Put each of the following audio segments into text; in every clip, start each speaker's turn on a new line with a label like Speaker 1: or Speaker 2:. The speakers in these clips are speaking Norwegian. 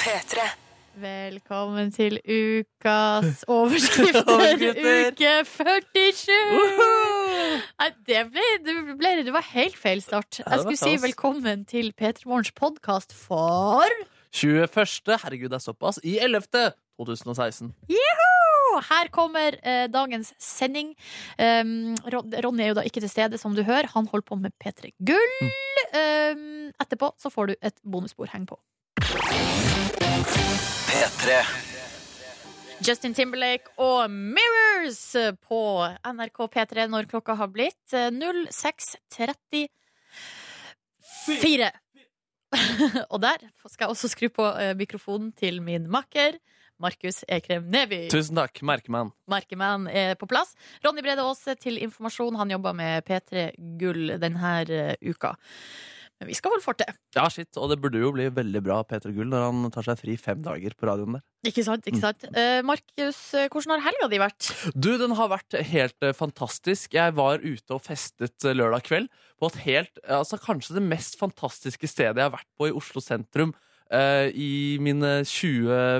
Speaker 1: P3.
Speaker 2: Velkommen til ukas overskrifter,
Speaker 1: Overskrifter.
Speaker 2: uke 47! Nei, det ble, det ble Det var helt feil start.
Speaker 3: Ja, det
Speaker 2: Jeg
Speaker 3: var
Speaker 2: skulle si
Speaker 3: kaos.
Speaker 2: velkommen til P3 Morgens podkast for
Speaker 3: 21. Herregud, det er såpass. I 11. 2016.
Speaker 2: Og Her kommer eh, dagens sending. Um, Ron- Ronny er jo da ikke til stede, som du hører. Han holder på med P3 Gull.
Speaker 3: Hm.
Speaker 2: Um, etterpå så får du et bonusbord. Heng på.
Speaker 4: P3.
Speaker 2: Justin Timberlake og Mirrors på NRK P3 når klokka har blitt eh, 06.34. Og der skal jeg også skru på eh, mikrofonen til min makker, Markus Ekrem Neby.
Speaker 3: Tusen takk, merkemann.
Speaker 2: Merkemann er på plass. Ronny Brede Aase til informasjon. Han jobber med P3 Gull denne eh, uka. Men vi skal holde fortet.
Speaker 3: Ja, shit, og det burde jo bli veldig bra Peter Gull når han tar seg fri fem dager på radioen der.
Speaker 2: Ikke sant? ikke
Speaker 3: Mm.
Speaker 2: sant? Eh, Markus, eh, hvordan har helga di vært?
Speaker 3: Du, den har vært helt eh, fantastisk. Jeg var ute og festet eh, lørdag kveld på et helt, eh, altså kanskje det mest fantastiske stedet jeg har vært på i Oslo sentrum eh, i mine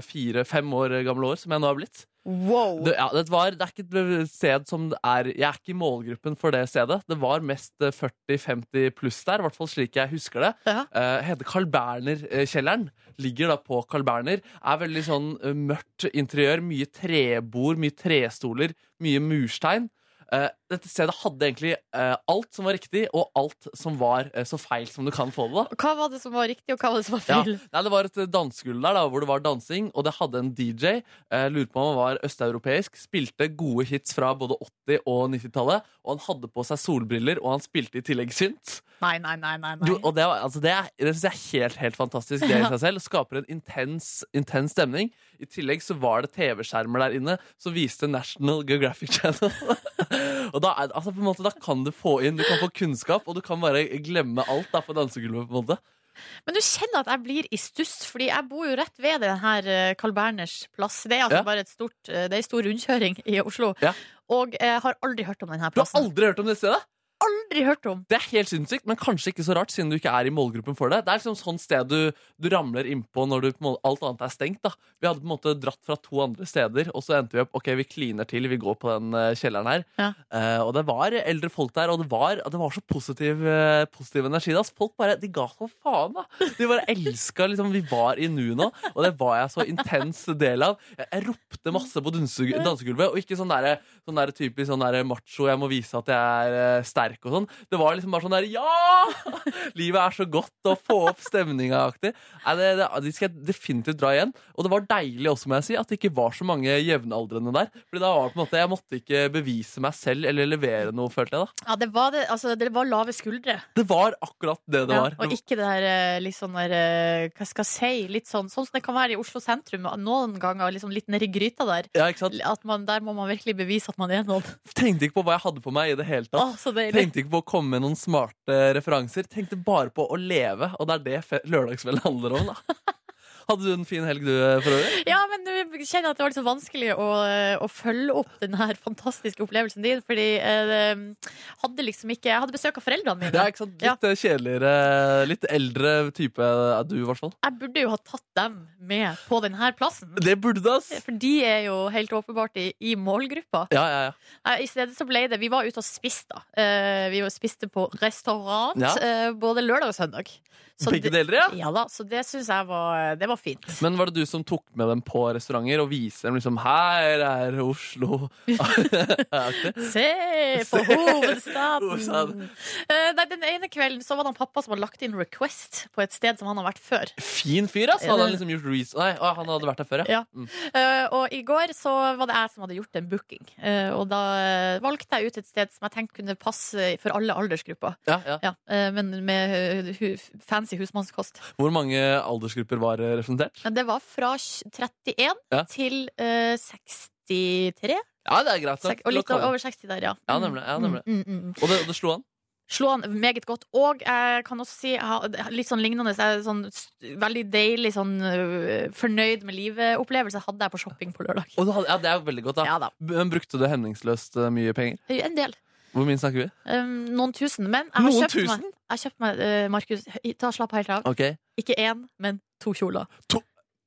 Speaker 3: 24-5 år gamle år, som jeg nå har blitt.
Speaker 2: Wow!
Speaker 3: Det, ja, det, var, det er ikke et sted som det er Jeg er ikke i målgruppen for det stedet. Det var mest eh, 40-50 pluss der, i hvert fall slik jeg husker det.
Speaker 2: Ja.
Speaker 3: Eh, heter Carl Berner-kjelleren. Ligger da på Carl Berner. Er veldig sånn eh, mørkt interiør. Mye trebord, mye trestoler, mye murstein. Eh, dette stedet hadde egentlig eh, alt som var riktig, og alt som var eh, så feil som du kan få det. da
Speaker 2: Hva var det som var riktig, og hva var det som var
Speaker 3: ja.
Speaker 2: feil?
Speaker 3: Nei, det var et dansegulv der da, hvor det var dansing, og det hadde en DJ. Eh, lurer på om han var østeuropeisk. Spilte gode hits fra både 80- og 90-tallet. Og han hadde på seg solbriller, og han spilte i tillegg synt.
Speaker 2: Nei, nei, nei, nei. nei.
Speaker 3: Du, og det, var- altså det, er- det syns jeg er helt, helt fantastisk. Det i seg selv skaper en intens, intens stemning. I tillegg så var det TV-skjermer der inne som viste National Geographic Channel. og da, er, det- altså på en måte, da kan du få inn Du kan få kunnskap, og du kan bare glemme alt da, på dansegulvet. på en måte
Speaker 2: Men du kjenner at jeg blir i stuss, fordi jeg bor jo rett ved den her eh, Carl Berners plass. Det er altså
Speaker 3: Ja.
Speaker 2: bare et stort, eh, det er en stor rundkjøring i Oslo.
Speaker 3: Ja.
Speaker 2: Og jeg har aldri hørt om denne
Speaker 3: Du har
Speaker 2: plassen.
Speaker 3: aldri hørt om det stedet?
Speaker 2: aldri hørt om!
Speaker 3: Det er helt sinnssykt, men kanskje ikke så rart, siden du ikke er i målgruppen for det. Det er liksom sånn sted du, du ramler innpå når du, på en måte, alt annet er stengt. da. Vi hadde på en måte dratt fra to andre steder, og så endte vi opp ok, vi kliner til, vi går på den eh, kjelleren her.
Speaker 2: Ja.
Speaker 3: Eh, og det var eldre folk der, og det var, det var så positiv, eh, positiv energi. da. Så Folk bare, De ga så faen, da! De bare elska liksom, Vi var i nuet nå, og det var jeg så intens del av. Jeg, jeg ropte masse på danse- dansegulvet, og ikke sånn derre sånn der typisk sånn der macho, jeg må vise at jeg er eh, sterk og sånn. Det var liksom bare sånn der Ja! Livet er så godt å få opp stemninga-aktig. Nei, det, det, de skal jeg definitivt dra igjen. Og det var deilig også, må jeg si, at det ikke var så mange jevnaldrende der. Fordi da var det på en måte Jeg måtte ikke bevise meg selv eller levere noe, følte jeg da.
Speaker 2: Ja, det var, det, altså, det var lave skuldre.
Speaker 3: Det var akkurat det det
Speaker 2: Ja,
Speaker 3: var.
Speaker 2: og ikke det der eh, litt sånn der eh, Hva skal jeg si? Litt sånn, sånn som det kan være i Oslo sentrum noen ganger, liksom litt nedi gryta der.
Speaker 3: ja, ikke sant?
Speaker 2: At man, der må man virkelig bevise at man er noen.
Speaker 3: Tenkte ikke på hva jeg hadde på meg i det hele tatt.
Speaker 2: Å, så deilig.
Speaker 3: Tenkte ikke på å komme med noen smarte referanser. Tenkte bare på å leve, og det er det fe- lørdagskvelden handler om. da Hadde du en fin helg, du, for øvrig?
Speaker 2: Ja, men jeg kjenner at det var litt så vanskelig å, å følge opp den her fantastiske opplevelsen din, fordi eh, hadde liksom ikke, jeg hadde besøk av foreldrene
Speaker 3: Ja,
Speaker 2: mine.
Speaker 3: ikke sant?
Speaker 2: Ja.
Speaker 3: Litt eh, kjedeligere, litt eldre type er du, i hvert fall.
Speaker 2: Jeg burde jo ha tatt dem med på den her plassen.
Speaker 3: Det burde du, ass!
Speaker 2: For de er jo helt åpenbart i, i målgruppa.
Speaker 3: Ja, ja, ja.
Speaker 2: Eh, I stedet så ble det Vi var ute og spiste, da. Eh, vi var- spiste på restaurant
Speaker 3: Ja.
Speaker 2: eh, både lørdag og søndag. Så
Speaker 3: Begge
Speaker 2: det-
Speaker 3: deler, ja.
Speaker 2: Ja da, så det syns jeg var, det var fint.
Speaker 3: Men var det du som tok med dem på restauranter og viste dem liksom Her er Oslo.
Speaker 2: Se på
Speaker 3: Se.
Speaker 2: hovedstaden!
Speaker 3: Hovedstaden.
Speaker 2: Eh, nei, den ene kvelden så var det han pappa som hadde lagt inn request på et sted som han har vært før.
Speaker 3: Fin fyr, ass! Hadde han liksom gjort research Nei, å, han hadde vært der før,
Speaker 2: Ja.
Speaker 3: Mm.
Speaker 2: Eh, og i går så var det jeg som hadde gjort en booking. Eh, og da eh, valgte jeg ut et sted som jeg tenkte kunne passe for alle aldersgrupper.
Speaker 3: Ja, ja.
Speaker 2: Ja, eh, men med eh, hu fancy husmannskost.
Speaker 3: Hvor mange aldersgrupper var eh, representert?
Speaker 2: Men det var fra 31
Speaker 3: Ja.
Speaker 2: til eh, 63,
Speaker 3: Ja, det er greit. nok.
Speaker 2: Sek- og litt
Speaker 3: Lokale.
Speaker 2: over 60 der, ja.
Speaker 3: Ja, nemlig, ja, nemlig.
Speaker 2: Mm, mm, mm.
Speaker 3: Og det, det slo an?
Speaker 2: Slå han meget godt. Og jeg kan også si jeg har litt sånn lignende så jeg er sånn, st- veldig deilig sånn øh, fornøyd med livet-opplevelse hadde jeg på shopping på lørdag.
Speaker 3: Og du hadde, ja, det er veldig godt, da.
Speaker 2: Ja da.
Speaker 3: B- Men brukte du hemningsløst eh, mye penger?
Speaker 2: En del.
Speaker 3: Hvor mye snakker vi?
Speaker 2: Um, noen tusen. Men jeg har
Speaker 3: Noen
Speaker 2: kjøpt meg,
Speaker 3: tusen?
Speaker 2: jeg har kjøpt meg øh, Markus, hø- ta slapp helt av.
Speaker 3: Ok,
Speaker 2: Ikke én, men to kjoler.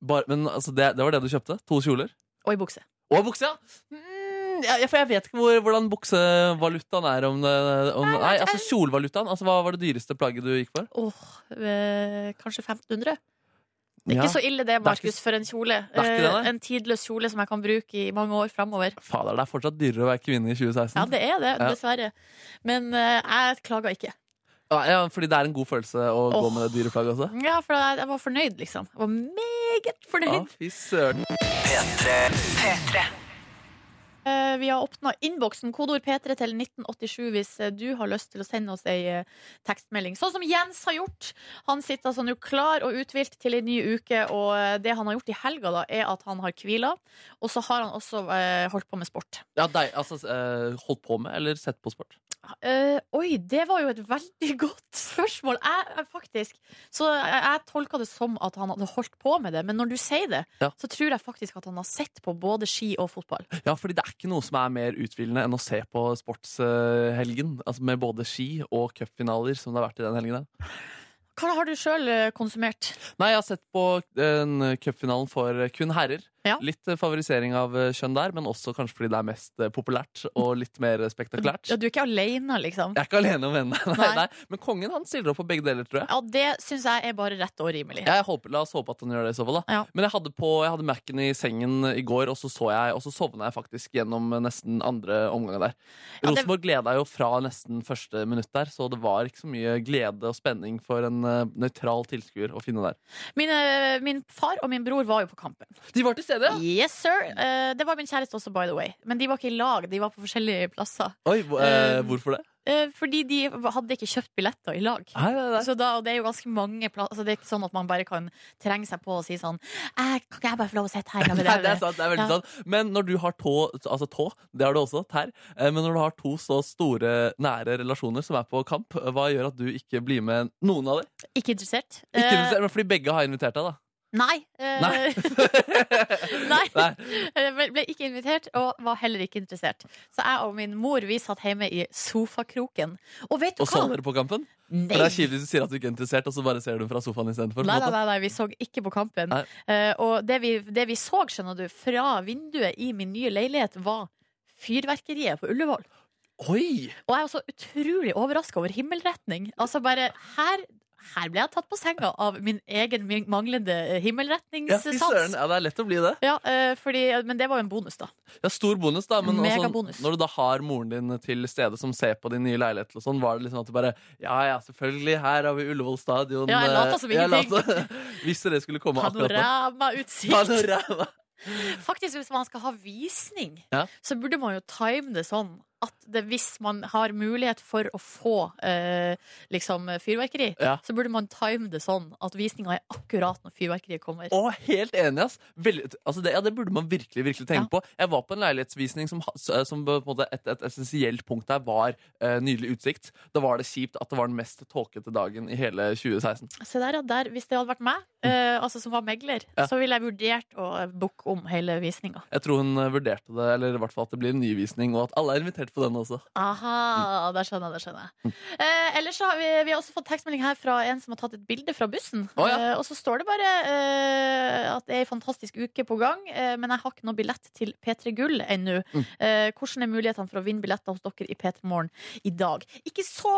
Speaker 3: Bare, men altså, det, det var det du kjøpte? To kjoler?
Speaker 2: Og ei bukse.
Speaker 3: Og bukse, ja! Mm, ja! ja, For jeg vet ikke hvor, hvordan buksevalutaen er om, det, om Nei, altså kjolevalutaen. Altså, hva var det dyreste plagget du gikk for?
Speaker 2: Åh, eh, kanskje 1500? Det er
Speaker 3: Ja.
Speaker 2: ikke så ille det,
Speaker 3: ikke-
Speaker 2: Markus, for en kjole.
Speaker 3: er ikke det,
Speaker 2: Eh,
Speaker 3: nei.
Speaker 2: en tidløs kjole som jeg kan bruke i mange år framover.
Speaker 3: Fader, det er fortsatt dyrere å være kvinne i 2016.
Speaker 2: Ja, det er det,
Speaker 3: Mm. Ja.
Speaker 2: dessverre. Men eh, jeg klager ikke.
Speaker 3: Ja, Ah, ja, fordi det er en god følelse å gå
Speaker 2: Åh.
Speaker 3: med det dyre plagget også.
Speaker 2: Ja, for jeg, jeg var fornøyd, liksom. Jeg var meget
Speaker 3: Ja,
Speaker 2: fornøyd.
Speaker 3: Ah, fy søren.
Speaker 2: Eh, vi har åpna innboksen, kodeord P3 til 1987 hvis eh, du har lyst til å sende oss ei eh, tekstmelding. Sånn som Jens har gjort. Han sitter altså nå klar og uthvilt til ei ny uke, og eh, det han har gjort i helga, da, er at han har hvila, og så har han også eh, holdt på med sport.
Speaker 3: Ja, deg, altså, eh, holdt på med eller sett på sport?
Speaker 2: Eh, oi, det var jo et veldig godt spørsmål, jeg, jeg, faktisk. Så jeg, jeg tolka det som at han hadde holdt på med det, men når du sier det,
Speaker 3: Ja.
Speaker 2: så tror jeg faktisk at han har sett på både ski og fotball.
Speaker 3: Ja, fordi det er ikke noe som er mer utvilende enn å se på sportshelgen. Altså med både ski og cupfinaler, som det har vært i den helgen. her.
Speaker 2: Hva har du sjøl konsumert?
Speaker 3: Nei, jeg har sett på den cupfinalen for eh, kun herrer.
Speaker 2: Ja.
Speaker 3: Litt eh, favorisering av eh, kjønn der, men også kanskje fordi det er mest eh, populært og litt mer eh, spektakulært.
Speaker 2: Ja, du er ikke aleine, liksom?
Speaker 3: Jeg er ikke alene om henne. Nei,
Speaker 2: Nei.
Speaker 3: nei. Men kongen han stiller opp på begge deler, tror jeg.
Speaker 2: Ja, det syns jeg er bare rett og rimelig.
Speaker 3: Jeg håper, la oss håpe at han gjør det i så fall. da
Speaker 2: Ja.
Speaker 3: Men jeg hadde, på, jeg hadde Mac-en i sengen i går, og så, så jeg, og så sovna jeg faktisk gjennom nesten andre omgang der.
Speaker 2: Ja, det-
Speaker 3: Rosenborg gleda jo fra nesten første minutt der, så det var ikke så mye glede og spenning for en eh, nøytral tilskuer å finne der.
Speaker 2: Mine, min far og min bror var jo på kampen.
Speaker 3: De var til stede, ja!
Speaker 2: Yes, sir! Eh, det var min kjæreste også, by the way. Men de var ikke i lag, de var på forskjellige plasser.
Speaker 3: Oi, hvo- eh, hvorfor det?
Speaker 2: Eh, fordi de hadde ikke kjøpt billetter i lag.
Speaker 3: Nei, nei, nei.
Speaker 2: Så da, og det er jo ganske mange plasser altså Det er ikke sånn at man bare kan trenge seg på og si sånn «Eh, Kan ikke jeg bare få lov å sitte her?
Speaker 3: Nei, det er sant, det er veldig
Speaker 2: Ja.
Speaker 3: sant Men når du har tå, altså tå, det har du også, tær eh, Men når du har to så store, nære relasjoner som er på kamp Hva gjør at du ikke blir med noen av dem?
Speaker 2: Ikke interessert?
Speaker 3: Ikke
Speaker 2: Eh,
Speaker 3: inviter- men fordi begge har invitert deg da
Speaker 2: nei. Eh,
Speaker 3: Nei.
Speaker 2: Nei.
Speaker 3: Nei.
Speaker 2: Jeg ble- ble ikke invitert, og var heller ikke interessert. Så jeg og min mor vi satt hjemme i sofakroken. Og vet du
Speaker 3: Og så
Speaker 2: hva?
Speaker 3: dere på kampen?
Speaker 2: Nei.
Speaker 3: For det er kjipt hvis du sier at du ikke er interessert Og så bare ser du fra sofaen i stedet for på
Speaker 2: Nei,
Speaker 3: en
Speaker 2: nei,
Speaker 3: måte.
Speaker 2: nei, nei, vi så ikke på kampen.
Speaker 3: Nei.
Speaker 2: Eh, og det vi, det vi så, skjønner du, fra vinduet i min nye leilighet, var fyrverkeriet på Ullevål.
Speaker 3: Oi!
Speaker 2: Og jeg er også utrolig overraska over himmelretning. Altså bare her her ble jeg tatt på senga av min egen min- manglende eh,
Speaker 3: Ja, fy søren.
Speaker 2: himmelretningssans.
Speaker 3: ja, det er lett å bli det
Speaker 2: Ja, eh, fordi, men det var jo en bonus, da.
Speaker 3: Ja, stor bonus da Men også, sånn,
Speaker 2: Megabonus.
Speaker 3: når du da har moren din til stede Som ser på din nye leilighet og sånn, Var det liksom at du bare Ja, ja, selvfølgelig, her har vi Ullevål stadion
Speaker 2: Ja, jeg
Speaker 3: eh,
Speaker 2: later som
Speaker 3: jeg
Speaker 2: ingenting.
Speaker 3: later- Hvis dere skulle komme akkurat nå
Speaker 2: Panoramautsikt.
Speaker 3: Panorama.
Speaker 2: Faktisk, hvis man skal ha visning,
Speaker 3: Ja.
Speaker 2: så burde man jo time det sånn at det, hvis man har mulighet for å få eh, liksom fyrverkeri,
Speaker 3: Ja.
Speaker 2: så burde man time det sånn at visninga er akkurat når fyrverkeriet kommer.
Speaker 3: Å, helt enig, ass. Veldig, altså det, ja, det burde man virkelig virkelig tenke på. Jeg var på en leilighetsvisning som, ha- s- eh, som på en måte et, et essensielt punkt der var eh, nydelig utsikt. Da var det kjipt at det var den mest tåkete dagen i hele 2016.
Speaker 2: Se der, ja. Der, hvis det hadde vært meg, eh, altså som var megler,
Speaker 3: Mm. Ja.
Speaker 2: så ville jeg vurdert å booke om hele visninga.
Speaker 3: Jeg tror hun eh, vurderte det, eller i hvert fall at det blir en ny visning, og at alle er invitert på den også.
Speaker 2: Aha,
Speaker 3: Mm.
Speaker 2: der skjønner jeg. Der skjønner jeg. Eh, ellers så har vi, vi har også fått tekstmelding her fra en som har tatt et bilde fra bussen.
Speaker 3: Å, ja.
Speaker 2: eh, og så står det bare eh, at det er ei fantastisk uke på gang, eh, men jeg har ikke noe billett til P3 Gull ennå.
Speaker 3: Mm.
Speaker 2: Eh, hvordan er mulighetene for å vinne billetter hos dere i P3 Morgen i dag? Ikke så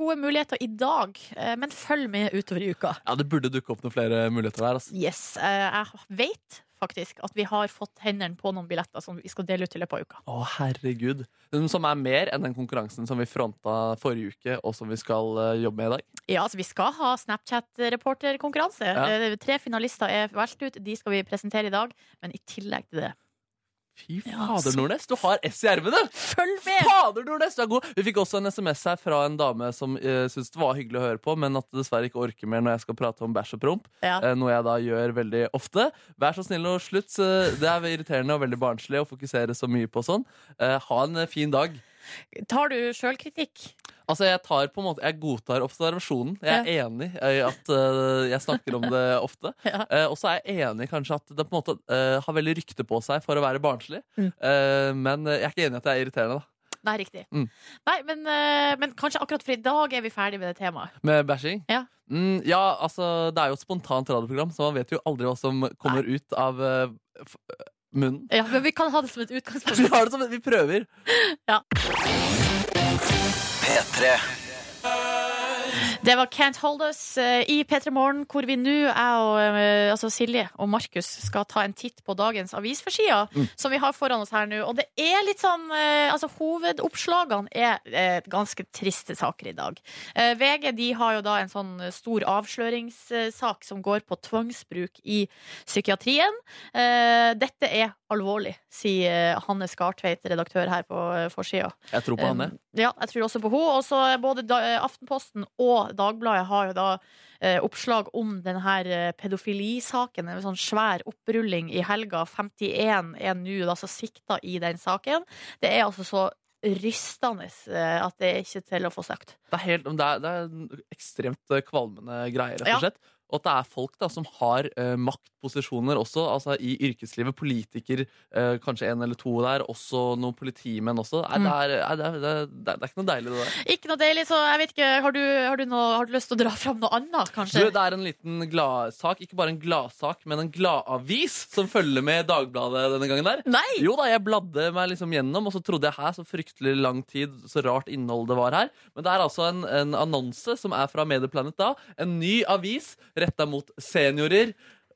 Speaker 2: gode muligheter i dag, eh, men følg med utover i uka.
Speaker 3: Ja, Det burde dukke opp noen flere muligheter der. ass.
Speaker 2: Yes, eh, jeg vet faktisk at vi har fått hendene på noen billetter som vi skal dele ut i løpet av uka.
Speaker 3: Å, herregud. Som er mer enn den konkurransen som vi fronta forrige uke, og som vi skal eh, jobbe med i dag.
Speaker 2: Ja, altså Vi skal ha Snapchat-reporterkonkurranse.
Speaker 3: Ja.
Speaker 2: Eh, Tre finalister er valgt ut. De skal vi presentere i dag. Men i tillegg til det
Speaker 3: Fy
Speaker 2: Ja,
Speaker 3: fader,
Speaker 2: så-
Speaker 3: Nordnes, du har S i ermet!
Speaker 2: Følg med!
Speaker 3: Fader, Nordnes, du er god! Vi fikk også en SMS her fra en dame som uh, syntes det var hyggelig å høre på, men at det dessverre ikke orker mer når jeg skal prate om bæsj og promp.
Speaker 2: Ja.
Speaker 3: eh, noe jeg da gjør veldig ofte. Vær så snill og slutt. eh, det er irriterende og veldig barnslig å fokusere så mye på sånn. Eh, ha en eh, fin dag.
Speaker 2: Tar du sjølkritikk?
Speaker 3: Altså, jeg tar på en måte Jeg godtar observasjonen. Jeg er enig i at eh, jeg snakker om det ofte.
Speaker 2: Ja.
Speaker 3: Eh, og så er jeg enig kanskje at det på en måte eh, har veldig rykte på seg for å være barnslig.
Speaker 2: Mm.
Speaker 3: Eh, men eh, jeg er ikke enig i at det er irriterende, da.
Speaker 2: Nei, riktig.
Speaker 3: Mm.
Speaker 2: Nei, men, eh, men kanskje akkurat for i dag er vi ferdig med det temaet.
Speaker 3: Med bæsjing?
Speaker 2: Ja.
Speaker 3: Mm, ja, altså, det er jo et spontant radioprogram, så man vet jo aldri hva som kommer ut av eh, f munnen.
Speaker 2: Ja, men vi kan ha det som et
Speaker 3: Vi
Speaker 2: utgangspunkt.
Speaker 3: har det som vi prøver.
Speaker 1: P3
Speaker 2: Det var Can't Hold Us eh, i P3 Morgen, hvor vi nå, jeg og eh, altså Silje og Markus, skal ta en titt på dagens avisforsider, som vi har foran oss her nå. Og det er litt sånn eh, Altså, hovedoppslagene er eh, ganske triste saker i dag. Eh, VG de har jo da en sånn stor avsløringssak som går på tvangsbruk i psykiatrien. Eh, Dette er alvorlig, sier eh, Hanne Skartveit, redaktør her på eh, forsida.
Speaker 3: Jeg tror på Hanne.
Speaker 2: Um, Ja, jeg tror også på henne. Og så både da, eh, Aftenposten og Dagbladet har jo da eh, oppslag om den her eh, pedofilisaken. En sånn svær opprulling i helga. 51 er nå altså sikta i den saken. Det er altså så rystende eh, at det er ikke til å få sagt.
Speaker 3: Det er, helt, det er, det er en ekstremt eh, kvalmende greier, rett
Speaker 2: Ja.
Speaker 3: og slett. Og at det er folk da, som har eh, maktposisjoner også, altså i yrkeslivet. Politiker, eh, kanskje en eller to der. Også noen politimenn også.
Speaker 2: Mm.
Speaker 3: Nei, det, er, nei, det, er, det, er, det er ikke noe deilig, det der.
Speaker 2: Ikke noe deilig, så jeg vet ikke. Har du, har du, noe, har du lyst til å dra fram noe
Speaker 3: Du,
Speaker 2: annet, kanskje?
Speaker 3: det er en liten gladsak. Ikke bare en gladsak, men en gladavis som følger med Dagbladet denne gangen der.
Speaker 2: Nei!
Speaker 3: Jo da, jeg bladde meg liksom gjennom, og så trodde jeg her så fryktelig lang tid, så rart innhold det var her. Men det er altså en, en annonse som er fra Medieplanet da. En ny avis retta mot seniorer.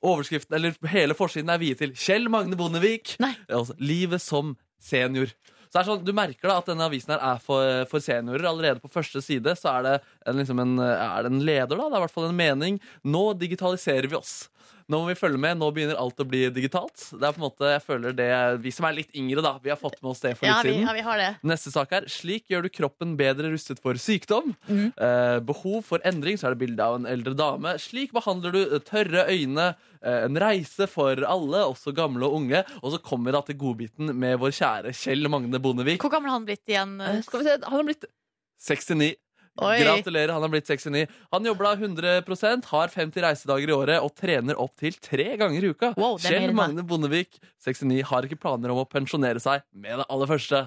Speaker 3: Overskriften, eller hele forsiden er viet til Kjell Magne Bondevik.
Speaker 2: Nei.
Speaker 3: Altså, livet som senior. Så det er sånn, Du merker da at denne avisen her er for, for seniorer. Allerede på første side så er det en, liksom en, er det en leder. da, Det er i hvert fall en mening. Nå digitaliserer vi oss. Nå må vi følge med. Nå begynner alt å bli digitalt. Det er på en måte, jeg føler det, Vi som er litt yngre, da, vi har fått med oss det for
Speaker 2: Ja
Speaker 3: litt
Speaker 2: vi,
Speaker 3: siden.
Speaker 2: ja, vi har det.
Speaker 3: Neste sak er Slik gjør du kroppen bedre rustet for sykdom.
Speaker 2: Mhm.
Speaker 3: Eh, behov for endring, så er det bilde av en eldre dame. Slik behandler du eh, tørre øyne. Eh, en reise for alle, også gamle og unge. Og så kommer vi da til godbiten med vår kjære Kjell Magne Bondevik.
Speaker 2: Hvor gammel har han blitt igjen?
Speaker 3: Eh, Skal vi se, han har blitt 69.
Speaker 2: Oi.
Speaker 3: Gratulerer, han har blitt 69. Han jobber da 100 har 50 reisedager i året og trener opptil tre ganger i uka.
Speaker 2: Wow, det er mer
Speaker 3: Kjell
Speaker 2: enn meg.
Speaker 3: Magne Bondevik, 69, har ikke planer om å pensjonere seg med det aller første.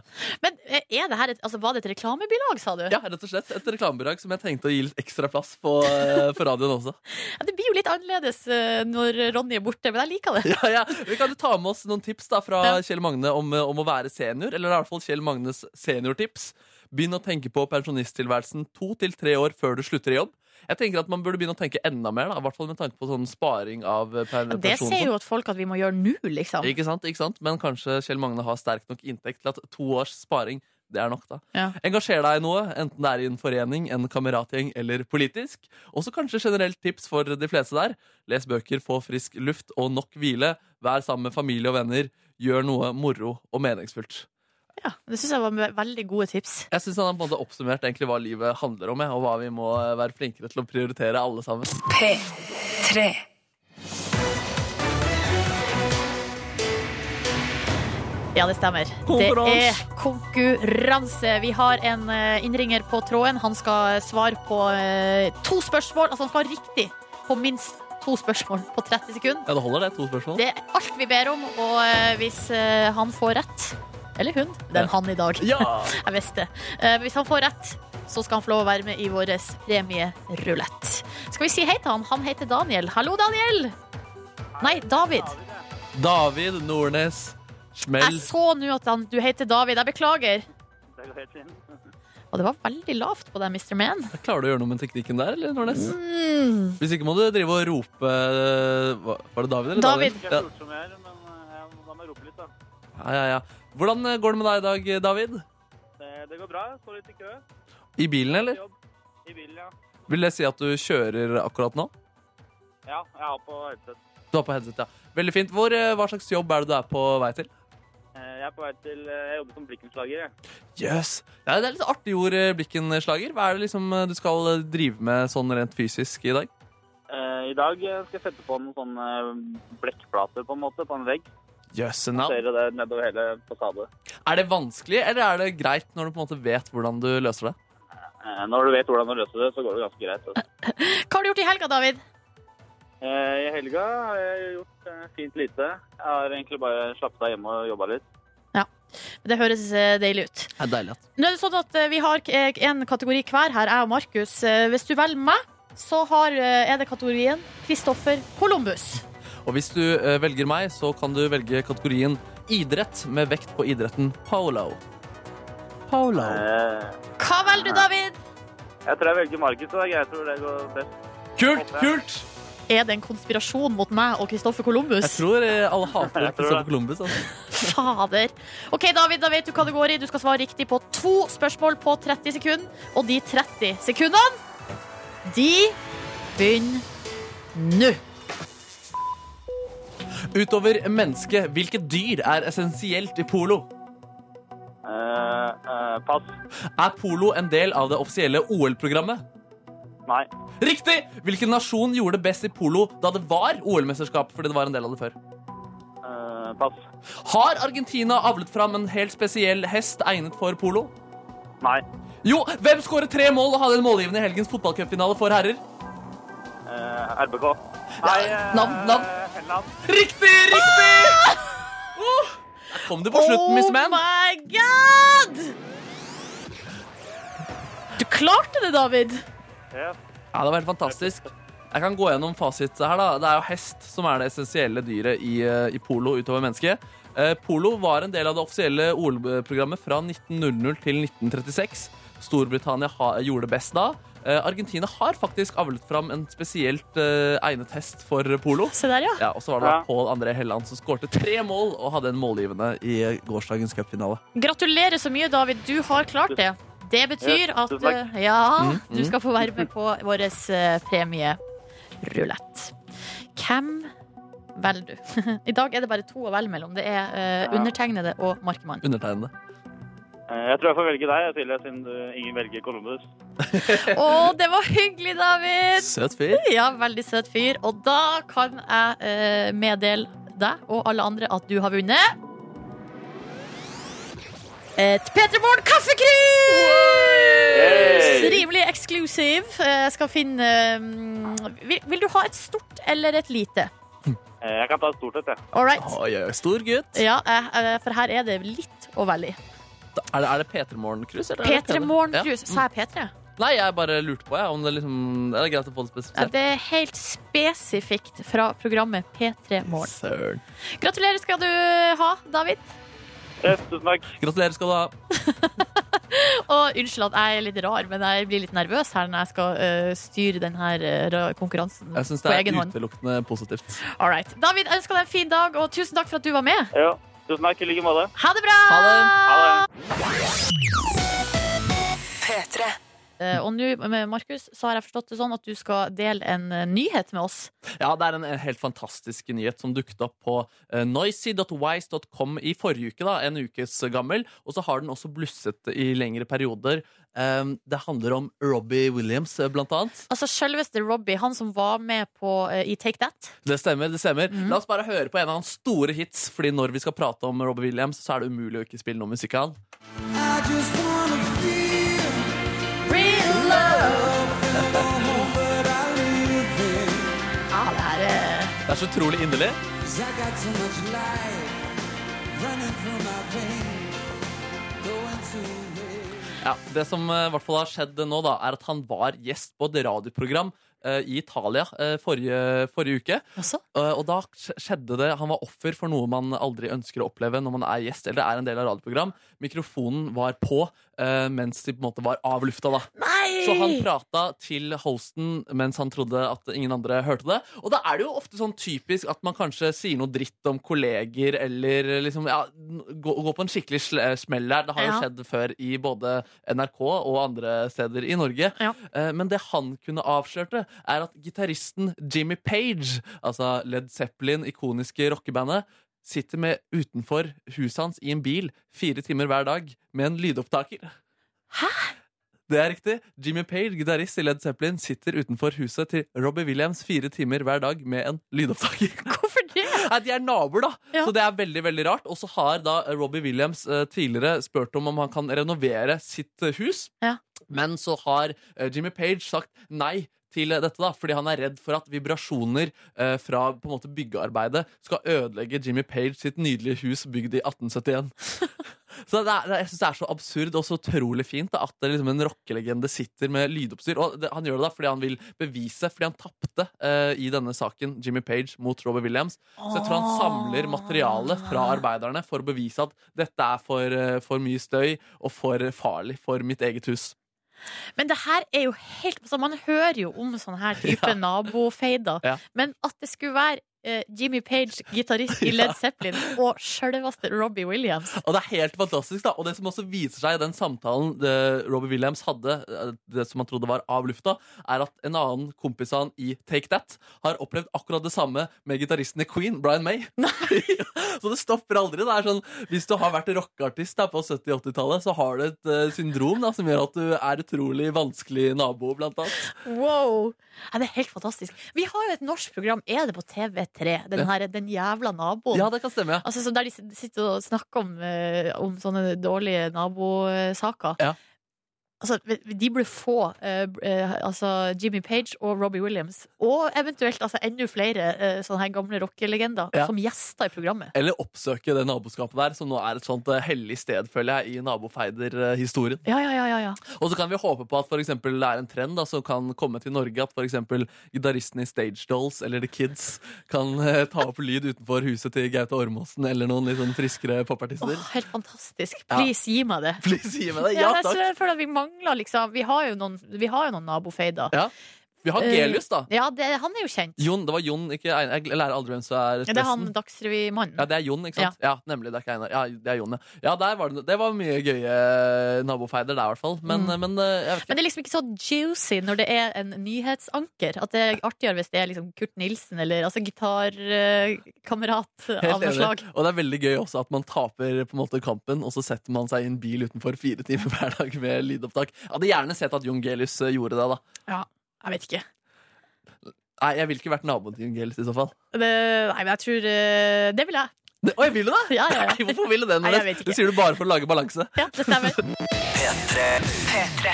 Speaker 2: Men eh, er det her et, altså, var det et reklamebilag, sa du?
Speaker 3: Ja, rett og slett. Et reklamebidrag som jeg tenkte å gi litt ekstra plass på, eh, på radioen også.
Speaker 2: Ja, det blir jo litt annerledes eh, når Ronny er borte, men jeg liker det.
Speaker 3: Ja, ja. Vi kan jo ta med oss noen tips da fra
Speaker 2: Ja.
Speaker 3: Kjell Magne om, eh, om å være senior. Eller i hvert fall Kjell Magnes seniortips. Begynn å tenke på pensjonisttilværelsen to til tre år før du slutter i jobb. Jeg tenker at Man burde begynne å tenke enda mer, da, i hvert fall med tanke på sånn sparing av eh, per-
Speaker 2: Men Det
Speaker 3: pensjon. og
Speaker 2: sier
Speaker 3: sånn.
Speaker 2: jo at folk at vi må gjøre nå, liksom.
Speaker 3: Ikke sant, ikke sant? Men kanskje Kjell Magne har sterk nok inntekt til at to års sparing det er nok, da.
Speaker 2: Ja.
Speaker 3: Engasjer deg i noe, enten det er i en forening, en kameratgjeng eller politisk. Også kanskje generelt tips for de fleste der. Les bøker, få frisk luft og nok hvile. Vær sammen med familie og venner. Gjør noe moro og meningsfullt.
Speaker 2: Ja, det syns jeg var ve- veldig gode tips.
Speaker 3: Jeg syns han har på en måte oppsummert egentlig hva livet handler om, jeg, og hva vi må eh, være flinkere til å prioritere, alle sammen.
Speaker 4: P3.
Speaker 2: Ja, det stemmer. Det
Speaker 3: Konkurranse.
Speaker 2: er konkurranse. Vi har en eh, innringer på tråden. Han skal svare på eh, to spørsmål. Altså, han skal ha riktig på minst to spørsmål på 30 sekunder.
Speaker 3: Ja, det holder, det. To spørsmål.
Speaker 2: Det er alt vi ber om, og eh, hvis eh, han får rett Eller hun. Den
Speaker 3: Ja.
Speaker 2: han i dag.
Speaker 3: Ja!
Speaker 2: Jeg visste. Eh, hvis han får rett, så skal han få lov å være med i vår premierulett. Skal vi si hei til han? Han heter Daniel. Hallo, Daniel! Nei, David.
Speaker 3: David Nordnes. Smell.
Speaker 2: Jeg så nå at han, du heter David. Jeg beklager.
Speaker 5: Det går helt fint.
Speaker 2: Og det var veldig lavt på deg, Mr. Man.
Speaker 3: Klarer du å gjøre noe med teknikken der, eller, Nordnes?
Speaker 2: Mm.
Speaker 3: Hvis ikke må du drive og rope eh, hva- Var det David eller
Speaker 2: David.
Speaker 5: Ikke
Speaker 3: Ja.
Speaker 5: jeg som jeg er, men eh, jeg, da må jeg rope litt, da.
Speaker 3: Ja, ja, ja. Hvordan eh, går det med deg i dag, eh, David?
Speaker 5: Det, det går bra. jeg Står litt i kø.
Speaker 3: I bilen, eller?
Speaker 5: Jobb. I bilen, ja.
Speaker 3: Vil det si at du kjører akkurat nå?
Speaker 5: Ja, jeg har på headset.
Speaker 3: Du har på headset, ja. Veldig fint. Hvor, eh, hva slags jobb er det du er på vei til?
Speaker 5: Eh, Jeg er på vei til eh, Jeg jobber som blikkenslager, jeg.
Speaker 3: Jøss. Ja, det er litt artig ord, eh, blikkenslager. Hva er det liksom eh, du skal eh, drive med sånn rent fysisk i dag?
Speaker 5: Eh, I dag eh, skal jeg sette på noen sånne eh, blekkplater, på en måte, på en vegg.
Speaker 3: Jøss.
Speaker 5: Ja.
Speaker 3: navn.
Speaker 5: Ser dere det nedover hele fasadet.
Speaker 3: Er det vanskelig, eller er det greit når du på en måte vet hvordan du løser det?
Speaker 5: Eh, Når du vet hvordan du løser det, så går det ganske greit. Altså.
Speaker 2: Hva har du gjort i helga, David?
Speaker 5: Eh, I helga har jeg gjort eh, fint lite. Jeg har egentlig bare slappet av hjemme og jobba litt.
Speaker 2: Det høres eh, deilig ut.
Speaker 3: Det er deilig at
Speaker 2: Nå er det sånn at eh, Vi har eh, en kategori hver her, jeg og Markus. Eh, Hvis du velger meg, så har, eh, er det kategorien Kristoffer Columbus.
Speaker 3: Og hvis du eh, velger meg, så kan du velge kategorien idrett med vekt på idretten polo. Polo.
Speaker 5: Eh,
Speaker 2: Hva velger du, David?
Speaker 5: Jeg tror jeg velger Markus, og jeg tror det går best.
Speaker 3: Kult! Kult!
Speaker 2: Er det en konspirasjon mot meg og Kristoffer
Speaker 3: Jeg
Speaker 2: Columbus?
Speaker 3: tror eh, alle hater
Speaker 5: Jeg tror
Speaker 3: Kristoffer
Speaker 5: det.
Speaker 3: Columbus. Altså.
Speaker 2: Fader. OK, David, da vet du hva det går i. Du skal svare riktig på to spørsmål på 30 sekunder. Og de 30 sekundene, de begynner nå.
Speaker 3: Utover mennesket, hvilket dyr er essensielt i polo?
Speaker 5: Eh, eh, pass.
Speaker 3: Er polo en del av det offisielle OL-programmet?
Speaker 5: Nei.
Speaker 3: Riktig! Hvilken nasjon gjorde det best i polo da det var OL-mesterskap? Fordi det var en del av det før.
Speaker 5: Eh, pass.
Speaker 3: Har Argentina avlet fram en helt spesiell hest egnet for polo?
Speaker 5: Nei.
Speaker 3: Jo, hvem skåret tre mål og hadde en målgivende i helgens fotballcupfinale for herrer?
Speaker 5: Eh, RBK. Nei, eh,
Speaker 3: navn, navn.
Speaker 5: Helland.
Speaker 3: Riktig, riktig! Oh! Der kom du på slutten, Miss Man.
Speaker 2: Ah! Oh my god! Du klarte det, David.
Speaker 5: Ja.
Speaker 3: Ja, det var helt fantastisk. Jeg kan gå gjennom fasit her. da. Det er jo hest som er det essensielle dyret i, eh, i polo utover mennesket. Eh, Polo var en del av det offisielle OL-programmet fra 1900 til 1936. Storbritannia ha, gjorde det best da. Eh, Argentina har faktisk avlet fram en spesielt eh, egnet hest for polo.
Speaker 2: Se der, ja.
Speaker 3: Ja, og så var det da
Speaker 5: Ja.
Speaker 3: Pål André Helland som skårte tre mål og hadde en målgivende i gårsdagens cupfinale.
Speaker 2: Gratulerer så mye, David. Du har klart det. Det betyr
Speaker 5: Ja,
Speaker 2: at
Speaker 5: tusen takk.
Speaker 2: eh, ja,
Speaker 3: Mm,
Speaker 2: du
Speaker 3: mm.
Speaker 2: skal få være med på vår eh, premierulett. Hvem velger du? I dag er det bare to å velge mellom. Det er eh,
Speaker 5: Ja.
Speaker 2: undertegnede og Markemann.
Speaker 3: Undertegnede.
Speaker 5: Eh, Jeg tror jeg får velge deg, jeg, Silje, siden du, ingen velger Columbus.
Speaker 2: Å, det var hyggelig, David!
Speaker 3: Søt fyr.
Speaker 2: Ja, veldig søt fyr. Og da kan jeg eh, meddele deg og alle andre at du har vunnet et P3 Morgen kaffekrus!
Speaker 5: Yay!
Speaker 2: Rimelig eksklusiv. Eh, Jeg skal finne eh, vil, vil du ha et stort eller et lite?
Speaker 5: Eh, Jeg kan ta et stort et, jeg.
Speaker 2: All right.
Speaker 3: Oi, oi, oi, stor gutt.
Speaker 2: Ja, eh, eh, for her er det litt å velge i.
Speaker 3: Er det, er det P3 Morgen-krus? eller er det
Speaker 2: P3
Speaker 3: P3?
Speaker 2: Morgen
Speaker 3: Ja.
Speaker 2: Krus. Sa jeg P3?
Speaker 3: Nei, jeg bare lurte på jeg, om det liksom, det er greit å få det
Speaker 2: Ja,
Speaker 3: spesifisert.
Speaker 2: det er helt spesifikt fra programmet P3 Morgen.
Speaker 3: Søren.
Speaker 2: Gratulerer skal du ha, David.
Speaker 5: Yes, tusen takk.
Speaker 3: Gratulerer skal du ha.
Speaker 2: Og unnskyld at jeg er litt rar, men jeg blir litt nervøs her når jeg skal øh, styre denne konkurransen
Speaker 3: Jeg syns
Speaker 2: på
Speaker 3: det er
Speaker 2: egen hånd.
Speaker 3: utelukkende positivt.
Speaker 2: All right. David, jeg ønsker deg en fin dag, og tusen takk for at du var med.
Speaker 5: Ja, tusen takk. I like måte.
Speaker 2: Ha det bra!
Speaker 3: Ha det.
Speaker 5: Ha det.
Speaker 4: P3.
Speaker 2: Eh, Og nå, med Markus, så har jeg forstått det sånn at du skal dele en eh, nyhet med oss.
Speaker 3: Ja, det er en en helt fantastisk nyhet som dukket opp på eh, noisy.wise.com i forrige uke, da, en ukes gammel. Og så har den også blusset i lengre perioder. Um, det handler om Robbie Williams, eh, blant annet.
Speaker 2: Altså Selveste Robbie, han som var med på, eh, i Take That.
Speaker 3: Det stemmer. det stemmer
Speaker 2: Mhm.
Speaker 3: La oss bare høre på en av hans store hits, Fordi når vi skal prate om Robbie Williams, så er det umulig å ikke spille noe musikk av han.
Speaker 2: Ja, det er eh,
Speaker 3: Det er så utrolig inderlig. Ja, Det som eh, i hvert fall har skjedd nå, da, er at han var gjest på et radioprogram eh, i Italia eh, forrige, forrige uke.
Speaker 2: altså,
Speaker 3: Eh, og da sk- skjedde det Han var offer for noe man aldri ønsker å oppleve når man er gjest eller er en del av radioprogram. Mikrofonen var på eh, mens de på en måte var av lufta, da.
Speaker 2: Nei!
Speaker 3: Så han prata til hosten mens han trodde at ingen andre hørte det. Og da er det jo ofte sånn typisk at man kanskje sier noe dritt om kolleger eller liksom ja, gå, gå på en skikkelig sl- eh, smell der. Det har
Speaker 2: Ja.
Speaker 3: jo skjedd før i både NRK og andre steder i Norge.
Speaker 2: Ja.
Speaker 3: Eh, Men det han kunne avslørte, er at gitaristen Jimmy Page, altså Led Zeppelin, ikoniske rockebandet, sitter med utenfor huset hans i en bil fire timer hver dag med en lydopptaker.
Speaker 2: Hæ?
Speaker 3: Det er riktig. Jimmy Page, gitarist i Led Zeppelin, sitter utenfor huset til Robbie Williams fire timer hver dag med en lydopptaker.
Speaker 2: Hvorfor det?
Speaker 3: Nei, De er naboer, da,
Speaker 2: Ja.
Speaker 3: så det er veldig veldig rart. Og så har da Robbie Williams eh, tidligere spurt om om han kan renovere sitt eh, hus.
Speaker 2: Ja.
Speaker 3: Men så har eh, Jimmy Page sagt nei til eh, dette, da, fordi han er redd for at vibrasjoner eh, fra på en måte byggearbeidet skal ødelegge Jimmy Page sitt nydelige hus bygd i 1871. Så det er, det, er- jeg synes det er så absurd og så utrolig fint da, at det liksom en rockelegende sitter med lydoppstyr. Og det, han gjør det da fordi han vil bevise, fordi han tapte eh, i denne saken, Jimmy Page mot Robert Williams. Så jeg tror han samler materiale fra arbeiderne for å bevise at dette er for, eh, for mye støy og for farlig for mitt eget hus.
Speaker 2: Men det her er jo helt altså, Man hører jo om sånne her type
Speaker 3: Ja.
Speaker 2: nabofeider.
Speaker 3: Ja.
Speaker 2: Men at det skulle være eh, Jimmy Page, gitarist i Led Zeppelin, og sjølveste Robbie Williams
Speaker 3: Og det er helt fantastisk, da. Og det som også viser seg i den samtalen eh, Robbie Williams hadde, eh, det som han trodde var av lufta, er at en annen kompis av han i Take That har opplevd akkurat det samme med gitaristen i Queen, Brian May. så det stopper aldri. Det er sånn, Hvis du har vært rockeartist da, på 70-80-tallet, så har du et eh, syndrom da, som gjør at du er utrolig vanskelig nabo, blant annet.
Speaker 2: Wow! Ja, det er helt fantastisk. Vi har jo et norsk program, er det på TV3? Den, her, den jævla naboen.
Speaker 3: Ja, det kan stemme. ja.
Speaker 2: Altså, så der de sit- sitter og snakker om, eh, om sånne dårlige nabosaker.
Speaker 3: Ja.
Speaker 2: Altså, de burde få eh, b- eh, altså Jimmy Page og Robbie Williams, og eventuelt altså, enda flere eh, sånne her gamle rockelegender,
Speaker 3: Ja.
Speaker 2: som gjester i programmet.
Speaker 3: Eller oppsøke det naboskapet der, som nå er et sånt eh, hellig sted, føler jeg, i nabofeider-historien.
Speaker 2: Ja, ja, ja, ja, ja.
Speaker 3: Og så kan vi håpe på at for eksempel, det er en trend da, som kan komme til Norge. At f.eks. gitaristen i Stage Dolls eller The Kids kan eh, ta opp lyd utenfor huset til Gaute Ormåsen eller noen litt sånn friskere popartister.
Speaker 2: Åh, helt fantastisk.
Speaker 3: Ja.
Speaker 2: Please, gi meg det.
Speaker 3: Please gi meg det!
Speaker 2: Ja,
Speaker 3: Ja
Speaker 2: jeg,
Speaker 3: takk!
Speaker 2: jeg føler at vi mangler liksom Vi har jo noen, vi har jo noen nabofeider.
Speaker 3: Ja. Vi
Speaker 2: Eh,
Speaker 3: har Gelius, da.
Speaker 2: Ja, det, han er jo kjent.
Speaker 3: Jon, det var Jon, ikke Einar. Jeg lærer aldri hvem som er
Speaker 2: Ja, det er han
Speaker 3: presten.
Speaker 2: Dagsrevy-mannen.
Speaker 3: Ja, det er Jon, ikke sant? Ja, nemlig. Det er ikke Einar. Ja, det er Jon, ja. ja der var det, det var mye gøye eh, nabofeider der, i hvert fall.
Speaker 2: Mm.
Speaker 3: Men, men eh, jeg vet ikke.
Speaker 2: Men det er liksom ikke så juicy når det er en nyhetsanker. At det er artigere hvis det er liksom Kurt Nilsen eller altså gitarkamerat
Speaker 3: Helt
Speaker 2: av noe
Speaker 3: enig.
Speaker 2: slag.
Speaker 3: Og det er veldig gøy også at man taper på en måte kampen, og så setter man seg i en bil utenfor fire timer hver dag med lydopptak. Jeg hadde gjerne sett at Jon Gelius eh, gjorde det, da.
Speaker 2: Jeg vet ikke.
Speaker 3: Nei, jeg ville ikke vært naboen til Jon Gelius i så fall.
Speaker 2: Det, nei, men jeg tror eh, Det vil jeg.
Speaker 3: Det, oi, vil du det?
Speaker 2: Ja, ja,
Speaker 3: Nei,
Speaker 2: ja.
Speaker 3: hvorfor vil du det?
Speaker 2: Nei,
Speaker 3: Når
Speaker 2: jeg
Speaker 3: det,
Speaker 2: vet ikke.
Speaker 3: det sier du bare for å lage balanse.
Speaker 2: ja det stemmer.
Speaker 4: P3.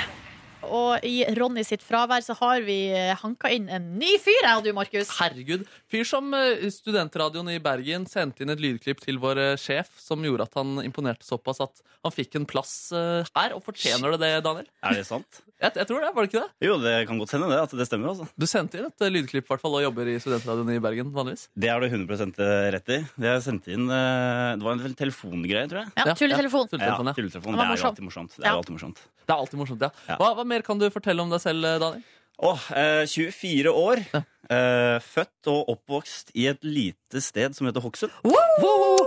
Speaker 2: Og i Ronny sitt fravær så har vi eh, hanka inn en ny fyr, jeg og du, Markus.
Speaker 3: Herregud. Fyr som eh, studentradioen i Bergen sendte inn et lydklipp til vår eh, sjef, som gjorde at han imponerte såpass at han fikk en plass eh, her. Og fortjener det det, Daniel?
Speaker 1: Er det sant?
Speaker 3: Jeg, jeg tror det, var det ikke det?
Speaker 1: Jo, det kan godt hende det, at det stemmer. altså.
Speaker 3: Du sendte inn et eh, lydklipp, i hvert fall, og jobber i studentradioen i Bergen vanligvis.
Speaker 1: Det har du 100 rett i. Det, jeg sendte inn, eh, det var en telefongreie, tror jeg.
Speaker 2: Ja,
Speaker 3: Ja,
Speaker 2: Tulletelefon.
Speaker 3: Tulletelefon, ja.
Speaker 1: tulletelefon.
Speaker 2: Det var
Speaker 1: Det er jo
Speaker 2: morsomt.
Speaker 1: alltid morsomt. Det
Speaker 2: Ja.
Speaker 1: er jo alltid morsomt.
Speaker 3: Det er alltid morsomt, ja.
Speaker 1: Ja.
Speaker 3: Hva, hva mer kan du fortelle om deg selv, Daniel?
Speaker 1: Åh, eh, 24 år. eh, født og oppvokst i et lite sted som heter Hokksund. Ja,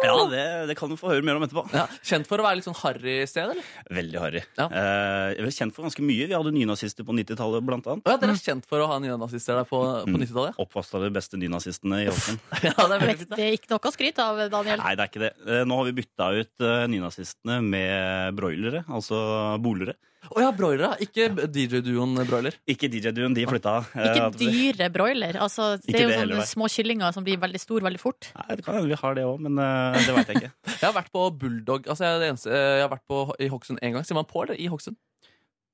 Speaker 3: Oh!
Speaker 1: det, det kan du få høre mer om etterpå.
Speaker 3: Ja, kjent for å være litt sånn harry sted, eller?
Speaker 1: Veldig harry.
Speaker 3: Ja.
Speaker 1: Eh, jeg ble kjent for ganske mye. Vi hadde nynazister på 90-tallet, blant annet.
Speaker 3: Å Ja, dere er kjent for å ha nynazister der på, på
Speaker 1: Mm.
Speaker 3: 90-tallet?
Speaker 1: Oppvast av de beste nynazistene i Hokksund.
Speaker 3: Ja, det er veldig fint.
Speaker 2: Det er ikke noe å skryte av, Daniel.
Speaker 1: Nei, det er ikke det. Eh, Nå har vi bytta ut eh, nynazistene med broilere, altså bolere.
Speaker 3: Å ja, broilere. Ikke DJ-duoen broiler.
Speaker 1: Ikke DJ-duen, de flytta. eh,
Speaker 2: Ikke
Speaker 1: at vi-
Speaker 2: dyre broiler. Altså, det
Speaker 1: Ikke
Speaker 2: er jo
Speaker 1: det heller, nei.
Speaker 2: sånne små kyllinger som blir veldig store veldig fort.
Speaker 1: Nei, det kan hende vi har det òg, men eh, det veit jeg ikke.
Speaker 3: Jeg har vært på Bulldog Altså, jeg, er det eneste, jeg har vært på, i Hokksund én gang. Sier man på eller i Hokksund?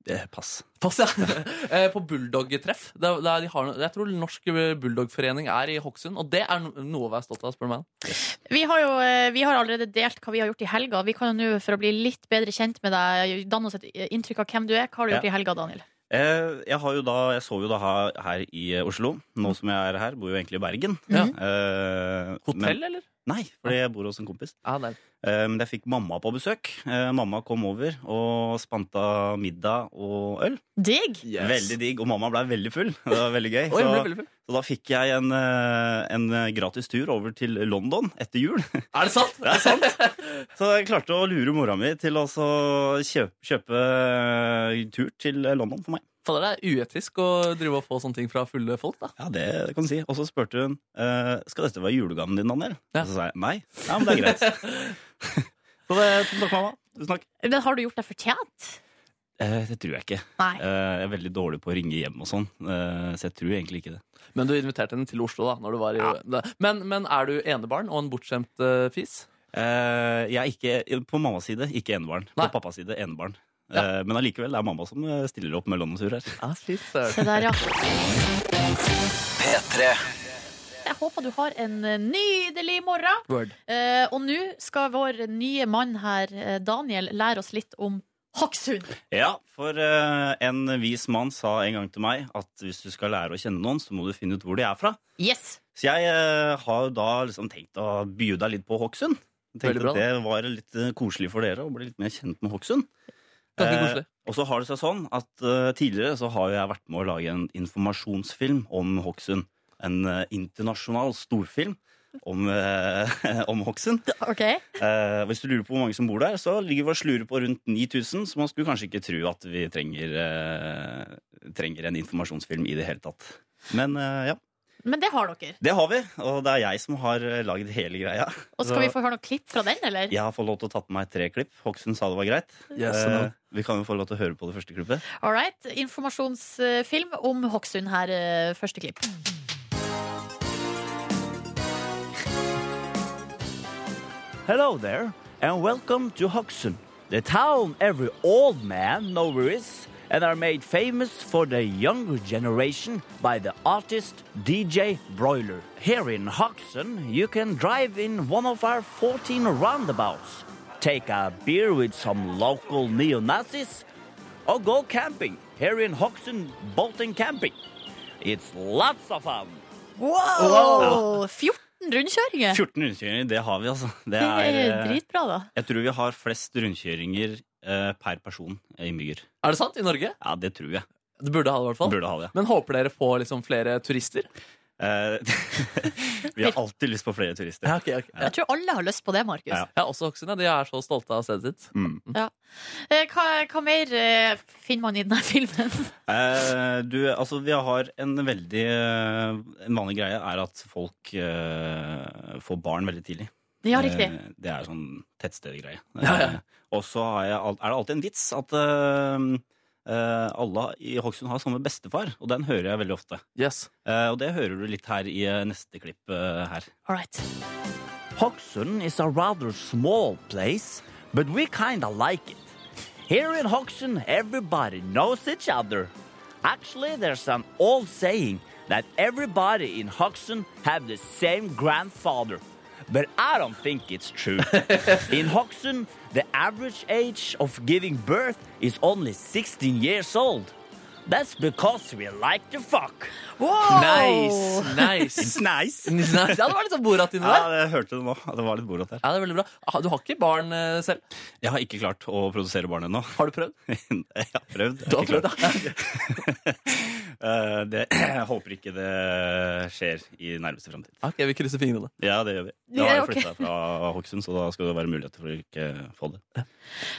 Speaker 1: Det, pass.
Speaker 3: Pass, ja. Eh, På Bulldog-treff. Det er- det er- de har noe- Jeg tror Norsk Bulldog-forening er i Hokksund, og det er no- noe å være stolt av, spør du meg.
Speaker 2: Vi har jo eh, vi har allerede delt hva vi har gjort i helga. Vi kan jo nå, for å bli litt bedre kjent med deg, danne oss et inntrykk av hvem du er. Hva har du
Speaker 1: Ja.
Speaker 2: gjort i helga, Daniel?
Speaker 1: Eh, Jeg, har jo da, jeg sover jo da her- her i eh, Oslo. Nå som jeg er her, bor jo egentlig i Bergen.
Speaker 3: Ja.
Speaker 1: Eh,
Speaker 3: Hotell,
Speaker 1: Men,
Speaker 3: eller?
Speaker 1: nei, fordi jeg bor hos en kompis.
Speaker 3: Ja, det er-
Speaker 1: Eh, Men jeg fikk mamma på besøk. Eh, Mamma kom over og spanta middag og øl.
Speaker 2: Digg!
Speaker 1: Veldig digg. Og mamma ble veldig full. Det var veldig gøy.
Speaker 3: Oi,
Speaker 1: Så-
Speaker 3: jeg ble veldig full.
Speaker 1: Så da fikk jeg en, eh, en gratis tur over til London etter jul.
Speaker 3: Er det sant? Det er sant.
Speaker 1: Så jeg klarte å lure mora mi til å så kjøpe, kjøpe eh, tur til London for meg.
Speaker 3: Fader, det er uetisk å drive og få sånne ting fra fulle folk, da.
Speaker 1: Ja, det kan du si. Og så spurte hun eh, skal dette være julegaven din, Daniel.
Speaker 3: Ja.
Speaker 1: Og så sa jeg nei. Ja, men det er greit. så det, tusen takk, mamma. Tusen takk.
Speaker 2: Men har du gjort deg fortjent?
Speaker 1: Eh, det tror jeg ikke. Eh,
Speaker 2: Nei.
Speaker 1: jeg er veldig dårlig på å ringe hjem og sånn, eh, så jeg tror egentlig ikke det.
Speaker 3: Men du inviterte henne til Oslo, da. Når du var i, men, men er du enebarn og en bortskjemt eh, fis?
Speaker 1: Eh, jeg er ikke, på mammas side ikke enebarn. På
Speaker 3: Nei.
Speaker 1: pappas side enebarn.
Speaker 3: Ja.
Speaker 1: Eh, men allikevel, det er mamma som eh, stiller opp med London-tur her.
Speaker 3: Ja, fy søren.
Speaker 2: Se der, ja. Jeg håper du har en eh, nydelig morgen.
Speaker 3: Word.
Speaker 2: Eh, og nå skal vår nye mann her, eh, Daniel, lære oss litt om Hokksund.
Speaker 1: Ja, for eh, en vis mann sa en gang til meg at hvis du skal lære å kjenne noen, så må du finne ut hvor de er fra.
Speaker 2: Yes!
Speaker 1: Så jeg eh, har da liksom tenkt å by deg litt på Hokksund. Jeg
Speaker 3: Veldig
Speaker 1: Tenkte
Speaker 3: bra,
Speaker 1: at det var litt eh, koselig for dere å bli litt mer kjent med Hokksund.
Speaker 3: Ganske
Speaker 1: Eh,
Speaker 3: koselig.
Speaker 1: og så har det seg sånn at eh, tidligere så har jo jeg vært med å lage en informasjonsfilm om Hokksund. En eh, internasjonal storfilm om, eh, om Hokksund.
Speaker 2: Ok.
Speaker 1: Eh, hvis du lurer på hvor mange som bor der, så ligger vår slure på rundt 9000, så man skulle kanskje ikke tro at vi trenger, eh, trenger en informasjonsfilm i det hele tatt. Men eh, ja,
Speaker 2: Men det har dere.
Speaker 1: det har vi, og det er jeg som har eh, lagd hele greia.
Speaker 2: Og skal
Speaker 1: Så-
Speaker 2: vi få høre noe klipp fra den, eller?
Speaker 1: Jeg har fått lov til å ta på meg tre klipp. Hokksund sa det var greit.
Speaker 3: Yes,
Speaker 1: Eh,
Speaker 3: no.
Speaker 1: vi kan jo få lov til å høre på det første klippet.
Speaker 2: All right. Informasjonsfilm om Hokksund her, eh, første klipp.
Speaker 6: Hello there, and welcome to Hokksund, the town every old man over is, and are made famous for the younger generation by the artist DJ Broiler. Here in Hokksund, you can drive in one of our 14 roundabouts, take a beer with some local neo-Nazis, or go camping here in Hokksund Bolting Camping. It's lots of fun.
Speaker 2: Wow! 14 rundkjøringer!
Speaker 1: 14 rundkjøringer, det har vi, altså. Det
Speaker 2: Det
Speaker 1: er,
Speaker 2: er
Speaker 1: eh,
Speaker 2: dritbra, da.
Speaker 1: jeg tror vi har flest rundkjøringer eh, per person i Mygger.
Speaker 3: Er det sant? I Norge?
Speaker 1: Ja, det tror jeg.
Speaker 3: Det burde ha det, i hvert fall.
Speaker 1: Burde ha det.
Speaker 3: Men håper dere får liksom flere turister?
Speaker 1: Eh, vi har alltid lyst på flere turister.
Speaker 3: ok, ok.
Speaker 2: Jeg tror alle har lyst på det, Markus.
Speaker 1: Ja.
Speaker 3: Ja, også Hokksund. ja. De er så stolte av stedet sitt.
Speaker 1: Mm.
Speaker 2: Eh, Hva, hva mer eh, finner man i denne filmen?
Speaker 1: Eh, du, altså, vi har en veldig eh, En vanlig greie er at folk eh, får barn veldig tidlig.
Speaker 2: Ja, riktig.
Speaker 1: Eh, det er sånn tettstedgreie.
Speaker 3: Ja, ja.
Speaker 1: Eh, og så har jeg al- er det alltid en vits at eh, eh, alle i Hokksund har samme bestefar, og den hører jeg veldig ofte.
Speaker 3: Yes.
Speaker 1: Eh, og det hører du litt her i eh, neste klipp eh, her.
Speaker 2: All right.
Speaker 6: Hokksund is a rather small place, but we kinda like it. Here in Hokksund, everybody knows each other. Actually, there's an old saying that everybody in Hokksund have the same grandfather, but I don't think it's true. in Hokksund, the average age of giving birth is only 16 years old. That's because we like to fuck.
Speaker 2: Wow!
Speaker 3: Nice! Nice!
Speaker 1: Nice!
Speaker 3: nice. Ja, det var litt sånn Borat inni
Speaker 1: Ja,
Speaker 3: der.
Speaker 1: det hørte du nå. Det var litt bordet der.
Speaker 3: Ja, det er veldig bra. Ah, Du har ikke barn eh, selv?
Speaker 1: Jeg har ikke klart å produsere barn ennå.
Speaker 3: Har du prøvd?
Speaker 1: jeg har prøvd. Jeg
Speaker 3: Du
Speaker 1: har
Speaker 3: har
Speaker 1: ikke
Speaker 3: prøvd,
Speaker 1: klart.
Speaker 3: da.
Speaker 1: Eh, det, jeg håper ikke det skjer i nærmeste framtid.
Speaker 3: Ok, vi krysser fingrene.
Speaker 1: Ja, det gjør vi. Da har
Speaker 2: Ja,
Speaker 1: jeg
Speaker 2: ok.
Speaker 1: flytta fra Hokksund, så da skal det være muligheter for å ikke få det.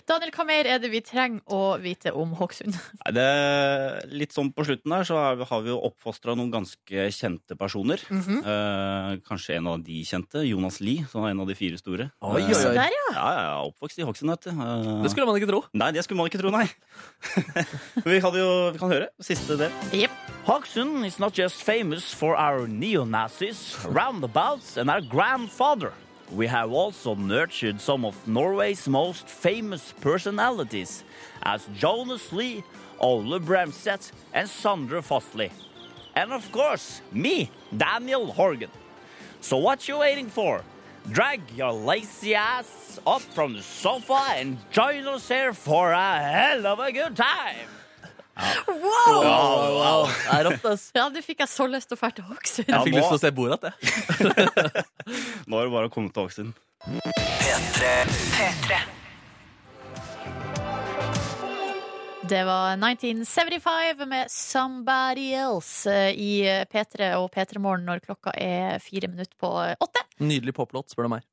Speaker 2: Daniel, hva mer er det vi trenger å vite om Hokksund?
Speaker 1: Nei, det litt sånn på slutten der, så er vi- har vi jo oppfostra noen ganske kjente personer.
Speaker 3: Mhm.
Speaker 1: Eh, kanskje en av de kjente. Jonas Lie, som er en av de fire store.
Speaker 3: Oi,
Speaker 1: Eh,
Speaker 3: oi, oi.
Speaker 2: Der, ja.
Speaker 1: Ja, ja, ja, oppvokst i Hokksund, vet du. Eh,
Speaker 3: Det skulle man ikke tro.
Speaker 1: Nei, det skulle man ikke tro, nei. vi, hadde jo, vi kan høre siste del.
Speaker 6: Hokksund is not just famous for our neo-Nazis, roundabouts, and our grandfather. We have also nurtured some of Norway's most famous personalities, as Jonas Lie, Ole Bremseth, and Sondre Fossli. And of course, me, Daniel Horgan. So what you waiting for? Drag your lazy ass up from the sofa and join us here for a hell of a good time!
Speaker 2: Wow!
Speaker 3: Det er rått, ass.
Speaker 2: Ja, nå fikk jeg så lyst til å dra til Hokksund.
Speaker 1: Ja,
Speaker 3: Jeg fikk
Speaker 1: nå-
Speaker 3: lyst til å se Borat, jeg.
Speaker 1: Nå er det bare å komme til Hokksund.
Speaker 2: Det var 1975 med 'Somebody Else' eh, i eh, P3 og P3 Morgen når klokka er fire minutter på eh, åtte.
Speaker 3: Nydelig poplåt, spør du meg.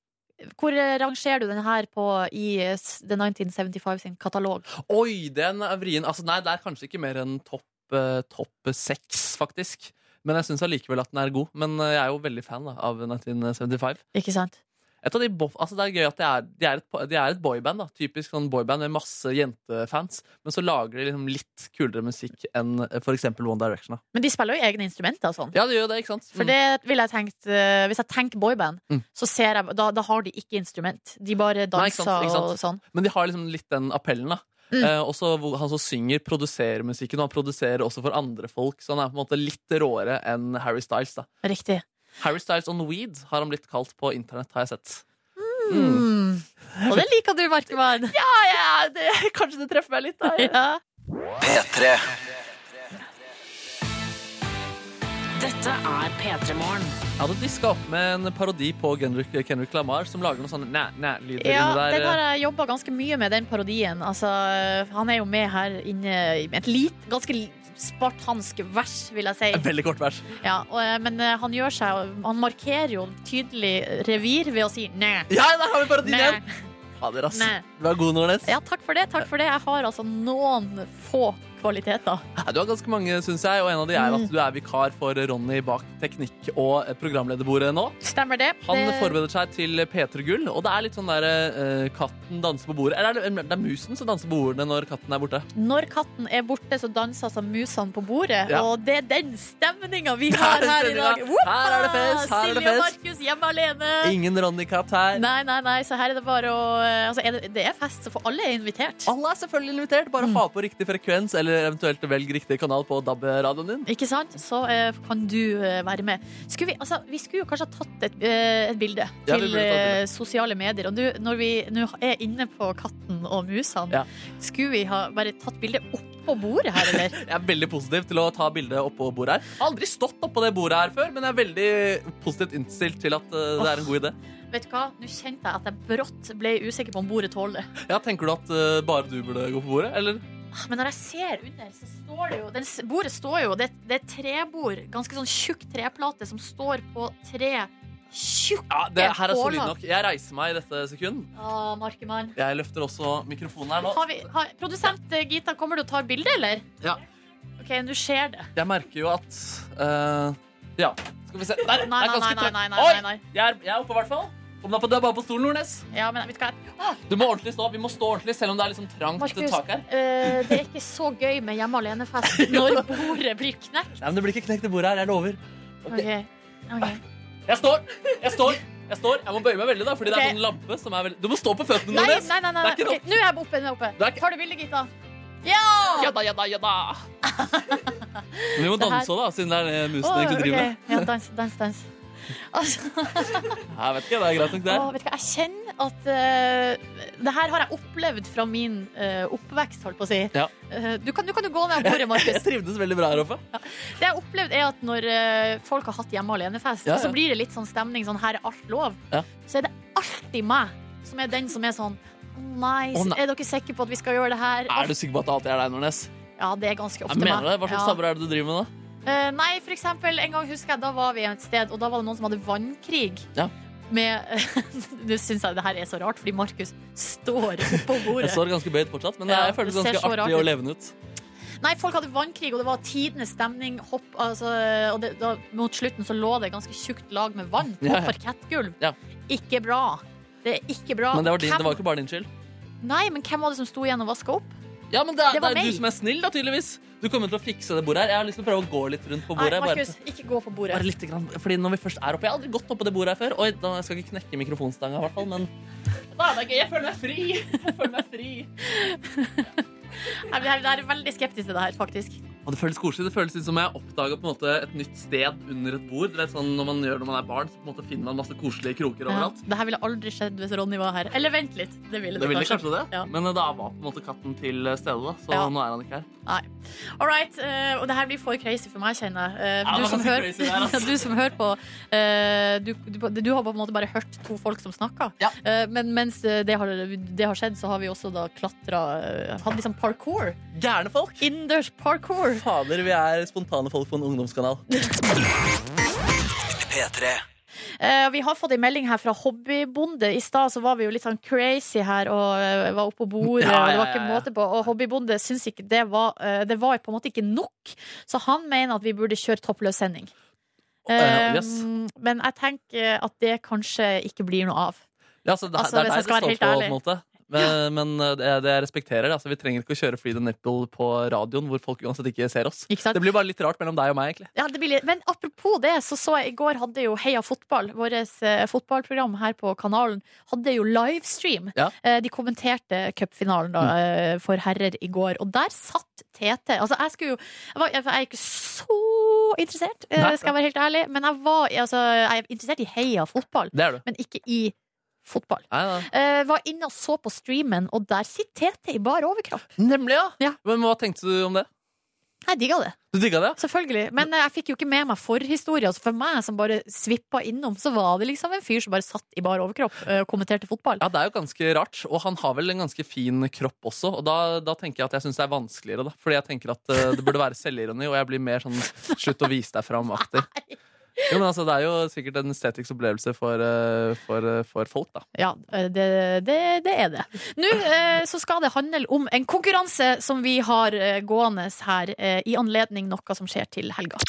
Speaker 2: Hvor eh, rangerer du den her på i eh, s- The 1975 sin katalog?
Speaker 3: Oi, den er vrien. Altså, nei, det er kanskje ikke mer enn topp eh, topp seks, faktisk. Men jeg syns allikevel at den er god. Men eh, jeg er jo veldig fan da, av 1975.
Speaker 2: Ikke sant?
Speaker 3: Et av de bo altså, det er gøy at de er, de er, et, po- de er et boyband. da Typisk sånn boyband med masse jentefans. Men så lager de liksom litt kulere musikk enn eh, for eksempel One Direction. da Mm.
Speaker 2: Men de spiller jo egne instrumenter og sånn.
Speaker 3: Ja, det gjør jo det, ikke sant?
Speaker 2: For det vil jeg tenkt eh, Hvis jeg tenker boyband,
Speaker 3: Mm.
Speaker 2: så ser jeg Da, da har de ikke instrument. De bare danser
Speaker 3: Nei, ikke sant, ikke sant.
Speaker 2: og sånn.
Speaker 3: Men de har liksom litt den appellen, da.
Speaker 2: Mm.
Speaker 3: Eh, også hvor han som synger, produserer musikken, og han produserer også for andre folk. Så han er på en måte litt råere enn Harry Styles. da
Speaker 2: Riktig.
Speaker 3: Harry Styles on weed har han blitt kalt på internett, har jeg sett. Mm.
Speaker 2: Mm. Og det liker du, Markmann. Ja,
Speaker 3: kanskje det treffer meg litt, da.
Speaker 2: ja.
Speaker 4: P3
Speaker 7: Dette er P3 Morgen.
Speaker 3: Jeg hadde diska opp med en parodi på Kendrick, Kendrick Lamar som lager noen sånne næ-næ-lyder
Speaker 2: ja
Speaker 3: inni der. eh,
Speaker 2: den har jeg jobba ganske mye med, den parodien. Altså, han er jo med her inne i et lit, ganske li- spartansk vers, vil jeg si.
Speaker 3: En Veldig kort vers.
Speaker 2: Ja, og, eh, men eh, han gjør seg Han markerer jo tydelig revir ved å si næ.
Speaker 3: Ja, der har vi parodien
Speaker 2: Næ.
Speaker 3: igjen! Fader, ass.
Speaker 2: Næ.
Speaker 3: Du er god, Nordnes.
Speaker 2: Ja, takk for det. takk for det Jeg har altså noen få kvaliteter.
Speaker 3: Ja, Du har ganske mange, syns jeg, og en av de er
Speaker 2: Mm.
Speaker 3: at du er vikar for Ronny bak teknikk- og programlederbordet nå.
Speaker 2: Stemmer det? Eh,
Speaker 3: Han
Speaker 2: det...
Speaker 3: forbereder seg til P3 Gull, og det er litt sånn der eh, katten danser på bordet. Eller er det, det er musen som danser på bordet når katten er borte.
Speaker 2: Når katten er borte, så danser altså musene på bordet.
Speaker 3: Ja.
Speaker 2: Og det er den stemninga vi
Speaker 3: Det er
Speaker 2: har
Speaker 3: den
Speaker 2: her i dag.
Speaker 3: stemninga.
Speaker 2: Whoppa!
Speaker 3: Her er det fest, her er det
Speaker 2: Silje og
Speaker 3: fest.
Speaker 2: Markus hjemme alene.
Speaker 3: Ingen Ronny-katt her.
Speaker 2: Nei, nei, nei, så her er det bare å altså, er det, det er fest, så for alle er invitert.
Speaker 3: Alle er selvfølgelig invitert. Bare ha på riktig frekvens, eller eventuelt velg riktig kanal på DAB-radioen din.
Speaker 2: Ikke sant? Så eh, kan du eh, være med. Skulle vi, altså, vi skulle jo kanskje ha tatt et, eh, et bilde
Speaker 3: Ja, vi
Speaker 2: til
Speaker 3: burde ta et
Speaker 2: eh, sosiale medier. Og nå- når vi nå er inne på katten og musene,
Speaker 3: Ja.
Speaker 2: skulle vi ha bare tatt bilde oppå bordet her, eller?
Speaker 3: Jeg er veldig positiv til å ta bilde oppå bordet her. Jeg har Aldri stått oppå det bordet her før, men jeg er veldig positivt innstilt til at eh, det er en god idé.
Speaker 2: Vet du hva? Nå kjente jeg at jeg brått ble usikker på om bordet tåler det.
Speaker 3: Ja, Tenker du at eh, bare du burde gå på bordet, eller?
Speaker 2: Ah, Men når jeg ser under, så står det jo den, s- Bordet står jo, det, det er et trebord Ganske sånn tjukk treplate som står på tre Tjukk
Speaker 3: Ja, det her er solid
Speaker 2: pålag.
Speaker 3: nok. Jeg reiser meg i dette sekund.
Speaker 2: ah, Markemann
Speaker 3: Jeg løfter også mikrofonen her nå.
Speaker 2: har vi, har, Produsent eh, Gita, kommer du og tar bilde, eller?
Speaker 3: Ja.
Speaker 2: Ok, nå skjer det
Speaker 3: Jeg merker jo at eh, Ja, skal vi se. Der,
Speaker 2: Nei,
Speaker 3: det er
Speaker 2: nei, nei,
Speaker 3: ganske
Speaker 2: nei,
Speaker 3: tørt.
Speaker 2: nei,
Speaker 3: Oi!
Speaker 2: nei, nei.
Speaker 3: Jeg er, jeg er oppe, i hvert fall. Om det er på, det er bare på stolen, Nordnes.
Speaker 2: Ja, men vet du hva? Ah,
Speaker 3: Du må ordentlig stå. Vi må stå ordentlig, selv om det er liksom trangt
Speaker 2: Markus,
Speaker 3: tak her.
Speaker 2: eh, det er ikke så gøy med hjemme alene-fest Når bordet blir knekt
Speaker 3: Nei, men Det blir ikke knekt i bordet her. Jeg lover.
Speaker 2: Ok,
Speaker 3: Ah,
Speaker 2: ok
Speaker 3: Jeg står! Jeg står! Jeg står, jeg må bøye meg veldig, da, fordi det
Speaker 2: Ok.
Speaker 3: er en lampe som er veldig Du må stå på føttene,
Speaker 2: Nei, nei,
Speaker 3: Nordnes!
Speaker 2: nei, nei, nei.
Speaker 3: Det er ikke
Speaker 2: Ok, Nå er jeg oppe, nå er jeg oppe
Speaker 3: Det er ikke-
Speaker 2: Tar du bildet, Gita? Ja!
Speaker 3: Ja da, ja da, ja da! Vi må
Speaker 2: Det her-
Speaker 3: danse òg, da, siden det er det musen
Speaker 2: Åh,
Speaker 3: egentlig driver med.
Speaker 2: ok. Ja, dans, dans, dans. Altså,
Speaker 3: Jeg vet ikke, det er greit nok, det.
Speaker 2: åh, vet du hva, jeg kjenner at eh, Det her har jeg opplevd fra min eh, oppvekst, holdt på å si.
Speaker 3: Ja.
Speaker 2: Eh, du, kan, du kan jo gå ned av bordet,
Speaker 3: Jeg
Speaker 2: Markus.
Speaker 3: trivdes veldig bra her oppe.
Speaker 2: Det jeg har opplevd, er at når eh, folk har hatt hjemme alene-fest,
Speaker 3: Ja, ja.
Speaker 2: og så blir det litt sånn stemning sånn her er alt lov,
Speaker 3: Ja.
Speaker 2: så er det alltid meg som er den som er sånn Å nei,
Speaker 3: Å, nei.
Speaker 2: er dere sikre på at vi skal gjøre det her?
Speaker 3: Er du sikker på at det alltid er deg, Nordnes?
Speaker 2: Ja, det er ganske ofte
Speaker 3: Jeg mener det. Hva
Speaker 2: Ja.
Speaker 3: slags tabber er det du driver med, da?
Speaker 2: Eh, nei, for eksempel, en gang husker jeg Da var vi et sted, og da var det noen som hadde vannkrig
Speaker 3: Ja.
Speaker 2: Med Nå synes jeg det her er så rart Fordi Markus står på bordet
Speaker 3: Jeg står ganske bøyd fortsatt, men
Speaker 2: Ja,
Speaker 3: jeg føler det
Speaker 2: det ser
Speaker 3: ganske
Speaker 2: så rart
Speaker 3: artig
Speaker 2: ut.
Speaker 3: og levende ut.
Speaker 2: Nei, folk hadde vannkrig, og det var tidenes stemning hopp, altså, Og det, da, mot slutten så lå det et ganske tjukt lag med vann På
Speaker 3: Ja, ja.
Speaker 2: parkettgulv
Speaker 3: Ja.
Speaker 2: Ikke bra det er ikke bra
Speaker 3: Men det var, din,
Speaker 2: Hvem-
Speaker 3: det var ikke bare din skyld.
Speaker 2: Nei, men hvem var det som sto igjen og vasket opp?
Speaker 3: Ja, men det er,
Speaker 2: Det
Speaker 3: det
Speaker 2: var
Speaker 3: er
Speaker 2: meg.
Speaker 3: du som er snill, da, tydeligvis. Du kommer til å fikse det bordet her. Jeg har lyst til å prøve å gå litt rundt på
Speaker 2: Nei,
Speaker 3: bordet. bare-
Speaker 2: Markus, ikke gå på bordet
Speaker 3: Bare lite grann, fordi når vi først er oppe Jeg har aldri gått oppå det bordet her før. Oi, da skal jeg ikke knekke mikrofonstanga, i hvert fall, men da er det gøy. Jeg føler meg fri! Jeg føler meg fri.
Speaker 2: Jeg jeg- jeg er veldig skeptisk til det her, faktisk
Speaker 3: Og det føles koselig. Det føles ut som jeg oppdaga på en måte et nytt sted under et bord. Du vet, sånn Når man gjør når man er barn, så på en måte finner man masse koselige kroker
Speaker 2: ja.
Speaker 3: overalt.
Speaker 2: Dette ville aldri skjedd hvis Ronny var her Eller vent litt, det
Speaker 3: Det
Speaker 2: ville det
Speaker 3: ville kanskje det,
Speaker 2: Ja.
Speaker 3: men eh, da var på en måte katten til eh, stede, da. Så
Speaker 2: Ja.
Speaker 3: nå er han ikke her.
Speaker 2: Nei. All right. eh, og det her blir for crazy for meg, kjenner jeg. Eh,
Speaker 3: Ja, det
Speaker 2: du,
Speaker 3: var
Speaker 2: som
Speaker 3: ganske
Speaker 2: hører,
Speaker 3: crazy der, altså.
Speaker 2: du som hører på eh, du, du, du har på en måte bare hørt to folk som snakker.
Speaker 3: Ja.
Speaker 2: Eh, men mens eh, det har, det har skjedd, så har vi også da klatra Hatt liksom parkour.
Speaker 3: Gærne folk!
Speaker 2: Innendørs parkour.
Speaker 3: Fader, vi er spontane folk på en ungdomskanal.
Speaker 4: P3
Speaker 2: Eh, vi har fått en melding her fra Hobbybonde. I stad så var vi jo litt sånn crazy her og eh, var oppå bordet.
Speaker 3: Ja,
Speaker 2: og det
Speaker 3: ja,
Speaker 2: var ikke
Speaker 3: ja, ja.
Speaker 2: måte på Og Hobbybonde syns ikke det var eh, Det var på en måte ikke nok, så han mener at vi burde kjøre toppløs sending.
Speaker 3: Eh,
Speaker 2: Eh,
Speaker 3: yes.
Speaker 2: Men jeg tenker at det kanskje ikke blir noe av.
Speaker 3: Ja, så det,
Speaker 2: Altså,
Speaker 3: det er
Speaker 2: hvis
Speaker 3: der det
Speaker 2: jeg skal
Speaker 3: står
Speaker 2: være
Speaker 3: på, på
Speaker 2: helt
Speaker 3: en måte. Men, men eh, det, det jeg respekterer det. Altså, vi trenger ikke å kjøre Free the Nipple på radioen, hvor folk uansett ikke ser oss.
Speaker 2: Ikke sant?
Speaker 3: Det blir bare litt rart mellom deg og meg, egentlig.
Speaker 2: Ja, det blir litt. Men apropos det, så så jeg i går hadde jo Heia fotball, vårt fotballprogram her på kanalen, hadde jo livestream.
Speaker 3: Ja. Mm.
Speaker 2: Eh, de kommenterte cupfinalen da, eh, for herrer i går, og der satt Tete. Altså, jeg skulle jo Jeg, var, jeg er ikke så interessert, eh,
Speaker 3: Nei.
Speaker 2: skal jeg være helt ærlig, men jeg var altså, jeg er interessert i Heia fotball,
Speaker 3: Det er du.
Speaker 2: men ikke i fotball.
Speaker 3: Nei, nei.
Speaker 2: Eh, var inne og så på streamen, og der sitter Tete i bar overkropp.
Speaker 3: Nemlig, ja.
Speaker 2: Ja.
Speaker 3: Men hva tenkte du om det?
Speaker 2: Jeg digga det.
Speaker 3: Du digga det? ja?
Speaker 2: Selvfølgelig. Men eh, jeg fikk jo ikke med meg forhistorie. Altså for meg som bare svippa innom, så var det liksom en fyr som bare satt i bar overkropp eh, og kommenterte fotball.
Speaker 3: Ja, det er jo ganske rart, og han har vel en ganske fin kropp også, og da, da tenker jeg at jeg syns det er vanskeligere, da. Fordi jeg tenker at eh, det burde være selvironi, og jeg blir mer sånn slutt å vise deg fram-aktig. Jo, men altså, Det er jo sikkert en estetisk opplevelse for, eh, for, eh, for folk, da.
Speaker 2: Ja, eh, det, det, det er det. Nå eh, så skal det handle om en konkurranse som vi har eh, gående her eh, i anledning noe som skjer til helga.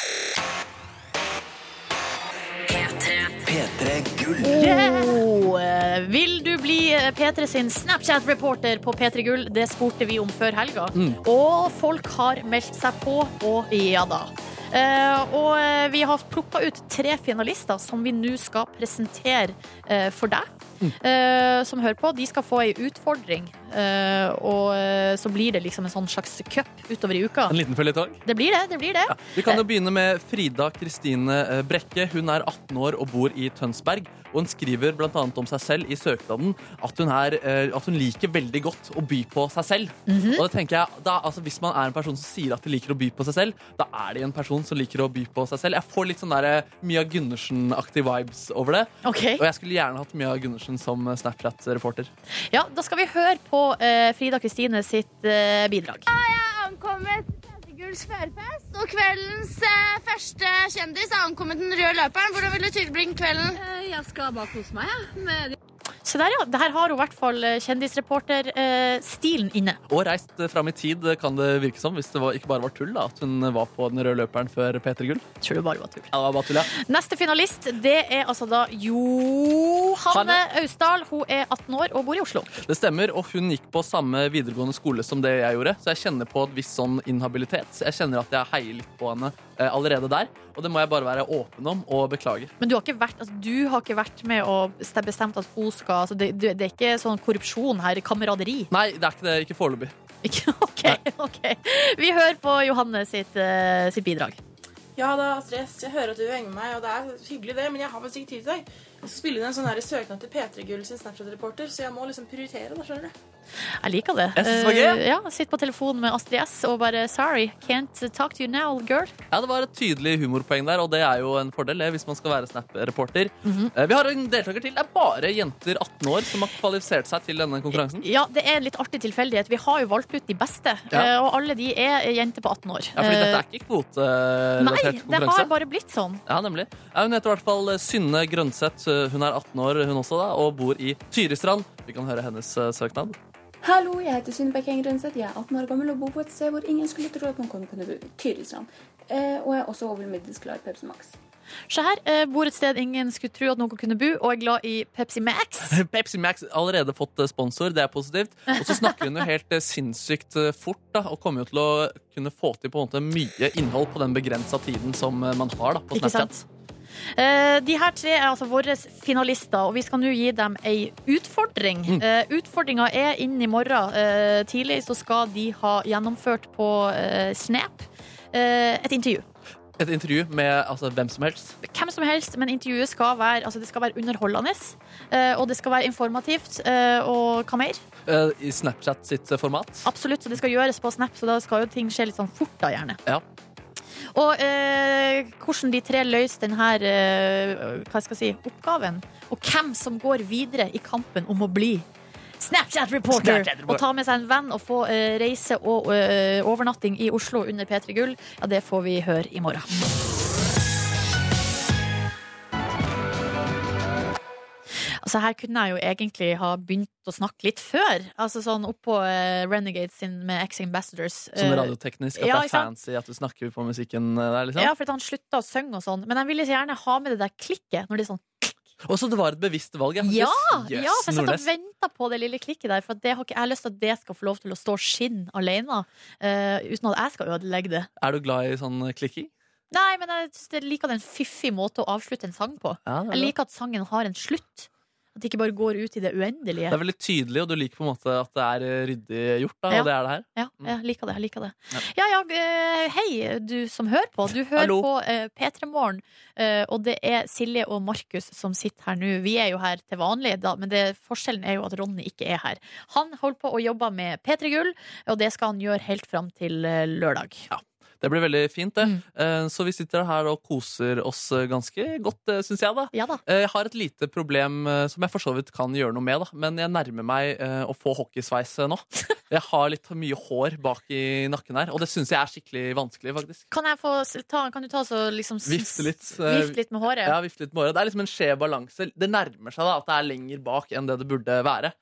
Speaker 7: P3.
Speaker 4: P3 Gull.
Speaker 2: Oh, eh, vil du bli eh, P3 sin Snapchat-reporter på P3 Gull? Det spurte vi om før helga. Og folk har meldt seg på, og ja da. Eh, og eh, vi har plukka ut tre finalister som vi nå skal presentere eh, for deg. eh, som hører på. De skal få ei utfordring, eh, og eh, så blir det liksom en sånn slags cup utover i uka.
Speaker 3: En liten føljetong.
Speaker 2: Det blir det, det blir det.
Speaker 3: Vi kan jo begynne med Frida Kristine eh, Brekke. Hun er 18 år og bor i Tønsberg. Og hun skriver bl.a. om seg selv i søknaden at hun, er, eh, at hun liker veldig godt å by på seg selv. Og det tenker jeg, da, altså, Hvis man er en person som sier at de liker å by på seg selv, da er de en person som liker å by på seg selv. Jeg får litt sånn der eh, Mia Gundersen-aktig vibes over det.
Speaker 2: Ok.
Speaker 3: Og jeg skulle gjerne hatt Mia Gundersen som eh, Snapchat-reporter.
Speaker 2: Ja, da skal vi høre på eh, Frida Kristine sitt eh, bidrag.
Speaker 8: ankommet Guls førfest, og kveldens eh, første kjendis har ankommet den røde løperen. Hvordan vil du tilbringe kvelden?
Speaker 9: Jeg skal bare kose meg, jeg. Med
Speaker 2: Så der, ja. Det her har hun i hvert fall eh, kjendisreporter-stilen inne.
Speaker 3: Og reist eh, fram i tid, eh, kan det virke som, hvis det var, ikke bare var tull, da, at hun eh, var på den røde løperen før P3 Gull.
Speaker 2: Tror du bare var tull.
Speaker 3: Ja, det var bare tull, ja.
Speaker 2: Neste finalist det er altså da Johanne
Speaker 3: Hanne.
Speaker 2: Austdal. Hun er 18 år og bor i Oslo.
Speaker 3: Det stemmer, og hun gikk på samme videregående skole som det jeg gjorde, så jeg kjenner på et visst sånn inhabilitet. Så Jeg kjenner at jeg heier litt på henne eh, allerede der, og det må jeg bare være åpen om og beklage.
Speaker 2: Men du har ikke vært, altså, du har ikke vært med og ste- bestemt at hun skal altså, det, det det er ikke sånn korrupsjon her, kameraderi.
Speaker 3: Nei, det er ikke det, ikke foreløpig.
Speaker 2: Ikke? OK. ok. Vi hører på Johanne sitt, eh, sitt bidrag.
Speaker 10: Ja da, stress. Jeg hører at du henger med meg, og det er hyggelig det, men jeg har faktisk ikke tid til deg. Jeg skal spille inn en sånn her søknad til P3 Gull sin Snapchat-reporter, så jeg må liksom prioritere, da, skjønner du.
Speaker 2: Jeg liker det.
Speaker 3: Jeg synes det var gøy.
Speaker 2: Eh, ja, Sitt på telefonen med Astrid S og bare 'sorry, can't talk to you now, girl'.
Speaker 3: Ja, det var et tydelig humorpoeng der, og det er jo en fordel det, hvis man skal være Snap-reporter.
Speaker 2: Mhm.
Speaker 3: Eh, Vi har en deltaker til. Det er bare jenter 18 år som har kvalifisert seg til denne konkurransen.
Speaker 2: Ja, det er en litt artig tilfeldighet. Vi har jo valgt ut de beste,
Speaker 3: Ja.
Speaker 2: eh, og alle de er jenter på 18 år.
Speaker 3: Ja, fordi dette
Speaker 2: Eh,
Speaker 3: er ikke kvoterelatert
Speaker 2: Nei, det
Speaker 3: konkurranse.
Speaker 2: har bare blitt sånn.
Speaker 3: Ja, nemlig. Ja, hun heter i hvert fall eh, Synne Grønseth. Eh, Hun er 18 år hun også, da, og bor i Tyristrand. Vi kan høre hennes eh, søknad.
Speaker 11: Hallo, jeg heter Synne Bekken Grønseth. Jeg er 18 år gammel og bor på et sted hvor ingen skulle tro at man kunne kunne bo. Tyristrand. Eh, og jeg er også over middels glad i Pepsi Max.
Speaker 2: Se her, eh, bor et sted ingen skulle tro at noen kunne bo, og er glad i Pepsi Max.
Speaker 3: Pepsi Max har allerede fått eh, sponsor, det er positivt. Og så snakker hun jo helt eh, sinnssykt eh, fort, da, og kommer jo til å kunne få til på en måte mye innhold på den begrensa tiden som eh, man har da, på
Speaker 2: Ikke
Speaker 3: Snapchat.
Speaker 2: sant? Eh, de her tre er altså våre finalister, og vi skal nå gi dem ei utfordring.
Speaker 3: Mm.
Speaker 2: Eh, Utfordringa er innen i morgen eh, tidlig, så skal de ha gjennomført på eh, Snap eh, et intervju.
Speaker 3: Et intervju med altså, hvem som helst.
Speaker 2: hvem som helst, men intervjuet skal være, altså det skal være underholdende. eh, Og det skal være informativt. eh, Og hva mer?
Speaker 3: eh, I Snapchat sitt eh, format.
Speaker 2: Absolutt, så det skal gjøres på Snap, så da skal jo ting skje litt sånn fort, da gjerne.
Speaker 3: Ja.
Speaker 2: Og eh, hvordan de tre løser denne eh, hva skal jeg si, oppgaven, og hvem som går videre i kampen om å bli Snapchat-reporter!
Speaker 3: Snapchat-reporter.
Speaker 2: og ta med seg en venn og få eh, reise og eh, overnatting i Oslo under P3 Gull, ja, det får vi høre i morgen. Altså Her kunne jeg jo egentlig ha begynt å snakke litt før. Altså sånn oppå eh, Renegade sin med Ex Ambassadors.
Speaker 3: Sånn
Speaker 2: Eh,
Speaker 3: radioteknisk, at
Speaker 2: ja,
Speaker 3: det
Speaker 2: ikke
Speaker 3: er
Speaker 2: sant?
Speaker 3: fancy at du snakker på musikken eh, der, liksom.
Speaker 2: Ja, for at han slutta å synge og sånn. Men jeg ville så gjerne ha med det der klikket når det er sånn klikk,
Speaker 3: Og så det var et bevisst valg.
Speaker 2: Ja,
Speaker 3: faktisk. Jøss,
Speaker 2: ja, for jeg satt og
Speaker 3: Nordnes.
Speaker 2: venta på det lille klikket der. For at det har ikke, jeg har lyst til at det skal få lov til å stå skinn alene, eh, uten at jeg skal ødelegge det.
Speaker 3: Er du glad i sånn klikking?
Speaker 2: Nei, men jeg synes det liker en fiffig måte å avslutte en sang på.
Speaker 3: Ja, det er
Speaker 2: jeg
Speaker 3: bra.
Speaker 2: liker at sangen har en slutt. At det ikke bare går ut i det uendelige.
Speaker 3: Det er veldig tydelig, og du liker på en måte at det er eh, ryddig gjort, da,
Speaker 2: Ja.
Speaker 3: og det er det her.
Speaker 2: Ja, jeg liker det. jeg liker det Ja, ja, eh, Hei, du som hører på. Du hører
Speaker 3: Hallo.
Speaker 2: på eh, P3 Morgen, eh, og det er Silje og Markus som sitter her nå. Vi er jo her til vanlig, da, men det, forskjellen er jo at Ronny ikke er her. Han holder på å jobbe med P3 Gull, og det skal han gjøre helt fram til eh, lørdag.
Speaker 3: Det blir veldig fint, det.
Speaker 2: Mm.
Speaker 3: Eh, Så vi sitter her og koser oss eh, ganske godt, syns jeg, da. Eh, Jeg har et lite problem eh, som jeg for så vidt kan gjøre noe med, da. Men jeg nærmer meg eh, å få hockeysveis eh, nå. Jeg har litt mye hår bak i nakken her, og det syns jeg er skikkelig vanskelig, faktisk.
Speaker 2: Kan, jeg få, s- ta, kan du ta så liksom s-
Speaker 3: Vifte litt. eh,
Speaker 2: Vifte litt med håret?
Speaker 3: Ja, vifte litt med håret. Det er liksom en skjev balanse. Det nærmer seg da at det er lenger bak enn det det burde være.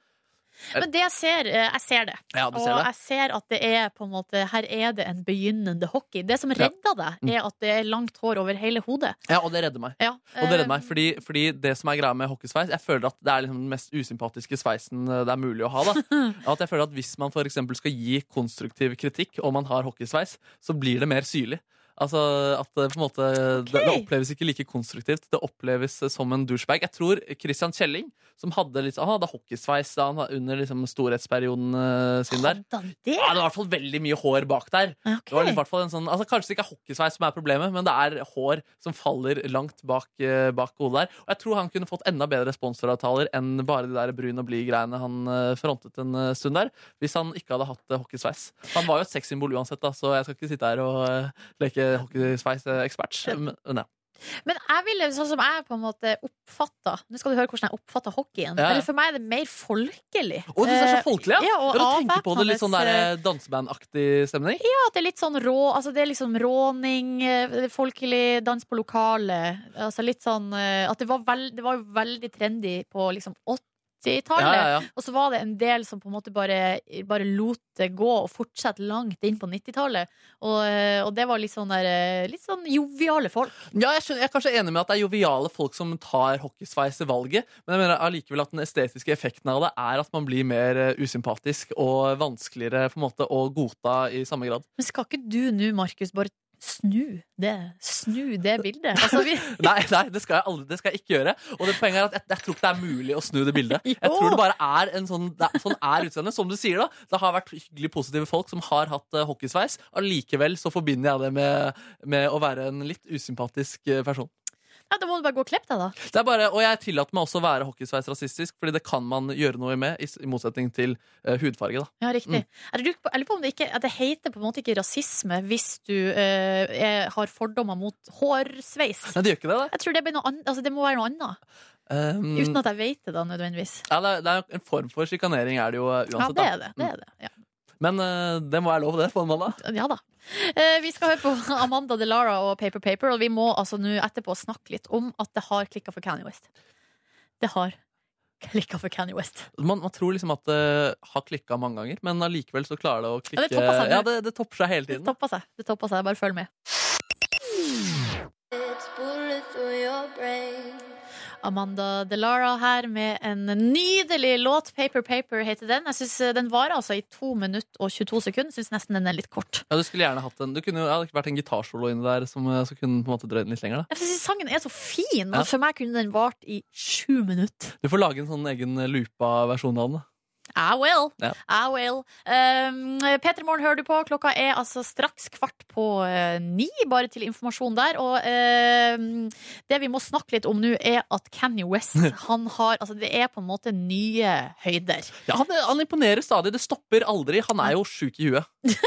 Speaker 2: Men det jeg ser, eh, jeg ser det.
Speaker 3: Ja, du
Speaker 2: og
Speaker 3: ser det.
Speaker 2: jeg ser at det er på en måte Her er det en begynnende hockey. Det som redder deg, er at det er langt hår over hele hodet.
Speaker 3: Mm. Ja, og det redder meg.
Speaker 2: Ja,
Speaker 3: Og det redder meg,
Speaker 2: eh,
Speaker 3: fordi, fordi det som er greia med hockeysveis Jeg føler at det er liksom den mest usympatiske sveisen eh, det er mulig å ha. Da. At jeg føler at Hvis man for eksempel skal gi konstruktiv kritikk og man har hockeysveis, så blir det mer syrlig. Altså at Det på en måte det, det oppleves ikke like konstruktivt. Det oppleves eh, som en douchebag. Jeg tror Christian Kjelling, som hadde litt, han hadde hockeysveis da han var under liksom, storhetsperioden eh, sin der
Speaker 2: det?
Speaker 3: Ja, det var i hvert fall veldig mye hår bak der. Det var i hvert fall en sånn, altså, kanskje det ikke er hockeysveis som er problemet, men det er hår som faller langt bak, eh, bak hodet der. Og jeg tror han kunne fått enda bedre sponsoravtaler enn bare de der brun og blid-greiene han eh, frontet en eh, stund der, hvis han ikke hadde hatt eh, hockeysveis. Han var jo et sexsymbol uansett, da, så jeg skal ikke sitte her og eh, leke hockeysveis-ekspert. Men, eh, men ja.
Speaker 2: Men jeg ville, sånn som jeg på en måte oppfatta Nå skal du høre hvordan jeg oppfatta hockeyen.
Speaker 3: Ja, ja.
Speaker 2: Eller for meg er det mer folkelig.
Speaker 3: Å, du er så
Speaker 2: Eh,
Speaker 3: folkelig, ja! ja
Speaker 2: ja og
Speaker 3: du tenker på det litt sånn der
Speaker 2: avvæpnende,
Speaker 3: eh, dansebandaktig stemning?
Speaker 2: Ja, at det er litt sånn rå Altså det er liksom råning, eh, folkelig, dans på lokalet. Altså litt sånn eh, At det var, vel- det var jo veldig trendy på liksom 80-tallet.
Speaker 12: Ja, ja, ja.
Speaker 2: Og så var det en del som på en måte bare, bare lot det gå og fortsette langt inn på 90-tallet. Og, eh, og det var litt sånn der eh, Litt sånn joviale folk.
Speaker 3: Ja, jeg, skjønner, jeg er kanskje enig med at det er joviale folk som tar hockeysveis i valget, men jeg mener allikevel at den estetiske effekten av det er at man blir mer eh, usympatisk og vanskeligere på en måte å godta i samme grad.
Speaker 2: Men skal ikke du nå, Markus, bare snu det, snu det bildet? Altså, vi,
Speaker 3: Nei, nei det, skal jeg aldri, det skal jeg ikke gjøre. Og det poenget er at jeg, jeg tror ikke det er mulig å snu det bildet. Jeg tror det bare er en sånn, det er, sånn er utseendet. Som du sier, da. Det har vært hyggelig positive folk som har hatt eh, hockeysveis. Allikevel så forbinder jeg det med, med å være en litt usympatisk eh, person.
Speaker 2: ja, da må du bare gå og klippe deg, da.
Speaker 3: Det er bare, og jeg tillater meg også å være hockeysveis rasistisk, fordi det kan man gjøre noe med, i s- i motsetning til eh, hudfarge. da.
Speaker 2: Ja, riktig. Jeg lurer på- jeg lurer på om det ikke at det heter på en måte ikke rasisme hvis du eh, er, har fordommer mot hårsveis.
Speaker 3: Nei, det gjør ikke det, da.
Speaker 2: Jeg tror det, blir noe annet, altså, det må være noe annet.
Speaker 3: Um,
Speaker 2: Uten at jeg vet det, da, nødvendigvis.
Speaker 3: ja, det, er, det er jo en form for sjikanering, er det jo eh,
Speaker 2: Ja,
Speaker 3: uansett.
Speaker 2: det er
Speaker 3: da.
Speaker 2: det. det, er det.
Speaker 3: Mm. Men eh, det må være lov, det, på en mandag.
Speaker 2: Ja da. Eh, Vi skal høre på Amanda Delara og Paper Paper, og vi må altså nå etterpå snakke litt om at det har klikka for Kanye West. Det har klikka for Kanye West.
Speaker 3: Man, man tror liksom at det har klikka mange ganger, men allikevel så klarer det å klikke
Speaker 2: det topper seg.
Speaker 3: Ja, det, det topper seg hele tiden.
Speaker 2: Toppa seg. Det toppa seg. Bare følg med. Amanda Delara her med en nydelig låt. Paper Paper heter den. Jeg synes eh, Den varer altså i 2 minutter og 22 sekunder. Syns nesten den er litt kort.
Speaker 3: Ja, du skulle gjerne hatt en, du kunne jo, ja, det hadde vært en gitarsolo inni der som, eh, som kunne på en måte drøyd den litt lenger. da.
Speaker 2: Jeg synes sangen er så fin,
Speaker 3: Ja.
Speaker 2: og for meg kunne den vart i 7 minutter.
Speaker 3: Du får lage en sånn egen eh, loopa versjon av den. da.
Speaker 2: I will.
Speaker 3: Ja.
Speaker 2: I will. Um, Peter Morgen hører du på. Klokka er altså straks kvart på eh, ni, bare til informasjon der. Og ehm, det vi må snakke litt om nå, er at Kanye West han har Altså, det er på en måte nye høyder.
Speaker 3: Ja, han, han imponerer stadig. Det stopper aldri. Han er jo sjuk i huet.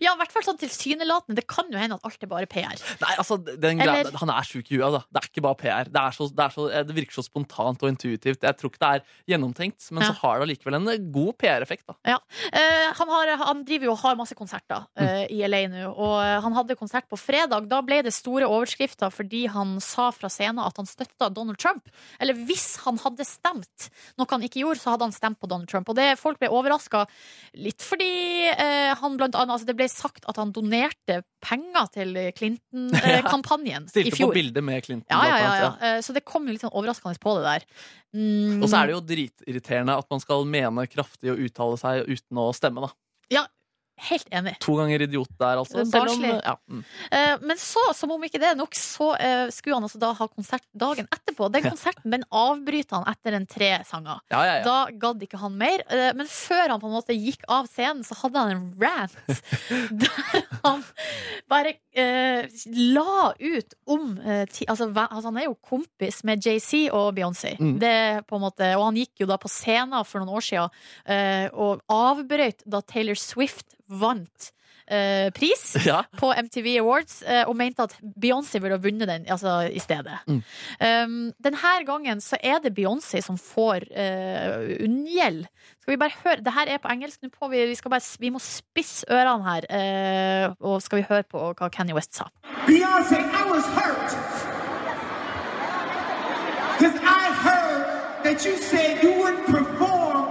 Speaker 2: Ja, i hvert fall sånn tilsynelatende. Det kan jo hende at alt er bare PR.
Speaker 3: Nei, altså, den greia,
Speaker 2: Eller-
Speaker 3: Han er sjuk i huet. Altså. Det er ikke bare PR. Det, er så, det, er så, det virker så spontant og intuitivt. Jeg tror ikke det er gjennomtenkt, men
Speaker 2: Ja.
Speaker 3: så har det allikevel en eh, god PR-effekt. da.
Speaker 2: Ja. Eh, han, har, han driver jo og har masse konserter
Speaker 3: Mm.
Speaker 2: eh, i LA nå, og eh, han hadde konsert på fredag. Da ble det store overskrifter fordi han sa fra scenen at han støtta Donald Trump. Eller hvis han hadde stemt, noe han ikke gjorde, så hadde han stemt på Donald Trump. Og det, folk ble overraska litt fordi eh, han blant annet altså, altså, det ble sagt at han donerte penger til Clinton-kampanjen i
Speaker 3: Stilte på
Speaker 2: fjor.
Speaker 3: bildet med Clinton.
Speaker 2: Ja, ja,
Speaker 3: blant
Speaker 2: ja,
Speaker 3: annet,
Speaker 2: ja. Eh, Så det kom jo litt sånn overraskende på det der. Mm.
Speaker 3: Og så er det jo dritirriterende at man skal mene kraftig og uttale seg uten å stemme, da.
Speaker 2: Ja, helt enig.
Speaker 3: To ganger idiot der, altså.
Speaker 2: Det er
Speaker 3: Selv om,
Speaker 2: barnslig.
Speaker 3: ja, mm.
Speaker 2: Eh, Men så, som om ikke det er nok, så eh, skulle han altså da ha konsert dagen etterpå. Den
Speaker 3: Ja.
Speaker 2: konserten den avbryter han etter en tre sanger.
Speaker 3: Ja, ja, ja.
Speaker 2: Da gadd ikke han mer. Eh, Men før han på en måte gikk av scenen, så hadde han en rant der han bare eh, la ut om eh, ti, altså, hva- altså, han er jo kompis med JC og Beyoncé.
Speaker 12: Mm.
Speaker 2: Det er på en måte, og han gikk jo da på scenen for noen år siden eh, og avbrøt da Taylor Swift vant eh, pris
Speaker 12: Ja.
Speaker 2: på MTV Awards eh, og mente at Beyoncé burde ha vunnet den altså, i stedet.
Speaker 12: Mm.
Speaker 2: Um, denne gangen så er det Beyoncé som får eh, unngjeld. Skal vi bare høre Det her er på engelsk. Nå får vi, vi, skal bare, s- vi må spisse ørene her, eh, og skal vi høre på hva Kanye West sa.
Speaker 13: Beyonce, I was hurt. Because I heard that you said you wouldn't perform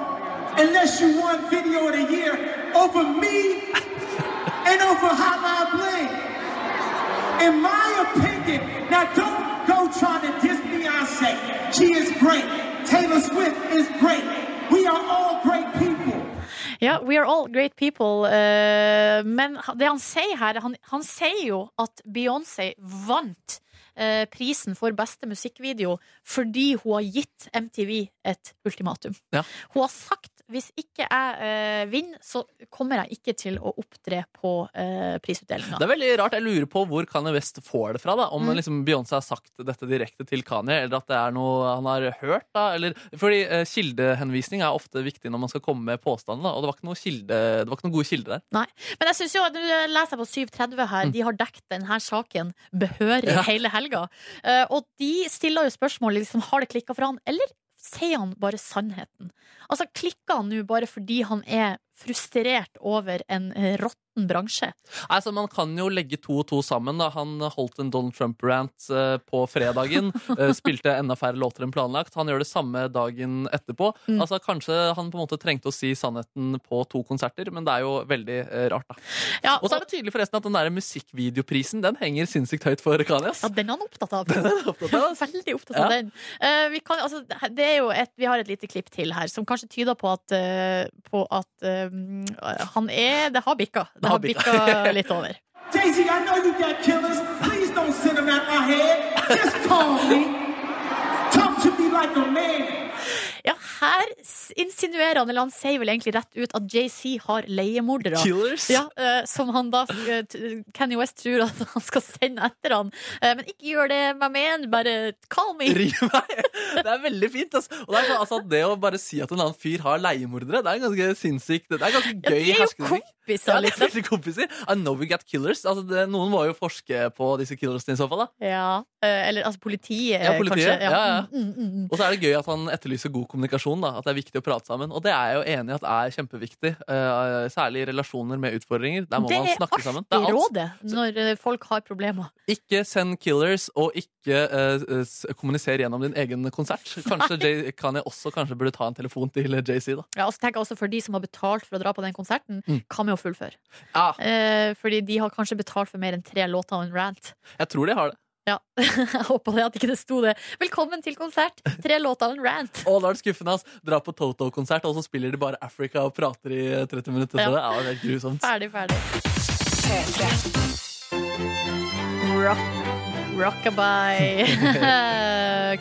Speaker 13: unless you won Video of the Year over me and over Hotline Bling. In my opinion, now don't go trying to diss Beyonce. She is great. Taylor Swift is great. We are all great people.
Speaker 2: Ja, we are all great people. eh, men ha- det han sier her, han, han sier jo at Beyoncé vant eh, prisen for beste musikkvideo fordi hun har gitt MTV et ultimatum.
Speaker 3: Ja.
Speaker 2: Hun har sagt hvis ikke jeg eh, vinner, så kommer jeg ikke til å opptre på uh, prisutdelinga.
Speaker 3: Det er veldig rart. Jeg lurer på hvor Kanye West får det fra. da Om
Speaker 2: Mm.
Speaker 3: liksom Beyoncé har sagt dette direkte til Kanye, eller at det er noe han har hørt. da eller, Fordi eh, Kildehenvisning er ofte viktig når man skal komme med påstander, da. og det var ikke noe, kilde, det var ikke noen gode kilder der.
Speaker 2: Nei. Men jeg synes jo, nå leser jeg på 730 her, de har dekt denne saken behørig
Speaker 3: Ja.
Speaker 2: hele helga. Eh, og de stiller jo spørsmål liksom, har det klikka for han, eller sier han bare sannheten? Altså, klikker han nå bare fordi han er frustrert over en eh, råtten bransje?
Speaker 3: Altså, man kan jo legge to og to sammen. da Han holdt en Donald Trump-rant eh, på fredagen. eh, spilte enda færre låter enn planlagt. Han gjør det samme dagen etterpå.
Speaker 2: Mm.
Speaker 3: Altså, Kanskje han på en måte trengte å si sannheten på to konserter, men det er jo veldig eh, rart, da. og så er det tydelig forresten at den der musikkvideoprisen den henger sinnssykt høyt for Kanye. ass.
Speaker 2: Ja, den er han opptatt av. Veldig opptatt
Speaker 3: Ja.
Speaker 2: av den. Eh, vi, kan, altså, det er jo et, vi har et lite klipp til her som kanskje tyder på at, eh, på at eh, han er Det har bikka. Det har bikka litt over.
Speaker 13: Jay-Z, I know you got killers. Please don't send them at my head. Just call me. Talk to me like a man.
Speaker 2: Ja, her s- insinuerer han, eller han sier vel egentlig rett ut, at JC har leiemordere.
Speaker 3: Killers.
Speaker 2: Ja, eh, som han da eh, t- Kanye West tror at han skal sende etter han. Eh, men ikke gjør det, my man. Bare call me.
Speaker 3: Riv meg! Det er veldig fint. ass. Og det, er sånn, altså, det å bare si at en annen fyr har leiemordere, det er ganske sinnssykt. Det er ganske gøy
Speaker 2: de er jo
Speaker 3: hersketeknikk.
Speaker 2: kompiser, liksom.
Speaker 3: Ja, de er veldig kompiser. I know we got killers. Altså, det, noen må jo forske på disse killersene i så fall. da
Speaker 2: Ja, eh, eller altså politiet,
Speaker 3: Ja, politiet.
Speaker 2: kanskje.
Speaker 3: Ja, ja.
Speaker 2: Mm, mm, mm.
Speaker 3: Og så er det gøy at han etterlyser god kommunikasjon. da At det er viktig å prate sammen. Og det er jeg jo enig i at er kjempeviktig. eh, særlig i relasjoner med utfordringer. Der må
Speaker 2: Det
Speaker 3: man
Speaker 2: er
Speaker 3: snakke sammen.
Speaker 2: alltid
Speaker 3: alt.
Speaker 2: rådet når eh, folk har problemer.
Speaker 3: Ikke send killers, og ikke eh, s- kommuniser gjennom din egen konsert. Kanskje Jay, Kanye også kanskje burde ta en telefon til JC, da.
Speaker 2: Ja, og så tenker jeg også For de som har betalt for å dra på den konserten,
Speaker 3: Mm.
Speaker 2: kan vi jo fullføre.
Speaker 3: Ja.
Speaker 2: Eh, fordi de har kanskje betalt for mer enn tre låter og en rant.
Speaker 3: Jeg tror de har det.
Speaker 2: Ja, Jeg håpa det at ikke det sto det. Velkommen til konsert! Tre låter og en rant.
Speaker 3: Å, da er det skuffende. ass. Dra på Toto-konsert, og så spiller de bare Africa og prater i 30 minutter.
Speaker 2: Ja.
Speaker 3: Ja. Det er jo helt grusomt.
Speaker 2: Ferdig, ferdig. Rock, rockabye.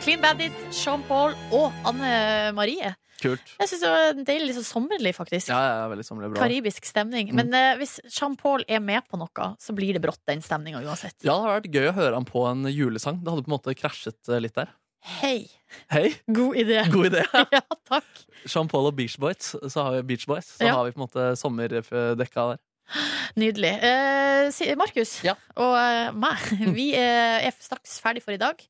Speaker 2: Clean Bandit, Sean Paul og Anne Marie.
Speaker 3: Kult.
Speaker 2: Jeg syns det var deilig, litt sånn sommerlig, faktisk.
Speaker 3: Ja, ja, veldig sommerlig bra. Mm.
Speaker 2: Karibisk stemning. Men eh, hvis Sean Paul er med på noe, så blir det brått den stemninga uansett.
Speaker 3: Ja, det hadde vært gøy å høre han på en julesang. Det hadde på en måte krasjet eh, litt der.
Speaker 2: Hei!
Speaker 3: Hei!
Speaker 2: God idé.
Speaker 3: God idé.
Speaker 2: ja, takk.
Speaker 3: Jean-Paul og Beach Boys, så har vi, Beach Boys, så
Speaker 2: Ja.
Speaker 3: har vi på en måte sommerdekka der.
Speaker 2: Nydelig. Eh, si- Markus og eh, meg, vi eh, er straks ferdig for i dag.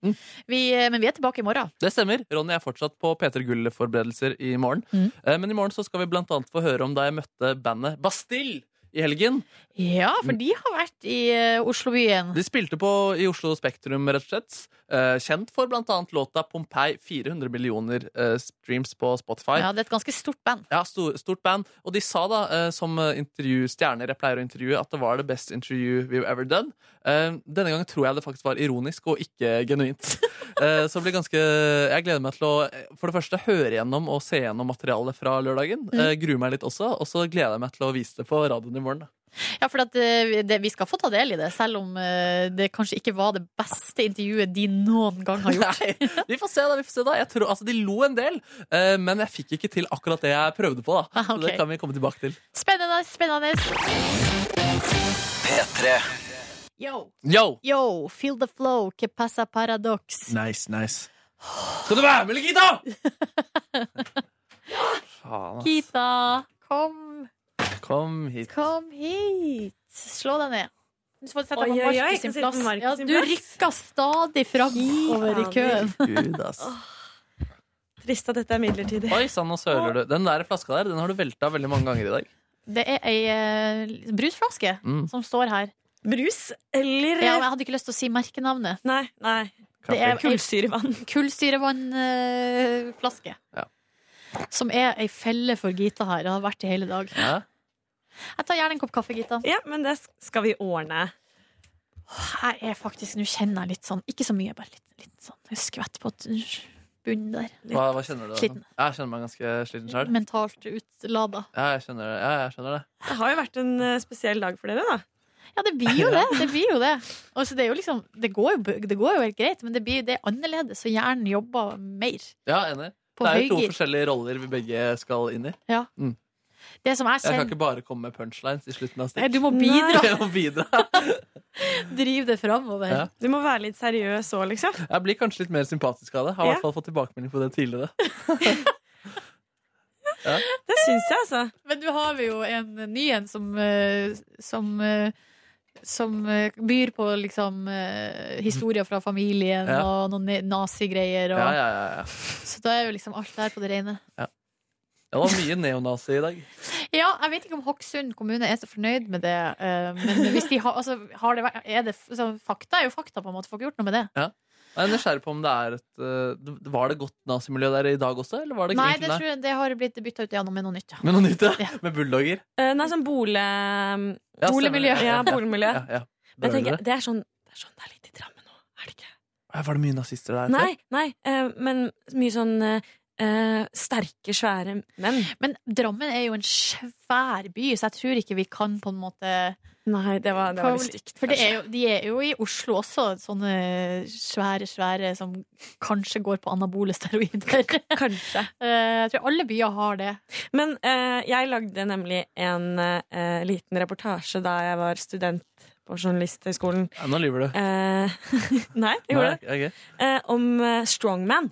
Speaker 2: Vi, eh, men vi er tilbake i morgen.
Speaker 3: Det stemmer. Ronny er fortsatt på P3 Gull-forberedelser i morgen. Eh, Men i morgen så skal vi blant annet få høre om da jeg møtte bandet Bastille i helgen.
Speaker 2: Ja, for de har vært i eh, Oslobyen.
Speaker 3: De spilte på, i Oslo Spektrum, rett og slett. Eh, Kjent for blant annet låta Pompeii. 400 millioner eh, streams på Spotify.
Speaker 2: Ja, det er et ganske stort band.
Speaker 3: Ja, stor, stort band. Og de sa da, eh, som eh, intervju, stjerner jeg pleier å intervjue, at det var det beste intervju we've ever done. Eh, denne gangen tror jeg det faktisk var ironisk og ikke genuint. Eh, så det blir ganske Jeg gleder meg til å eh, for det første høre gjennom og se gjennom materialet fra lørdagen.
Speaker 2: Mm.
Speaker 3: Eh, gruer meg litt også, og så gleder jeg meg til å vise det på radioen i morgen. Da.
Speaker 2: Ja, for at, eh, det, vi skal få ta del i det, selv om eh, det kanskje ikke var det beste intervjuet de noen gang har gjort.
Speaker 3: Vi får se, da. vi får se da jeg tror, altså, De lo en del, eh, men jeg fikk ikke til akkurat det jeg prøvde på. da Så
Speaker 2: Ah, ok.
Speaker 3: det kan vi komme tilbake til.
Speaker 2: Spennende, spennende.
Speaker 4: P3.
Speaker 2: Yo,
Speaker 3: Yo!
Speaker 2: yo, feel the flow, que pasa paradox.
Speaker 3: Nice, nice. Skal du være med, eller, Gita? Faen,
Speaker 2: altså.
Speaker 3: ass.
Speaker 2: Kita, kom,
Speaker 3: Kom hit.
Speaker 2: kom hit. Slå deg ned. Du får sette
Speaker 12: Oi,
Speaker 2: deg på
Speaker 12: oi, oi,
Speaker 2: Markus
Speaker 12: jeg
Speaker 2: sin
Speaker 12: sitter på
Speaker 2: plass.
Speaker 12: Markus
Speaker 2: Ja,
Speaker 12: sin
Speaker 2: du
Speaker 12: plass.
Speaker 2: rykker stadig framover i køen.
Speaker 3: Gud, ass.
Speaker 12: Trist at dette er midlertidig.
Speaker 3: Oi sann, nå søler du. Den der flaska der den har du velta veldig mange ganger i dag.
Speaker 2: Det er ei eh, brusflaske
Speaker 3: Mm.
Speaker 2: som står her.
Speaker 12: Brus eller
Speaker 2: Ja, men Jeg hadde ikke lyst til å si merkenavnet.
Speaker 12: Nei, nei.
Speaker 2: Det er
Speaker 12: Kullsyrevann.
Speaker 2: Kullsyrevannflaske. Som er ei felle for Gita her. Det har vært i hele dag. Jeg tar gjerne en kopp kaffe, Gita.
Speaker 12: Ja, men det skal vi ordne.
Speaker 2: Jeg er faktisk, Nå kjenner jeg litt sånn Ikke så mye, bare litt, litt sånn jeg skvett på bunnen der. Litt
Speaker 3: Hva, hva kjenner du? da?
Speaker 2: Sliten.
Speaker 3: Ja, Jeg kjenner meg ganske sliten sjøl.
Speaker 2: Mentalt utlada.
Speaker 3: Ja, jeg kjenner det. Ja, jeg skjønner det.
Speaker 12: Det har jo vært en eh, spesiell dag for dere, da.
Speaker 2: Ja, det blir jo det. Det blir jo det. Altså, det, er jo liksom, det, går jo, b- det går jo helt greit, men det, blir, det er annerledes, og hjernen jobber mer.
Speaker 3: Ja, enig.
Speaker 2: På
Speaker 3: Det er jo to
Speaker 2: høygir.
Speaker 3: forskjellige roller vi begge skal inn i.
Speaker 2: Ja.
Speaker 3: Mm.
Speaker 2: Det som jeg
Speaker 3: Jeg kan
Speaker 2: kjenner
Speaker 3: ikke bare komme med punchlines i slutten av
Speaker 2: Nei,
Speaker 3: stikk.
Speaker 2: du må bidra.
Speaker 3: Jeg må bidra.
Speaker 2: Driv det framover.
Speaker 3: Ja.
Speaker 12: Du må være litt seriøs òg, liksom.
Speaker 3: Jeg blir kanskje litt mer sympatisk av det. Har i
Speaker 12: Ja.
Speaker 3: hvert fall fått tilbakemelding på det tidligere. Ja.
Speaker 12: Det syns jeg, altså.
Speaker 2: Men nå har vi jo en ny en som eh, Som, eh, som eh, byr på liksom eh, historier fra familien
Speaker 3: Ja.
Speaker 2: og noen ne- nazigreier. Og,
Speaker 3: Ja, ja, ja, ja.
Speaker 2: Så da er jo liksom alt der på det rene.
Speaker 3: Det var mye neonazi i dag.
Speaker 2: Ja, jeg vet ikke om Hokksund kommune er så fornøyd med det. eh, men hvis de har, altså, har det vært, er det, altså, fakta er jo fakta, på en måte. Får ikke gjort noe med det.
Speaker 3: Ja. Jeg er nysgjerrig på om det er et eh, det- Var det godt nazimiljø der i dag også, eller var det
Speaker 2: Nei,
Speaker 3: egentlig-
Speaker 2: det, tror jeg, det har blitt bytta ut igjennom med noe nytt. Ja.
Speaker 3: Med noe nytt, ja? Med bulldogger?
Speaker 12: Eh, Nei, sånn bole...
Speaker 3: Ja, stemmer det.
Speaker 12: Ja, boligmiljø.
Speaker 3: Ja, ja.
Speaker 12: Men jeg tenker,
Speaker 3: Brølere.
Speaker 12: det er sånn
Speaker 3: Nei, Eh, Var det mye nazister der?
Speaker 12: Nei, nei, eh, men mye sånn eh, eh, sterke, svære menn.
Speaker 2: Men Drammen er jo en svær by, så jeg tror ikke vi kan på en måte
Speaker 12: Nei, det var, det var litt stygt.
Speaker 2: For det
Speaker 12: kanskje.
Speaker 2: er jo, de er jo i Oslo også, sånne svære, svære som kanskje går på anabole steroider. Eh,
Speaker 12: Kanskje.
Speaker 2: Jeg tror alle byer har det.
Speaker 12: Men eh, jeg lagde nemlig en eh, liten reportasje da jeg var student på Journalisthøgskolen.
Speaker 3: Ja, nå lyver du.
Speaker 12: Eh, nei, jeg
Speaker 3: Nei,
Speaker 12: gjorde det.
Speaker 3: ok.
Speaker 12: Eh, om eh, Strongman.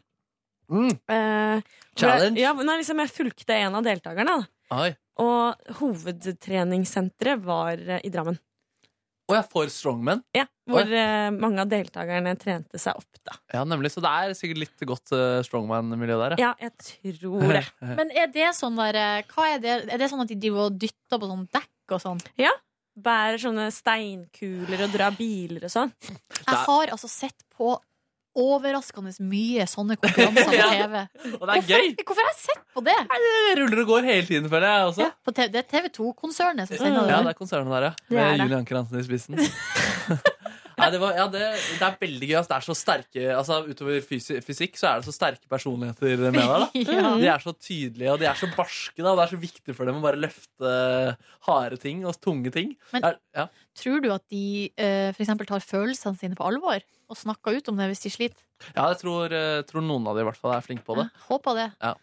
Speaker 3: Mm.
Speaker 12: Eh, hvor
Speaker 3: Challenge?
Speaker 12: Jeg, ja, men jeg liksom, jeg fulgte en av deltakerne. da.
Speaker 3: Oi.
Speaker 12: Og hovedtreningssenteret var eh, i Drammen.
Speaker 3: Å, jeg får strongman.
Speaker 12: Ja, hvor eh, mange av deltakerne trente seg opp. Da.
Speaker 3: Ja, nemlig. Så det er sikkert litt godt eh, strongman-miljø der,
Speaker 12: Ja, jeg tror det.
Speaker 3: Eh.
Speaker 2: Men er det sånn der, eh, hva er, det, er det sånn at de driver og dytter på sånn dekk og sånn?
Speaker 12: Ja. Bærer sånne steinkuler og drar biler og sånn.
Speaker 2: Jeg har altså sett på overraskende mye sånne konkurranser på
Speaker 3: Ja.
Speaker 2: TV.
Speaker 3: Og det er gøy!
Speaker 2: Hvorfor har jeg sett på det?
Speaker 3: Det ruller og går hele tiden, føler jeg også.
Speaker 2: På TV, det er TV2-konsernet som
Speaker 3: Mm.
Speaker 2: sender
Speaker 3: Ja, det
Speaker 2: det.
Speaker 3: er konsernet der, ja.
Speaker 2: Mm. Det er
Speaker 3: Med
Speaker 2: det.
Speaker 3: Julie Anker Hansen i spissen. Nei, det, var, ja, det, det er veldig gøy. ass. Det er så sterke, altså, utover fysi fysikk så er det så sterke personligheter med der. Da.
Speaker 2: Ja.
Speaker 3: De er så tydelige, og de er så barske. Da, og det er så viktig for dem å bare løfte harde ting og tunge ting.
Speaker 2: Men-
Speaker 3: Er- ja.
Speaker 2: Tror du at de eh, for eksempel tar følelsene sine på alvor og snakker ut om det hvis de sliter?
Speaker 3: ja, jeg tror, eh, tror noen av de i hvert fall er flinke på det.
Speaker 2: Håper det.
Speaker 3: Ja.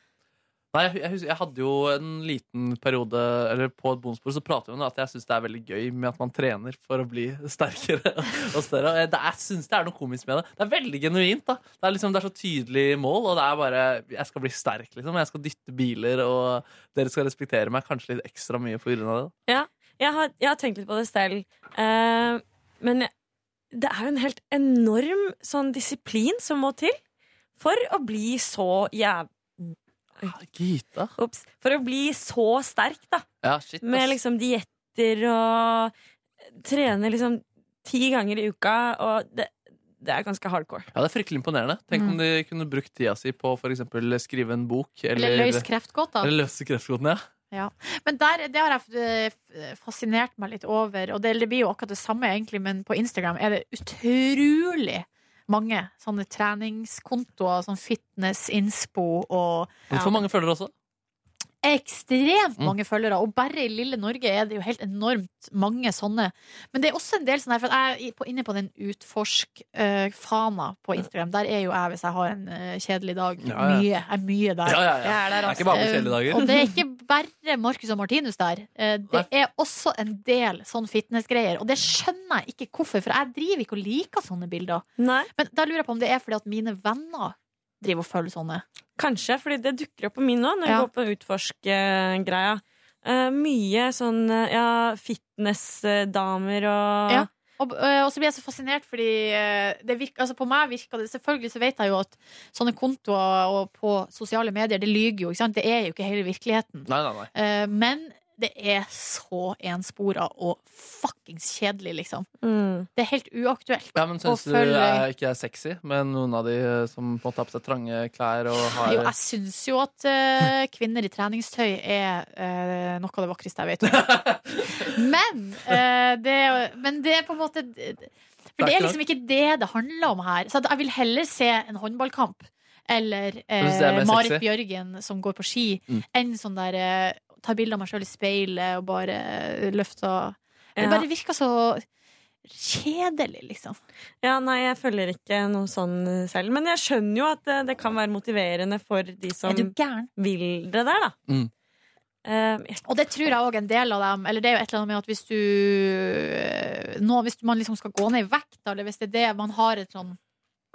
Speaker 3: Nei, jeg, jeg, husker, jeg hadde jo en liten periode Eller på et bonusbord så prater vi om det, at jeg syns det er veldig gøy med at man trener for å bli sterkere og større. Og jeg- Det, jeg syns det er noe komisk med det. Det er veldig genuint. da Det er, liksom, det er så tydelig mål, og det er bare Jeg skal bli sterk, liksom. Jeg skal dytte biler, og dere skal respektere meg kanskje litt ekstra mye på grunn av det.
Speaker 12: Ja, jeg har, jeg har tenkt litt på det selv. Eh, men jeg- det er jo en helt enorm sånn disiplin som må til for å bli så jæv...
Speaker 3: Gita.
Speaker 12: Ops. For å bli så sterk, da.
Speaker 3: Ja, shit, ass.
Speaker 12: Med liksom dietter sitter og trener liksom ti ganger i uka, og det, det er ganske hardcore.
Speaker 3: Ja, Det er fryktelig imponerende. Tenk om de kunne brukt tida si på for eksempel skrive en bok. Eller,
Speaker 2: Eller løse kreftgåter.
Speaker 3: Eller løse kreftgåten, ja.
Speaker 2: Ja. Men der, det har jeg eh, fascinert meg litt over. Og det, det blir jo akkurat det samme, egentlig, men på Instagram er det utrolig mange sånne treningskontoer, sånn fitness, innspo og
Speaker 3: Hvorfor mange følgere også?
Speaker 2: Ekstremt
Speaker 3: Mm.
Speaker 2: mange følgere, og bare i lille Norge er det jo helt enormt mange sånne. Men det er også en del sånne her, for jeg er i- på- inne på den utforsk-fana på Instagram. Der er jo jeg, hvis jeg har en eh, kjedelig dag,
Speaker 3: Ja, ja.
Speaker 2: mye. Jeg er mye der.
Speaker 3: Ja, ja, ja.
Speaker 2: Jeg er der,
Speaker 3: Det er
Speaker 2: altså.
Speaker 3: ikke bare på kjedelige dager.
Speaker 2: Og det er ikke bare Marcus og Martinus der. Eh, Det er også en del sånn fitnessgreier, og det skjønner jeg ikke hvorfor, for jeg driver ikke og liker sånne bilder. Men da lurer jeg på om det er fordi at mine venner driver og følger sånne.
Speaker 12: Kanskje, fordi det dukker opp på min nå når jeg
Speaker 2: Ja.
Speaker 12: går på utforsk-greia. mye sånn eh, ja, fitnessdamer og
Speaker 2: Ja. Og, eh, og så blir jeg så fascinert, fordi eh, det virker, altså på meg virker det Selvfølgelig så vet jeg jo at sånne kontoer og på sosiale medier, det lyger jo, ikke sant? Det er jo ikke hele virkeligheten.
Speaker 3: Nei, nei, nei.
Speaker 2: Eh, Men det er så enspora og fuckings kjedelig, liksom.
Speaker 12: Mm.
Speaker 2: Det er helt uaktuelt.
Speaker 3: Ja, men
Speaker 2: å
Speaker 3: Syns du
Speaker 2: følge-
Speaker 3: jeg ikke er sexy med noen av de eh, som på en måte har på seg trange klær og har
Speaker 2: Jo, jeg syns jo at eh, kvinner i treningstøy er eh, noe av det vakreste jeg vet om. men, eh, det, men det er på en måte For det er liksom ikke det det handler om her. Så at jeg vil heller se en håndballkamp eller eh,
Speaker 12: synes det er mer
Speaker 2: Marit
Speaker 12: sexy.
Speaker 2: Bjørgen som går på ski,
Speaker 12: Mm.
Speaker 2: enn sånn der eh, ta bilde av meg sjøl i speilet og bare eh, løfta Det
Speaker 12: Ja.
Speaker 2: bare virker så kjedelig, liksom.
Speaker 12: Ja, nei, jeg følger ikke noe sånn selv. Men jeg skjønner jo at eh, det kan være motiverende for de som
Speaker 2: Er du gæren?
Speaker 12: vil det der, da. Eh,
Speaker 3: Mm.
Speaker 2: Og det tror jeg òg en del av dem. Eller det er jo et eller annet med at hvis du nå, Hvis man liksom skal gå ned i vekt, da, eller hvis det er det man har et sånn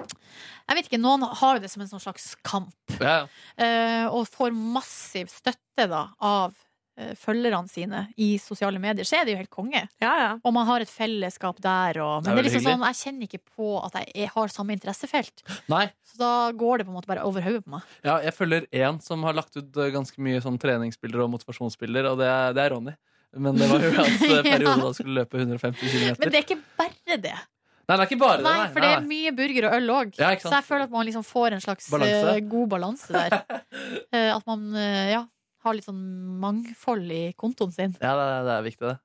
Speaker 2: Jeg vet ikke, noen har jo det som en sånn slags kamp,
Speaker 3: ja, ja.
Speaker 2: eh, og får massiv støtte da av eh, følgerne sine i sosiale medier, så er det jo helt konge. Og man har et fellesskap der og
Speaker 3: Det er
Speaker 2: Men det er
Speaker 3: veldig
Speaker 2: liksom sånn, jeg kjenner ikke på at jeg er- har samme interessefelt.
Speaker 3: Nei.
Speaker 2: Så da går det på en måte bare over hodet på meg.
Speaker 3: Ja, jeg følger én som har lagt ut eh, ganske mye sånn treningsbilder og motivasjonsbilder, og det er, det er Ronny. Men det var jo hans eh, periode
Speaker 2: Ja.
Speaker 3: da han skulle løpe 150 km.
Speaker 2: Men det er ikke bare det.
Speaker 3: Nei, det er ikke bare det.
Speaker 2: Nei, for det er mye burger og øl òg.
Speaker 3: Ja, ikke
Speaker 2: så
Speaker 3: sant?
Speaker 2: jeg føler at man liksom får en slags
Speaker 3: Balanse.
Speaker 2: eh, god balanse der. Eh, at man eh, ja, har litt sånn mangfold i kontoen sin.
Speaker 3: Ja, det, er- det er viktig, det.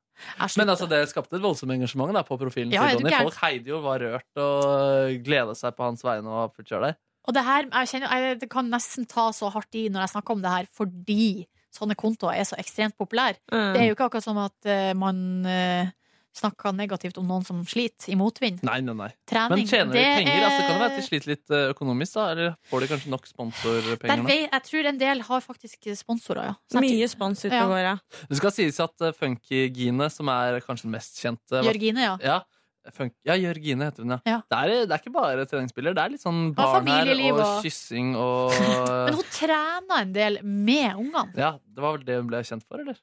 Speaker 3: Men altså, det skapte et voldsomt engasjement da, på profilen
Speaker 2: Ja, er
Speaker 3: til
Speaker 2: du
Speaker 3: Ronny.
Speaker 2: gæren?
Speaker 3: Folk heide jo, var rørt og gleda seg på hans vegne og fullt kjør der.
Speaker 2: Og det her, jeg kjenner, jeg, det kan nesten ta så hardt i når jeg snakker om det her, fordi sånne kontoer er så ekstremt populære.
Speaker 12: Mm.
Speaker 2: Det er jo ikke akkurat som at eh, man eh, snakker negativt om noen som sliter, i motvind.
Speaker 3: Nei, nei, nei.
Speaker 2: Trening,
Speaker 3: Men tjener de
Speaker 2: det
Speaker 3: penger? Altså, det kan jo være at
Speaker 2: er-
Speaker 3: de sliter litt eh, økonomisk, da? Eller får de kanskje nok
Speaker 2: Der
Speaker 3: sponsorpenger? nå?
Speaker 2: vei, jeg tror en del har faktisk sponsorer, ja. Sånn
Speaker 12: Mye spons ute
Speaker 2: Ja.
Speaker 12: og går, ja.
Speaker 3: Det skal sies at eh, Funky-Gine, som er kanskje den mest kjente
Speaker 2: Jørgine, ja.
Speaker 3: Ja, Funk, ja Jørgine heter hun, ja. Det, er, det er ikke bare treningsspiller. Det er litt sånn
Speaker 2: Ja,
Speaker 3: barn her
Speaker 2: familieliv
Speaker 3: og
Speaker 2: og-
Speaker 3: kyssing og
Speaker 2: Men hun trener en del med ungene.
Speaker 3: Ja, det var vel det hun ble kjent for, eller?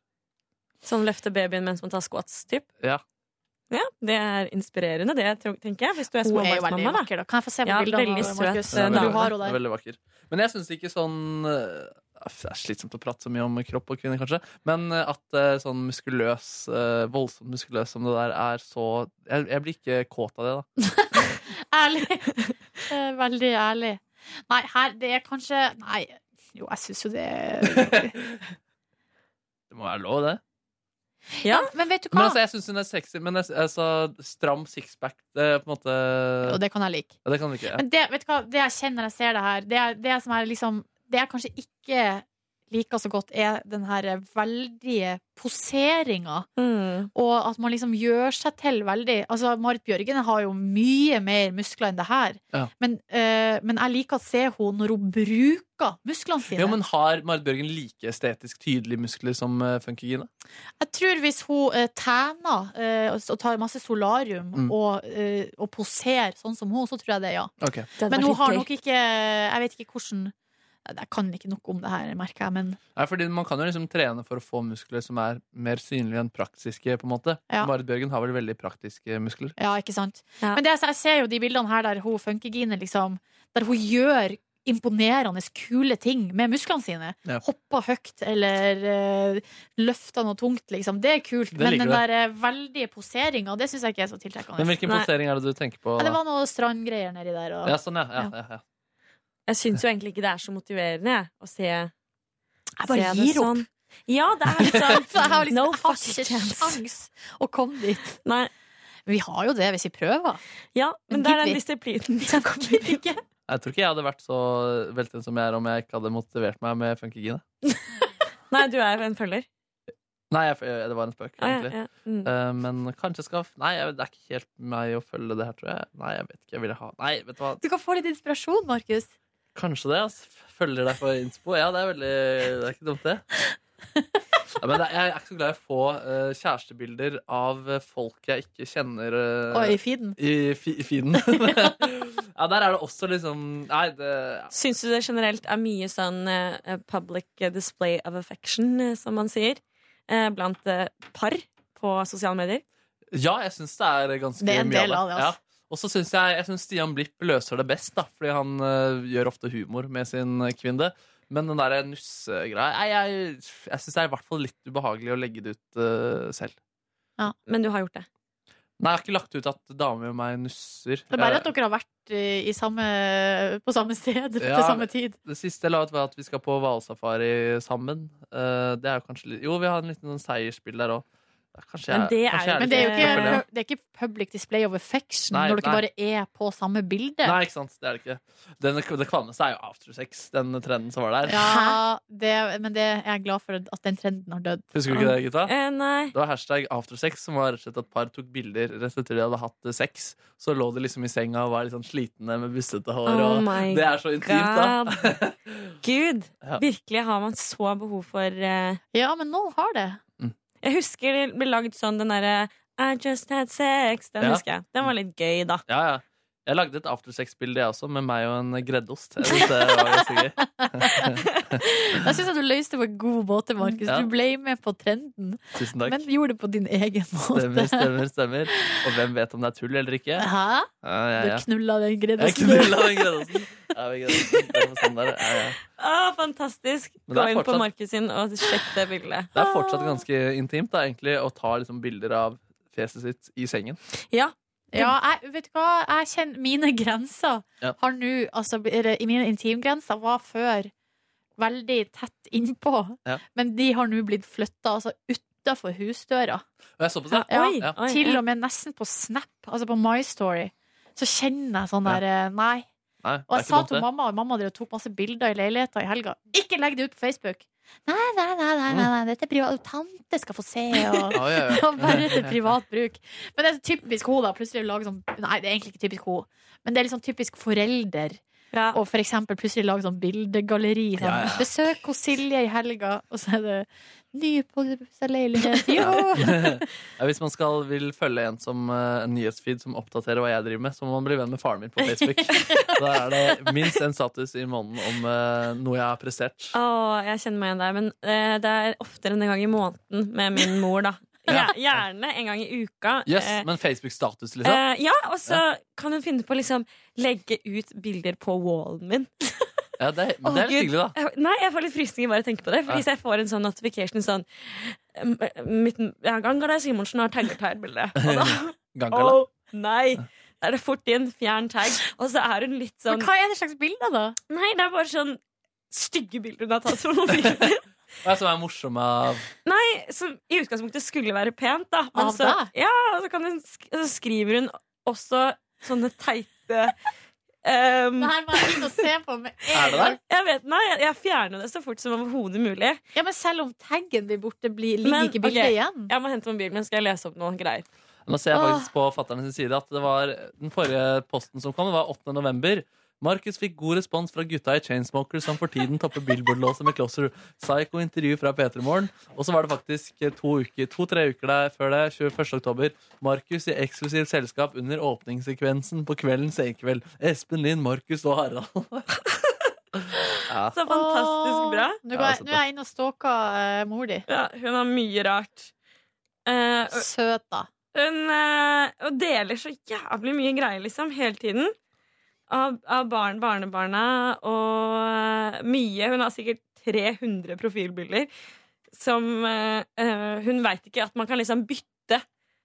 Speaker 12: Som løfter Sånn babyen mens man tar squats, typ.
Speaker 3: Ja.
Speaker 12: Ja, det er inspirerende, det, tro- tenker jeg. Hvis du er
Speaker 2: Hun er jo
Speaker 12: småbarnsmamma,
Speaker 2: veldig
Speaker 12: da.
Speaker 2: vakker, da. Kan jeg få se på
Speaker 12: ja,
Speaker 2: bildene
Speaker 12: Veldig
Speaker 2: av
Speaker 12: søt
Speaker 2: Markus? eh,
Speaker 3: Hun er
Speaker 12: dame.
Speaker 3: veldig- hun er veldig vakker. Men jeg syns ikke sånn eh, Det er slitsomt å prate så mye om kropp og kvinner, kanskje. Men eh, at eh, sånn muskuløs, eh, voldsomt muskuløs som det der er så Jeg, jeg blir ikke kåt av det, da.
Speaker 2: Ærlig. Eh, Veldig ærlig. Nei, her, det er kanskje Nei, jo, jeg syns jo det
Speaker 3: Det må være lov, det.
Speaker 2: Ja, men vet du
Speaker 3: Men
Speaker 2: hva?
Speaker 3: altså, Jeg syns hun er sexy, men jeg, altså, stram sixpack det, er på en måte
Speaker 2: Og det kan jeg like.
Speaker 3: Ja, det kan du ikke. Ja.
Speaker 2: Men det, vet du hva? det jeg kjenner når jeg ser det her, det, er- det som er liksom Det jeg kanskje ikke liker så godt, er den her veldige poseringa.
Speaker 12: Mm.
Speaker 2: Og at man liksom gjør seg til veldig Altså, Marit Bjørgen har jo mye mer muskler enn det her.
Speaker 3: Ja.
Speaker 2: Men, eh, men jeg liker å se henne når hun bruker musklene sine.
Speaker 3: Jo, men Har Marit Bjørgen like estetisk tydelige muskler som eh, Funky-Gine?
Speaker 2: Jeg tror hvis hun eh, tæner eh, og s- og tar masse solarium
Speaker 3: Mm.
Speaker 2: og, eh, og poserer sånn som hun, så tror jeg det, ja.
Speaker 3: Ok.
Speaker 2: Men hun har nok ikke Jeg vet ikke hvordan Jeg kan ikke nok om det her, merker jeg, men
Speaker 3: Nei, fordi Man kan jo liksom trene for å få muskler som er mer synlige enn praktiske. på en måte
Speaker 2: Ja.
Speaker 3: Marit Bjørgen har vel veldig praktiske muskler.
Speaker 2: Ja, ikke sant? Men det, jeg ser jo de bildene her der hun funkygine liksom Der hun gjør imponerende kule ting med musklene sine.
Speaker 3: Ja.
Speaker 2: Hoppa høyt eller uh, løfta noe tungt, liksom. Det er kult.
Speaker 3: Det
Speaker 2: Men
Speaker 3: liker
Speaker 2: den
Speaker 3: du.
Speaker 2: der eh, veldige poseringa, det syns jeg ikke er så tiltrekkende.
Speaker 3: Men hvilken
Speaker 2: Nei.
Speaker 3: postering er det du tenker på?
Speaker 2: Ja, det
Speaker 3: da?
Speaker 2: var noe strandgreier nedi der. Og...
Speaker 3: Ja, sånn, ja. ja, ja, ja.
Speaker 12: Jeg syns jo egentlig ikke det er så motiverende jeg, å se Jeg
Speaker 2: bare gir opp.
Speaker 12: Ja, det er litt sånn
Speaker 2: For sånn. jeg har liksom
Speaker 12: no
Speaker 2: jeg har
Speaker 12: fucking
Speaker 2: ikke
Speaker 12: chance.
Speaker 2: sjans å komme dit.
Speaker 12: Nei.
Speaker 2: Vi har jo det hvis vi prøver.
Speaker 12: Ja,
Speaker 2: men
Speaker 12: det er den
Speaker 2: disiplinen som kommer. Ikke.
Speaker 3: Jeg tror ikke jeg hadde vært så veltrent som jeg er om jeg ikke hadde motivert meg med funkygine.
Speaker 12: Nei, du er en følger.
Speaker 3: Nei, jeg, det var en spøk,
Speaker 12: Ah, ja,
Speaker 3: egentlig.
Speaker 12: ja. Mm.
Speaker 3: Eh, men kanskje jeg skal Nei, jeg, det er ikke helt meg å følge det her, tror jeg. Nei, jeg vet ikke. Jeg ville ha Nei, vet du hva.
Speaker 2: Du kan få litt inspirasjon, Markus.
Speaker 3: Kanskje det. ass. Følger deg på innspo. Ja, det er veldig Det er ikke dumt, det. Ja, men jeg er ikke så glad i å få eh, kjærestebilder av eh, folk jeg ikke kjenner. eh,
Speaker 2: Og i feeden.
Speaker 3: I, fi, i feeden. ja, der er det også liksom Nei, det ja.
Speaker 12: Syns du det generelt er mye sånn eh, public display of affection, eh, som man sier, eh, blant eh, par på sosiale medier?
Speaker 3: Ja, jeg syns det er ganske
Speaker 12: Det er en
Speaker 3: mye
Speaker 12: del av det,
Speaker 3: Ja.
Speaker 12: altså.
Speaker 3: Og så syns jeg, jeg synes Stian Blipp løser det best, da, fordi han øh, gjør ofte humor med sin eh, kvinne. Men den der nussegreia nei, Jeg, jeg syns det er i hvert fall litt ubehagelig å legge det ut øh, selv.
Speaker 12: Men du har gjort det.
Speaker 3: Nei, jeg har ikke lagt ut at damer og meg nusser.
Speaker 2: Det er bare at dere har vært eh, i i samme, på samme sted til samme tid.
Speaker 3: Det siste jeg la ut, var at vi skal på hvalsafari sammen. Eh, det er jo kanskje litt Jo, vi har en liten sånn seiersspill der òg.
Speaker 2: Men det er, men det er jo ikke, det er ikke public display of affection
Speaker 3: Nei,
Speaker 2: når dere
Speaker 3: nei.
Speaker 2: bare er på samme bilde.
Speaker 3: Nei, ikke sant. Det er det ikke. Den, det kvalmeste er jo aftersex, den trenden som var der.
Speaker 2: Ja, det, men det er jeg glad for at den trenden har dødd.
Speaker 3: Husker du ikke det, gutta?
Speaker 12: Eh, nei.
Speaker 3: Det var hashtag aftersex, som var rett og slett at par tok bilder rett etter de hadde hatt eh, sex. Så lå de liksom i senga og var litt sånn slitne med bussete hår.
Speaker 12: Oh
Speaker 3: og
Speaker 12: my
Speaker 3: det er så intimt, da.
Speaker 12: God. Gud,
Speaker 3: Ja.
Speaker 12: virkelig har man så behov for eh,
Speaker 2: Ja, men nå har det.
Speaker 12: Jeg husker det ble lagd sånn den derre I just had sex. Den
Speaker 3: Ja.
Speaker 12: husker jeg. Den var litt gøy, da.
Speaker 3: Ja, ja. Jeg lagde et aftersex-bilde, jeg også, med meg og en greddost. Jeg synes det var ganske gøy.
Speaker 2: Jeg syns du løste det på en god måte, Markus.
Speaker 3: Ja.
Speaker 2: Du ble med på trenden,
Speaker 3: Tusen takk.
Speaker 2: men gjorde det på din egen måte.
Speaker 3: Stemmer, stemmer, stemmer. Og hvem vet om det er tull eller ikke?
Speaker 2: Hæ?
Speaker 3: Ja, ja, ja.
Speaker 2: Du knulla den
Speaker 3: Jeg
Speaker 2: greddelsen.
Speaker 3: knulla den greddosten. Ja, men greddosten, det var sånn der. Ja, ja.
Speaker 12: Å, fantastisk!
Speaker 3: Men
Speaker 12: Gå
Speaker 3: det er
Speaker 12: inn på
Speaker 3: fortsatt-
Speaker 12: Markus sin og sjekk det bildet.
Speaker 3: Det er fortsatt ganske intimt da, egentlig, å ta liksom, bilder av fjeset sitt i sengen.
Speaker 12: Ja.
Speaker 2: Ja, jeg, vet du hva? Jeg kjenner mine grenser
Speaker 3: Ja.
Speaker 2: har nå altså, eller, Mine intimgrenser var før veldig tett innpå,
Speaker 3: Ja.
Speaker 2: men de har nå blitt flytta altså, utafor husdøra.
Speaker 3: Og jeg så på seg.
Speaker 2: Ja, til og med nesten på Snap, altså på My Story, så kjenner jeg sånn
Speaker 3: Ja.
Speaker 2: der eh, Nei.
Speaker 3: Nei, det
Speaker 2: Og
Speaker 3: er
Speaker 2: jeg
Speaker 3: ikke
Speaker 2: sa
Speaker 3: dumt,
Speaker 2: til
Speaker 3: det.
Speaker 2: mamma, og mamma dere tok masse bilder i leiligheta i helga. Ikke legg det ut på Facebook! Nei, nei, nei, nei, nei, nei. dette er privat. Tante skal få se, og
Speaker 13: Ja, ja, ja.
Speaker 2: Det var bare til privat bruk. Men det er så typisk hun, da. Plutselig lage sånn Nei, det er egentlig ikke typisk hun, men det er liksom typisk forelder. Og for eksempel plutselig lage sånn bildegalleri. Sånn.
Speaker 13: Ja, ja.
Speaker 2: Besøk hos Silje i helga, og så er det nypåpussa leilighet. Jo!
Speaker 3: Ja, hvis man skal, vil følge en, som, eh, en nyhetsfeed som oppdaterer hva jeg driver med, så må man bli venn med faren min på Facebook. Da er det minst en status i måneden om eh, noe jeg har prestert.
Speaker 12: Å, jeg kjenner meg igjen der. Men eh, det er oftere enn en gang i måneden med min mor, da.
Speaker 3: Ja.
Speaker 12: Gjer- Gjerne en gang i uka.
Speaker 3: Yes,
Speaker 12: Eh,
Speaker 3: men Facebook-status,
Speaker 12: eh,
Speaker 3: liksom.
Speaker 12: ja, og så kan hun finne på å liksom legge ut bilder på wallen min.
Speaker 3: Ja, det, men det er litt
Speaker 12: Å, Gud.
Speaker 3: hyggelig, da.
Speaker 12: Jeg- Nei, jeg får litt frysninger bare av å tenke på det. For
Speaker 3: Ja.
Speaker 12: hvis jeg får en sånn notification sånn em, eh, mitt, ja, Gangara Simonsen har tagget her bildet. Og da
Speaker 3: Gangala.
Speaker 12: Å, nei! Da er det fort inn, fjern tag. Og så er hun litt sånn
Speaker 2: Men hva er det slags bilder, da?
Speaker 12: Nei, det er bare sånn stygge bilder hun har tatt fra mobilen.
Speaker 3: Hva er det som er morsom av
Speaker 12: Nei, som i utgangspunktet skulle være pent, da. Men
Speaker 3: Av
Speaker 12: så,
Speaker 3: deg?
Speaker 12: ja, så, kan hun, sk- så skriver hun også sånne teite um,
Speaker 2: Det her må jeg inn og se på med
Speaker 12: Er det der? Jeg vet, nei, jeg- jeg fjerner det så fort som overhodet mulig.
Speaker 2: Ja, Men selv om taggen blir borte, blir, ligger ikke bildet igjen?
Speaker 12: Jeg må hente mobilen min, skal jeg lese opp noen greier.
Speaker 3: Nå ser jeg faktisk på fatteren sin side at det var den forrige posten som kom, det var 8. november. Markus fikk god respons fra gutta i Chainsmokers som for tiden topper Billboard-låset med Closer Psycho-intervju fra P3 Morgen. Og så var det faktisk to-tre uker, to, tre uker der før det, 21. oktober. Markus i eksklusivt selskap under åpningssekvensen på Kveldens senkveld. Espen Lind, Markus og Harald. ja.
Speaker 12: Så fantastisk bra.
Speaker 2: Nå, går jeg, nå er jeg inne og stalker eh, mor di.
Speaker 12: Ja, hun har mye rart. Eh, og-
Speaker 2: Søt, da.
Speaker 12: Hun eh, og deler så jævlig mye greier, liksom, hele tiden. av, av barn, barnebarna og eh, mye. Hun har sikkert 300 profilbilder som eh, eh, Hun veit ikke at man kan liksom bytte.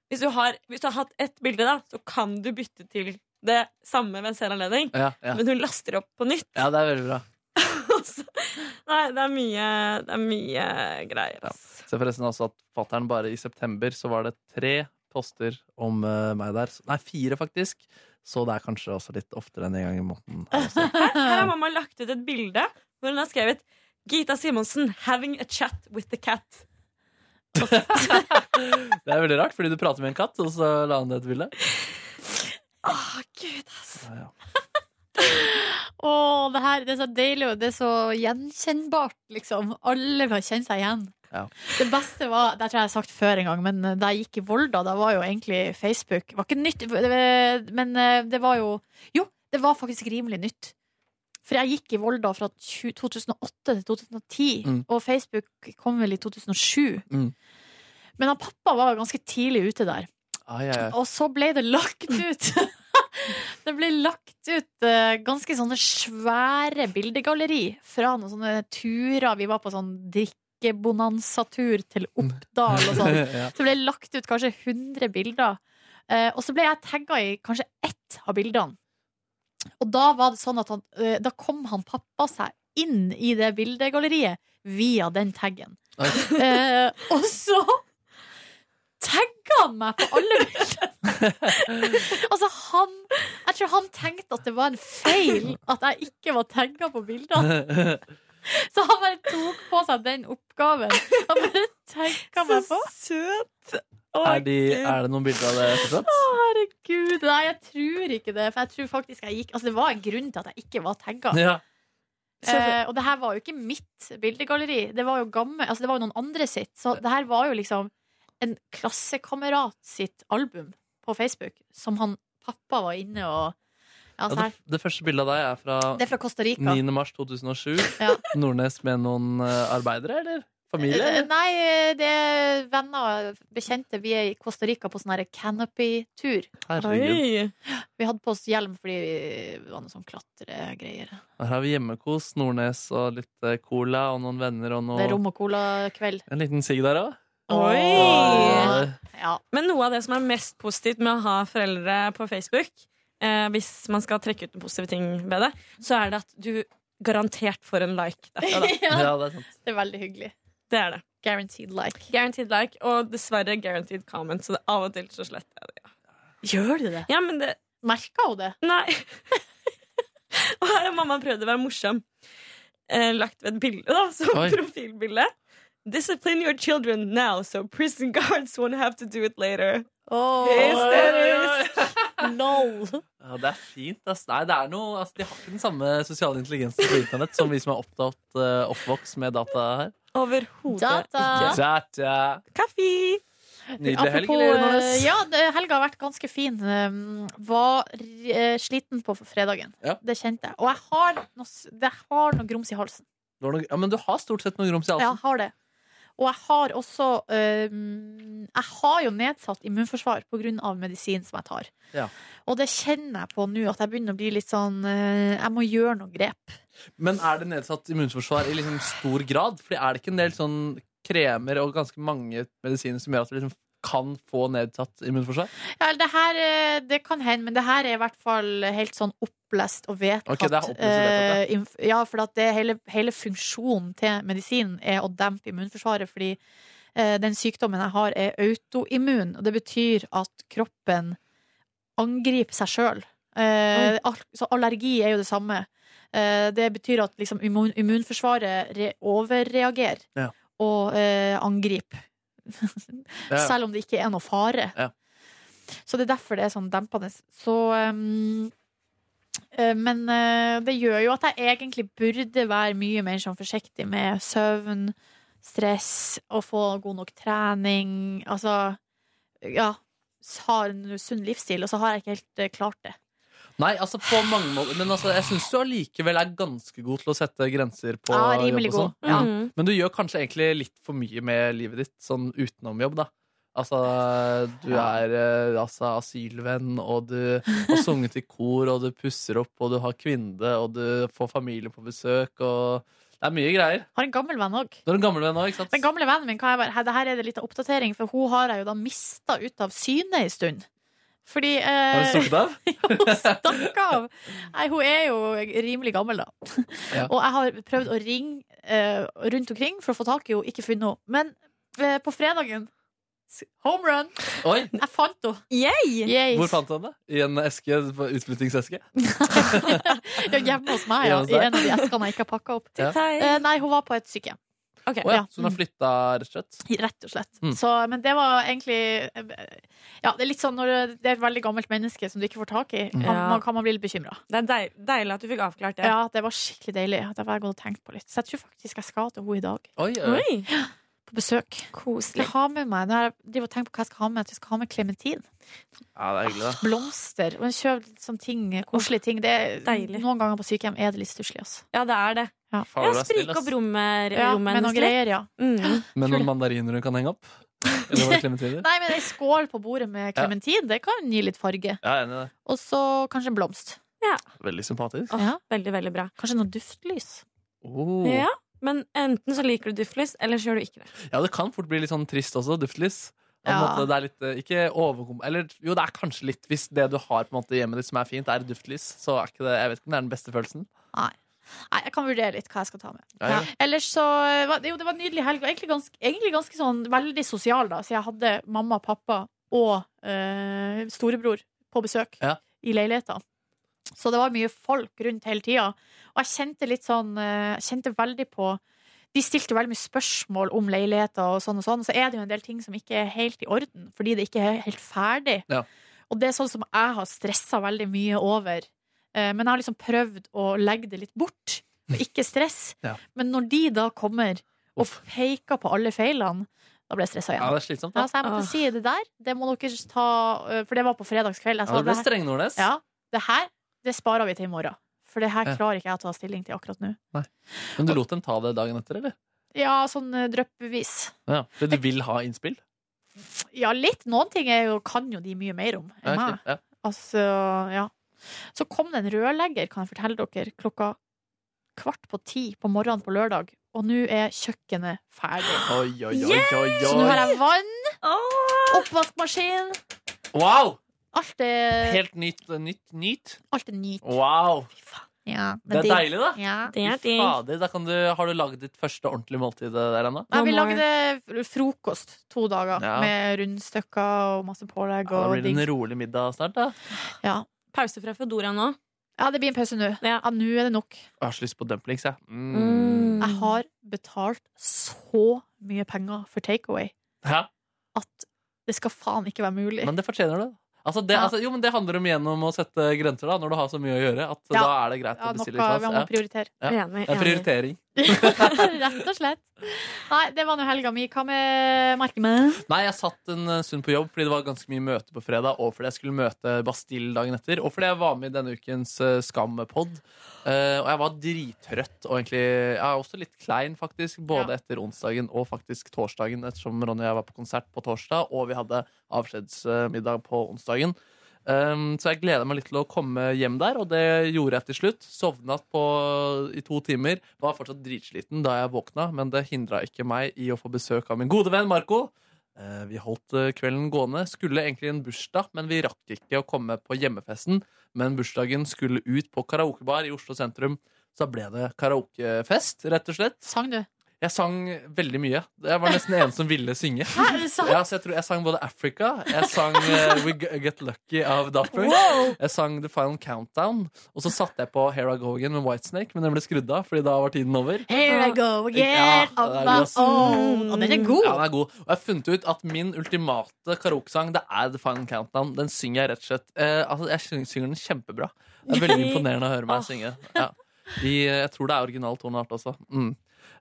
Speaker 12: Hvis du, har, hvis du har hatt ett bilde, da, så kan du bytte til det samme ved en sen anledning.
Speaker 3: Ja, ja.
Speaker 12: Men hun laster opp på nytt.
Speaker 3: Ja, det er veldig bra.
Speaker 12: Nei, det er mye, det er mye greier. ass.
Speaker 3: Se forresten også at fatteren bare i september så var det tre poster om eh, meg der. Nei, fire faktisk. Så det er kanskje også litt oftere enn en gang i måneden.
Speaker 12: Her, her har mamma lagt ut et bilde hvor hun har skrevet Gita Simonsen having a chat with the cat.
Speaker 3: Det er veldig rart, fordi du prater med en katt, og så la han det et bilde.
Speaker 12: Å, gud, ass.
Speaker 2: Å, det her det er så deilig, og det er så gjenkjennbart, liksom. Alle kan kjenne seg igjen.
Speaker 3: Ja.
Speaker 2: Det beste var, det tror jeg jeg har sagt før en gang, men eh, da jeg gikk i Volda, da var jo egentlig Facebook var ikke nytt, men eh, det var jo Jo, det var faktisk rimelig nytt. For jeg gikk i Volda fra 20 2008 til 2010,
Speaker 3: Mm.
Speaker 2: og Facebook kom vel i 2007.
Speaker 3: Mm.
Speaker 2: Men han pappa var jo ganske tidlig ute der.
Speaker 3: Ai, ai, ai.
Speaker 2: Og så ble det lagt ut. det ble lagt ut eh, ganske sånne svære bildegalleri fra noen sånne turer. Vi var på sånn drikkebonanza-tur til Oppdal og sånn.
Speaker 13: Ja.
Speaker 2: Så ble det lagt ut kanskje 100 bilder. Eh, og så ble jeg tagga i kanskje ett av bildene. Og da var det sånn at han, eh, da kom han pappa seg inn i det bildegalleriet via den taggen. Eh, og så tagga han meg på alle bildene! altså, han Jeg tror han tenkte at det var en feil at jeg ikke var tagga på bildene. Så han bare tok på seg den oppgaven. Han bare tagga meg på.
Speaker 12: Så søt!
Speaker 3: Er, de, er det noen bilder av det fortsatt?
Speaker 2: Å, herregud. Nei, jeg tror ikke det. For jeg tror faktisk jeg gikk Altså, det var en grunn til at jeg ikke var tagga.
Speaker 3: Ja.
Speaker 2: Eh, og det her var jo ikke mitt bildegalleri. Det var jo gammel, altså det var jo noen andre sitt. Så det her var jo liksom en klassekamerat sitt album på Facebook, som han pappa var inne og ja,
Speaker 3: Ja,
Speaker 2: så
Speaker 3: det,
Speaker 2: her.
Speaker 3: det første bildet av deg er fra,
Speaker 2: Det er fra Costa Rica.
Speaker 3: 9. mars 2007.
Speaker 2: Ja.
Speaker 3: Nordnes med noen eh, arbeidere, eller? Familie?
Speaker 2: Eh,
Speaker 3: eller?
Speaker 2: Nei, det er venner, bekjente. Vi er i Costa Rica på sånn her canopy-tur.
Speaker 3: Herregud.
Speaker 2: Vi hadde på oss hjelm fordi vi var noe sånn klatregreier.
Speaker 3: Her har vi hjemmekos, Nordnes og litt eh, cola og noen venner og
Speaker 2: Det er
Speaker 3: noe
Speaker 2: rom og cola-kveld.
Speaker 3: En liten sigg der òg.
Speaker 12: Oi!
Speaker 2: Ja.
Speaker 12: Men noe av det som er mest positivt med å ha foreldre på Facebook, eh, hvis man skal trekke ut noen positive ting ved det, så er det at du garantert får en like derfra. Da.
Speaker 2: Ja. Ja, det er sant. Det er veldig hyggelig.
Speaker 12: Det er det.
Speaker 2: Guaranteed like.
Speaker 12: Guaranteed like, Og dessverre guaranteed comment, så det av og til så sletter jeg det.
Speaker 2: Gjør du det?
Speaker 12: Ja, men det
Speaker 2: Merka hun det?
Speaker 12: Nei. Og her har mamma prøvd å være morsom. Eh, lagt ved et bilde, da, som
Speaker 13: Oi.
Speaker 12: profilbilde. Discipline your children now, so prison guards won't have to do it later.
Speaker 2: Oh. Lol.
Speaker 3: Ja, det er fint. Ass. Nei, det er noe, altså, de har ikke den samme sosiale intelligensen på internett som vi som er opptatt, eh, oppvokst med data her.
Speaker 12: Overhodet
Speaker 2: Data.
Speaker 12: ikke.
Speaker 3: Data.
Speaker 12: Kaffe!
Speaker 3: Nydelig helg,
Speaker 2: Apropos,
Speaker 3: eller,
Speaker 2: eh,
Speaker 3: Nordnes?
Speaker 2: Ja, det- helga har vært ganske fin. Um, Var eh, sliten på fredagen.
Speaker 3: Ja.
Speaker 2: Det kjente jeg. Og jeg har noe, s- det har noe grums i halsen.
Speaker 3: Det var noe- Ja, men du har stort sett noe grums i
Speaker 2: Ja, jeg
Speaker 3: halsen.
Speaker 2: har det. Og jeg har også um, Jeg har jo nedsatt immunforsvar pga. medisin som jeg tar.
Speaker 3: Ja.
Speaker 2: Og det kjenner jeg på nå, at jeg begynner å bli litt sånn eh, Jeg må gjøre noen grep.
Speaker 3: Men er det nedsatt immunforsvar i liksom stor grad? Fordi er det ikke en del sånn kremer og ganske mange medisiner som gjør at du liksom kan få nedsatt immunforsvar?
Speaker 2: Ja, det her eh, det kan hende, men det her er i hvert fall helt sånn opplest og vedtatt.
Speaker 3: Ok, det er opplest og vedtatt,
Speaker 2: eh, inf- ja, for at det hele, hele funksjonen til medisinen er å dempe immunforsvaret, fordi eh, den sykdommen jeg har, er autoimmun. Og det betyr at kroppen angriper seg sjøl. Eh, al- så allergi er jo det samme. Eh, det betyr at liksom, immun, immunforsvaret re overreagerer
Speaker 3: Ja.
Speaker 2: og eh, angriper.
Speaker 3: Ja.
Speaker 2: Selv om det ikke er noe fare.
Speaker 3: Ja.
Speaker 2: Så det er derfor det er sånn dempende. Så um, eh, Men eh, det gjør jo at jeg egentlig burde være mye mer sånn forsiktig med søvn, stress, å få god nok trening. Altså ja. Har en sunn livsstil, og så har jeg ikke helt eh, klart det.
Speaker 3: Nei, altså på mange måter Men altså, jeg syns du allikevel er ganske god til å sette grenser på
Speaker 2: Ja,
Speaker 3: jobb
Speaker 2: rimelig
Speaker 3: og sånn.
Speaker 2: god. Ja.
Speaker 3: Men du gjør kanskje egentlig litt for mye med livet ditt sånn utenom jobb, da. Altså, du er eh, altså, asylvenn, og du har sunget i kor, og du pusser opp, og du har kvinne, og du får familie på besøk, og det er mye greier.
Speaker 2: Har en gammel venn òg.
Speaker 3: Du er en gammel venn òg, ikke sant?
Speaker 2: Den gamle vennen min kan jeg bare, det her er det litt av oppdatering, for hun har jeg jo da mista ut av syne en stund. Fordi eh,
Speaker 3: Har du stukket av?
Speaker 2: stakk av. Nei, hun er jo rimelig gammel, da.
Speaker 3: Ja.
Speaker 2: Og jeg har prøvd å ringe eh, rundt omkring for å få tak i henne, ikke funnet henne. Men eh, på fredagen s- Home run!
Speaker 3: Oi!
Speaker 2: Jeg fant henne. Yay.
Speaker 3: Hvor fant du henne? I en eske? Utflyttingseske?
Speaker 2: Ja, hjemme hos meg,
Speaker 3: Hjemme
Speaker 2: ja.
Speaker 3: hos
Speaker 2: I
Speaker 3: deg.
Speaker 2: en av de eskene jeg ikke har pakka opp.
Speaker 3: Ja.
Speaker 2: Eh, nei, hun var på et sykehjem.
Speaker 3: Å ja, så hun har
Speaker 2: Mm.
Speaker 3: flytta, rett og slett?
Speaker 2: Rett og slett.
Speaker 3: Mm.
Speaker 2: Så, men det var egentlig Ja, det er litt sånn når det er et veldig gammelt menneske som du ikke får tak i,
Speaker 12: Mm.
Speaker 2: kan,
Speaker 12: Ja.
Speaker 2: man, kan man bli litt bekymra.
Speaker 12: Det er deil, deilig at du fikk avklart det.
Speaker 2: Ja, det var skikkelig deilig. Det var jeg gått og tenkt på litt. Så jeg tror faktisk jeg skal til henne i dag.
Speaker 3: Oi, oi. Oi.
Speaker 2: Ja, På besøk. Koselig. Jeg har med meg, når jeg driver og tenker på hva jeg skal ha med, at jeg skal ha med klementin.
Speaker 3: Ja, det er hyggelig, da.
Speaker 2: Blomster. Og en kjøp litt sånn ting, koselige ting. Det, er- noen ganger på sykehjem er det litt stusslig, altså.
Speaker 12: Ja, det er det.
Speaker 2: Ja,
Speaker 3: Faen, du er snill,
Speaker 12: Sprik
Speaker 3: ass.
Speaker 12: opp rommet
Speaker 2: Ja,
Speaker 12: rommet
Speaker 2: med noen
Speaker 12: hennes litt.
Speaker 2: greier, ja.
Speaker 12: Mm.
Speaker 3: Med noen mandariner hun kan henge opp? Eller var det klementiner?
Speaker 2: Nei, men ei skål på bordet med
Speaker 3: Ja.
Speaker 2: klementin, det kan gi litt farge.
Speaker 3: Ja, jeg er enig i det.
Speaker 2: Og så kanskje en blomst.
Speaker 3: Veldig sympatisk.
Speaker 2: Ja.
Speaker 12: Veldig, veldig bra.
Speaker 2: Kanskje noe duftlys.
Speaker 3: Oh.
Speaker 12: Ja, men enten så liker du duftlys, eller så gjør du ikke det.
Speaker 3: Ja, det kan fort bli litt sånn trist også, duftlys. På en
Speaker 12: Ja.
Speaker 3: måte, det er litt, eh, ikke overkom... Eller jo, det er kanskje litt Hvis det du har på en måte hjemmet ditt som er fint, er duftlys, så er ikke det Jeg vet ikke om det er den beste følelsen.
Speaker 2: Nei. Nei, jeg kan vurdere litt hva jeg skal ta med.
Speaker 3: Ja, ja.
Speaker 2: Ellers så var det- Jo, det var en nydelig helg. Og egentlig ganske, egentlig ganske sånn veldig sosial, da. Så jeg hadde mamma, pappa og eh, storebror på besøk
Speaker 3: Ja.
Speaker 2: i leiligheta. Så det var mye folk rundt hele tida. Og jeg kjente litt sånn eh, Jeg kjente veldig på de stilte veldig mye spørsmål om leiligheter og sånn og sånn. Så er det jo en del ting som ikke er helt i orden, fordi det ikke er helt ferdig.
Speaker 3: Ja.
Speaker 2: Og det er sånn som jeg har stressa veldig mye over. Eh, Men jeg har liksom prøvd å legge det litt bort, og ikke stress.
Speaker 3: Ja.
Speaker 2: Men når de da kommer og peker på alle feilene, da ble jeg stressa igjen.
Speaker 3: Ja, det er slitsomt, da.
Speaker 2: Ja, så jeg måtte
Speaker 3: Åh.
Speaker 2: si det der, det må dere ta eh, For det var på fredagskveld. Jeg sa,
Speaker 3: Ja, du ble
Speaker 2: her-
Speaker 3: streng, Nordnes.
Speaker 2: Ja. Det her, det sparer vi til i morgen. For det her
Speaker 3: Ja.
Speaker 2: klarer ikke jeg å ta stilling til akkurat nå.
Speaker 3: Nei. Men du lot dem ta det dagen etter, eller?
Speaker 2: Ja, sånn eh, dryppvis.
Speaker 3: Ja. For du vil ha innspill?
Speaker 2: Ja, litt. Noen ting er jo, kan jo de mye mer om enn
Speaker 3: Ja, ok,
Speaker 2: meg. Altså, ja. Så kom det en rørlegger, kan jeg fortelle dere, klokka kvart på ti på morgenen på lørdag. Og nå er kjøkkenet ferdig.
Speaker 3: Oi, oi, oi,
Speaker 2: Yes!
Speaker 3: oi,
Speaker 2: Så nå har
Speaker 3: oi.
Speaker 2: jeg vann, oppvaskmaskin
Speaker 3: Wow!
Speaker 2: Alt er
Speaker 3: Helt nytt, nytt, nytt.
Speaker 2: Alt er nytt.
Speaker 3: Wow!
Speaker 2: Ja, men
Speaker 3: Det er
Speaker 2: digg.
Speaker 3: deilig, da.
Speaker 2: Ja.
Speaker 3: Fy Fader, da kan du, har du lagd ditt første ordentlige måltid der ennå?
Speaker 2: Nei, vi lagde frokost to dager
Speaker 3: Ja.
Speaker 2: med rundstykker og masse pålegg.
Speaker 3: ja, Da
Speaker 2: Og
Speaker 3: blir det en
Speaker 2: digg.
Speaker 3: rolig middag snart, da.
Speaker 12: Pause fra Foodora nå.
Speaker 2: Ja, det blir en pause nå. Ja, nå er det nok.
Speaker 3: Jeg har så lyst på dumplings, jeg. Mm.
Speaker 2: Jeg har betalt så mye penger for takeaway.
Speaker 3: Hæ?
Speaker 2: Det skal faen ikke være mulig.
Speaker 3: Men det fortjener du. Altså det,
Speaker 2: Ja.
Speaker 3: altså, jo, men det handler om igjennom å sette grenser da, når du har så mye å gjøre. At
Speaker 2: Ja.
Speaker 3: da er det greit
Speaker 2: Ja,
Speaker 3: å bestille.
Speaker 2: noe
Speaker 3: ikke sant?
Speaker 2: man må prioritere.
Speaker 3: Ja.
Speaker 2: Enig,
Speaker 3: Det er
Speaker 2: enig.
Speaker 3: prioritering.
Speaker 2: Rett og slett. Nei, det var nå helga mi. Hva med Markemann?
Speaker 3: Nei, jeg satt en eh, stund på jobb fordi det var ganske mye møte på fredag, og fordi jeg skulle møte Bastille dagen etter, og fordi jeg var med i denne ukens eh, Skam-pod. Eh, og jeg var drittrøtt, og egentlig jeg er også litt klein, faktisk, både etter onsdagen og faktisk torsdagen, ettersom Ronny og jeg var på konsert på torsdag, og vi hadde avskjedsmiddag på onsdagen. Um, så jeg gleda meg litt til å komme hjem der, og det gjorde jeg til slutt. Sovna på, i to timer. Var fortsatt dritsliten da jeg våkna, men det hindra ikke meg i å få besøk av min gode venn Marco. Eh, vi holdt eh, kvelden gående. Skulle egentlig en bursdag, men vi rakk ikke å komme på hjemmefesten. Men bursdagen skulle ut på karaokebar i Oslo sentrum. Så da ble det karaokefest, rett og slett.
Speaker 2: Sang du?
Speaker 3: Jeg sang veldig mye. Jeg var nesten en som ville synge.
Speaker 2: Hæ, er det sant?
Speaker 3: Ja, så jeg, tror jeg sang både Africa, jeg sang eh, We G- Get Lucky av Daft Punk,
Speaker 2: Wow!
Speaker 3: jeg sang The Final Countdown, og så satte jeg på Here I Go Again med Whitesnake, men den ble skrudd av, fordi da var tiden over.
Speaker 2: Here I go again
Speaker 3: Ja,
Speaker 2: on
Speaker 3: det er
Speaker 2: my
Speaker 3: god, ass.
Speaker 2: own. Og den er god.
Speaker 3: Ja, den er god. Og jeg har funnet ut at min ultimate karaokesang Det er The Final Countdown. Den synger jeg rett og slett eh, Altså, jeg syng- synger den kjempebra. Det er veldig imponerende å høre meg synge. Ja. I, eh, jeg tror det er original toneart også. Mm.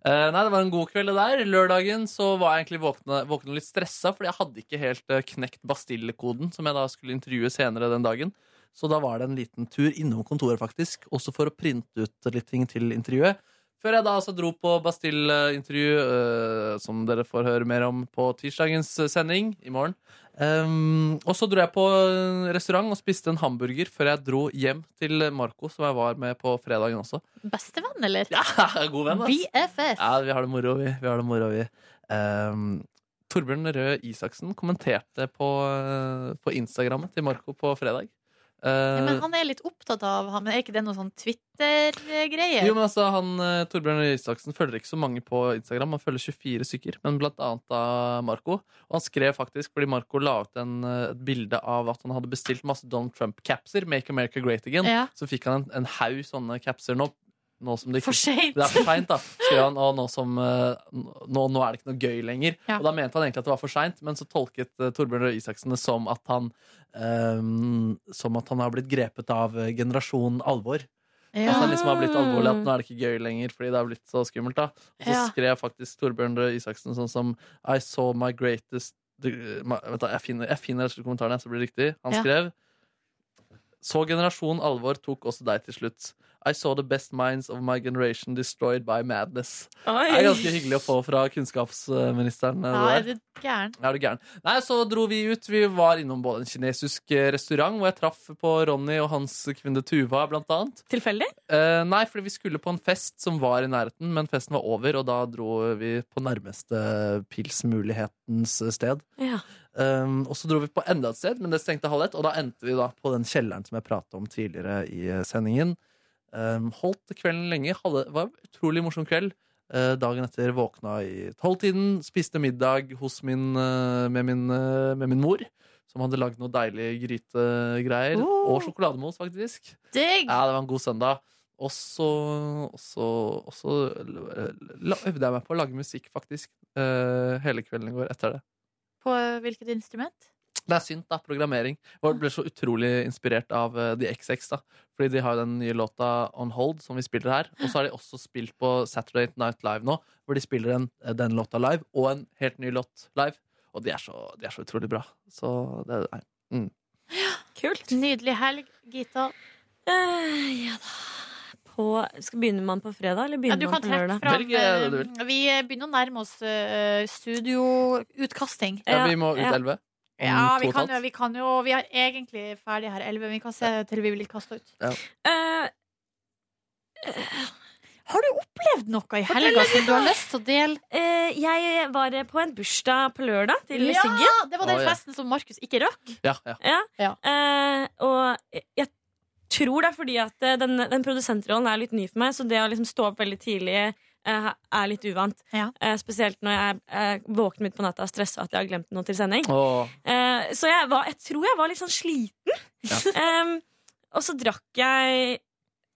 Speaker 3: Eh, nei, det var en god kveld det der. Lørdagen så var jeg egentlig våkne, våkne litt stressa, fordi jeg hadde ikke helt eh, knekt Bastille-koden, som jeg da skulle intervjue senere den dagen. Så da var det en liten tur innom kontoret, faktisk, også for å printe ut litt ting til intervjuet. Før jeg da altså dro på Bastille-intervju, eh, som dere får høre mer om på tirsdagens eh, sending i morgen. Ehm, og så dro jeg på en restaurant og spiste en hamburger før jeg dro hjem til Marco, som jeg var med på fredagen også.
Speaker 2: Bestevenn, eller?
Speaker 3: Ja, god venn, ass.
Speaker 2: BFF.
Speaker 3: Ja, vi har det moro, vi. vi, har det moro, vi. Ehm, Torbjørn Røe Isaksen kommenterte på, eh, på Instagrammet til Marco på fredag.
Speaker 2: Ja, men
Speaker 3: Eh,
Speaker 2: han er litt opptatt av ham. Men er ikke det noe sånn Twitter-greie?
Speaker 3: Jo, men altså, han, eh, Torbjørn Røe Isaksen følger ikke så mange på Instagram. Han følger 24 stykker, men blant annet av Marco. Og han skrev faktisk, fordi Marco la ut en, eh, et bilde av at han hadde bestilt masse Donald Trump-capser, Make America Great Again.
Speaker 2: Ja.
Speaker 3: Så fikk han en, en haug sånne capser nå. Nå som det ikke,
Speaker 2: For sent.
Speaker 3: Det er for seint, da. Skrev han, og nå, som, eh, nå, nå er det ikke noe gøy lenger.
Speaker 2: Ja.
Speaker 3: Og da mente han egentlig at det var for seint, men så tolket eh, Torbjørn Røe Isaksen det som at han eh, Som at han har blitt grepet av eh, generasjonen alvor.
Speaker 2: Ja.
Speaker 3: At han liksom har blitt alvorlig at nå er det ikke gøy lenger fordi det har blitt så skummelt. da Og så
Speaker 2: Ja.
Speaker 3: skrev faktisk Torbjørn Røe Isaksen sånn som I saw my greatest the- my, Vent, da, jeg finner, jeg finner rett og slett kommentaren, jeg, så blir det riktig. Han
Speaker 2: Ja.
Speaker 3: skrev Så generasjon alvor tok også deg til slutt. I saw the best minds of my generation destroyed by madness.
Speaker 2: Oi.
Speaker 3: Det er ganske hyggelig å få fra kunnskapsministeren. eh,
Speaker 2: Ja,
Speaker 3: det der.
Speaker 2: er du gæren?
Speaker 3: Er du gæren? Nei, så dro vi ut. Vi var innom både en kinesisk eh, restaurant, hvor jeg traff på Ronny og hans kvinne Tuva, blant annet.
Speaker 12: Tilfeldig?
Speaker 3: Eh, nei, fordi vi skulle på en fest som var i nærheten, men festen var over, og da dro vi på nærmeste pilsmulighetens eh, sted.
Speaker 12: Ja.
Speaker 3: Um, og så dro vi på enda et sted, men det stengte halv ett. Og da endte vi da på den kjelleren som jeg prata om tidligere i eh, sendingen. Um, holdt kvelden lenge. Hadde, var en utrolig morsom kveld. Eh, dagen etter våkna i tolvtiden, spiste middag hos min, eh, med, min, eh, med min mor. Som hadde lagd noe deilig grytegreier.
Speaker 2: Oh.
Speaker 3: Og sjokolademos, faktisk.
Speaker 2: Digg!
Speaker 3: Ja, det var en god søndag. Og så, og så, og så la, øvde jeg meg på å lage musikk, faktisk, eh, hele kvelden i går etter det.
Speaker 2: På hvilket instrument?
Speaker 3: Det er synt, da. Programmering. Jeg ble så utrolig inspirert av eh, The XX. da Fordi de har jo den nye låta On Hold, som vi spiller her. Og så har de også spilt på Saturday Night Live nå, hvor de spiller en, eh, den låta live, og en helt ny låt live. Og de er så, de er så utrolig bra. Så det er mm.
Speaker 12: Kult.
Speaker 2: Nydelig helg, Gita.
Speaker 12: Eh, ja da. På, skal begynne man på fredag, eller
Speaker 2: Ja,
Speaker 12: begynner
Speaker 2: du kan
Speaker 12: man på
Speaker 2: trekke
Speaker 12: lørdag?
Speaker 2: fram eh, Vi eh, begynner å nærme oss eh, studioutkasting.
Speaker 3: ja, vi må ut elleve. om Mm, to
Speaker 2: Ja, vi
Speaker 3: og et
Speaker 2: kan,
Speaker 3: halvt.
Speaker 2: jo, vi kan jo Vi er egentlig ferdig her elleve, men vi kan se til vi blir kasta ut.
Speaker 3: Ja.
Speaker 12: Eh,
Speaker 2: Har du opplevd noe i
Speaker 12: Fortell
Speaker 2: helga
Speaker 12: litt,
Speaker 2: som du har
Speaker 12: da.
Speaker 2: lyst til å dele?
Speaker 12: Eh, jeg var på en bursdag på lørdag til
Speaker 2: Ja,
Speaker 12: Siggen.
Speaker 2: det var den Å, ja. festen som Markus ikke rakk.
Speaker 3: Ja, ja.
Speaker 12: Ja.
Speaker 2: Ja.
Speaker 12: Eh, og jeg- jeg tror det er fordi at eh, den, den produsentrollen er litt ny for meg, så det å liksom stå opp veldig tidlig eh, er litt uvant. Eh, spesielt når jeg eh, våkner midt på natta og stressa at jeg har glemt noe til sending.
Speaker 3: Åh.
Speaker 12: Eh, så jeg, var, jeg tror jeg var litt sånn sliten. Em, og så drakk jeg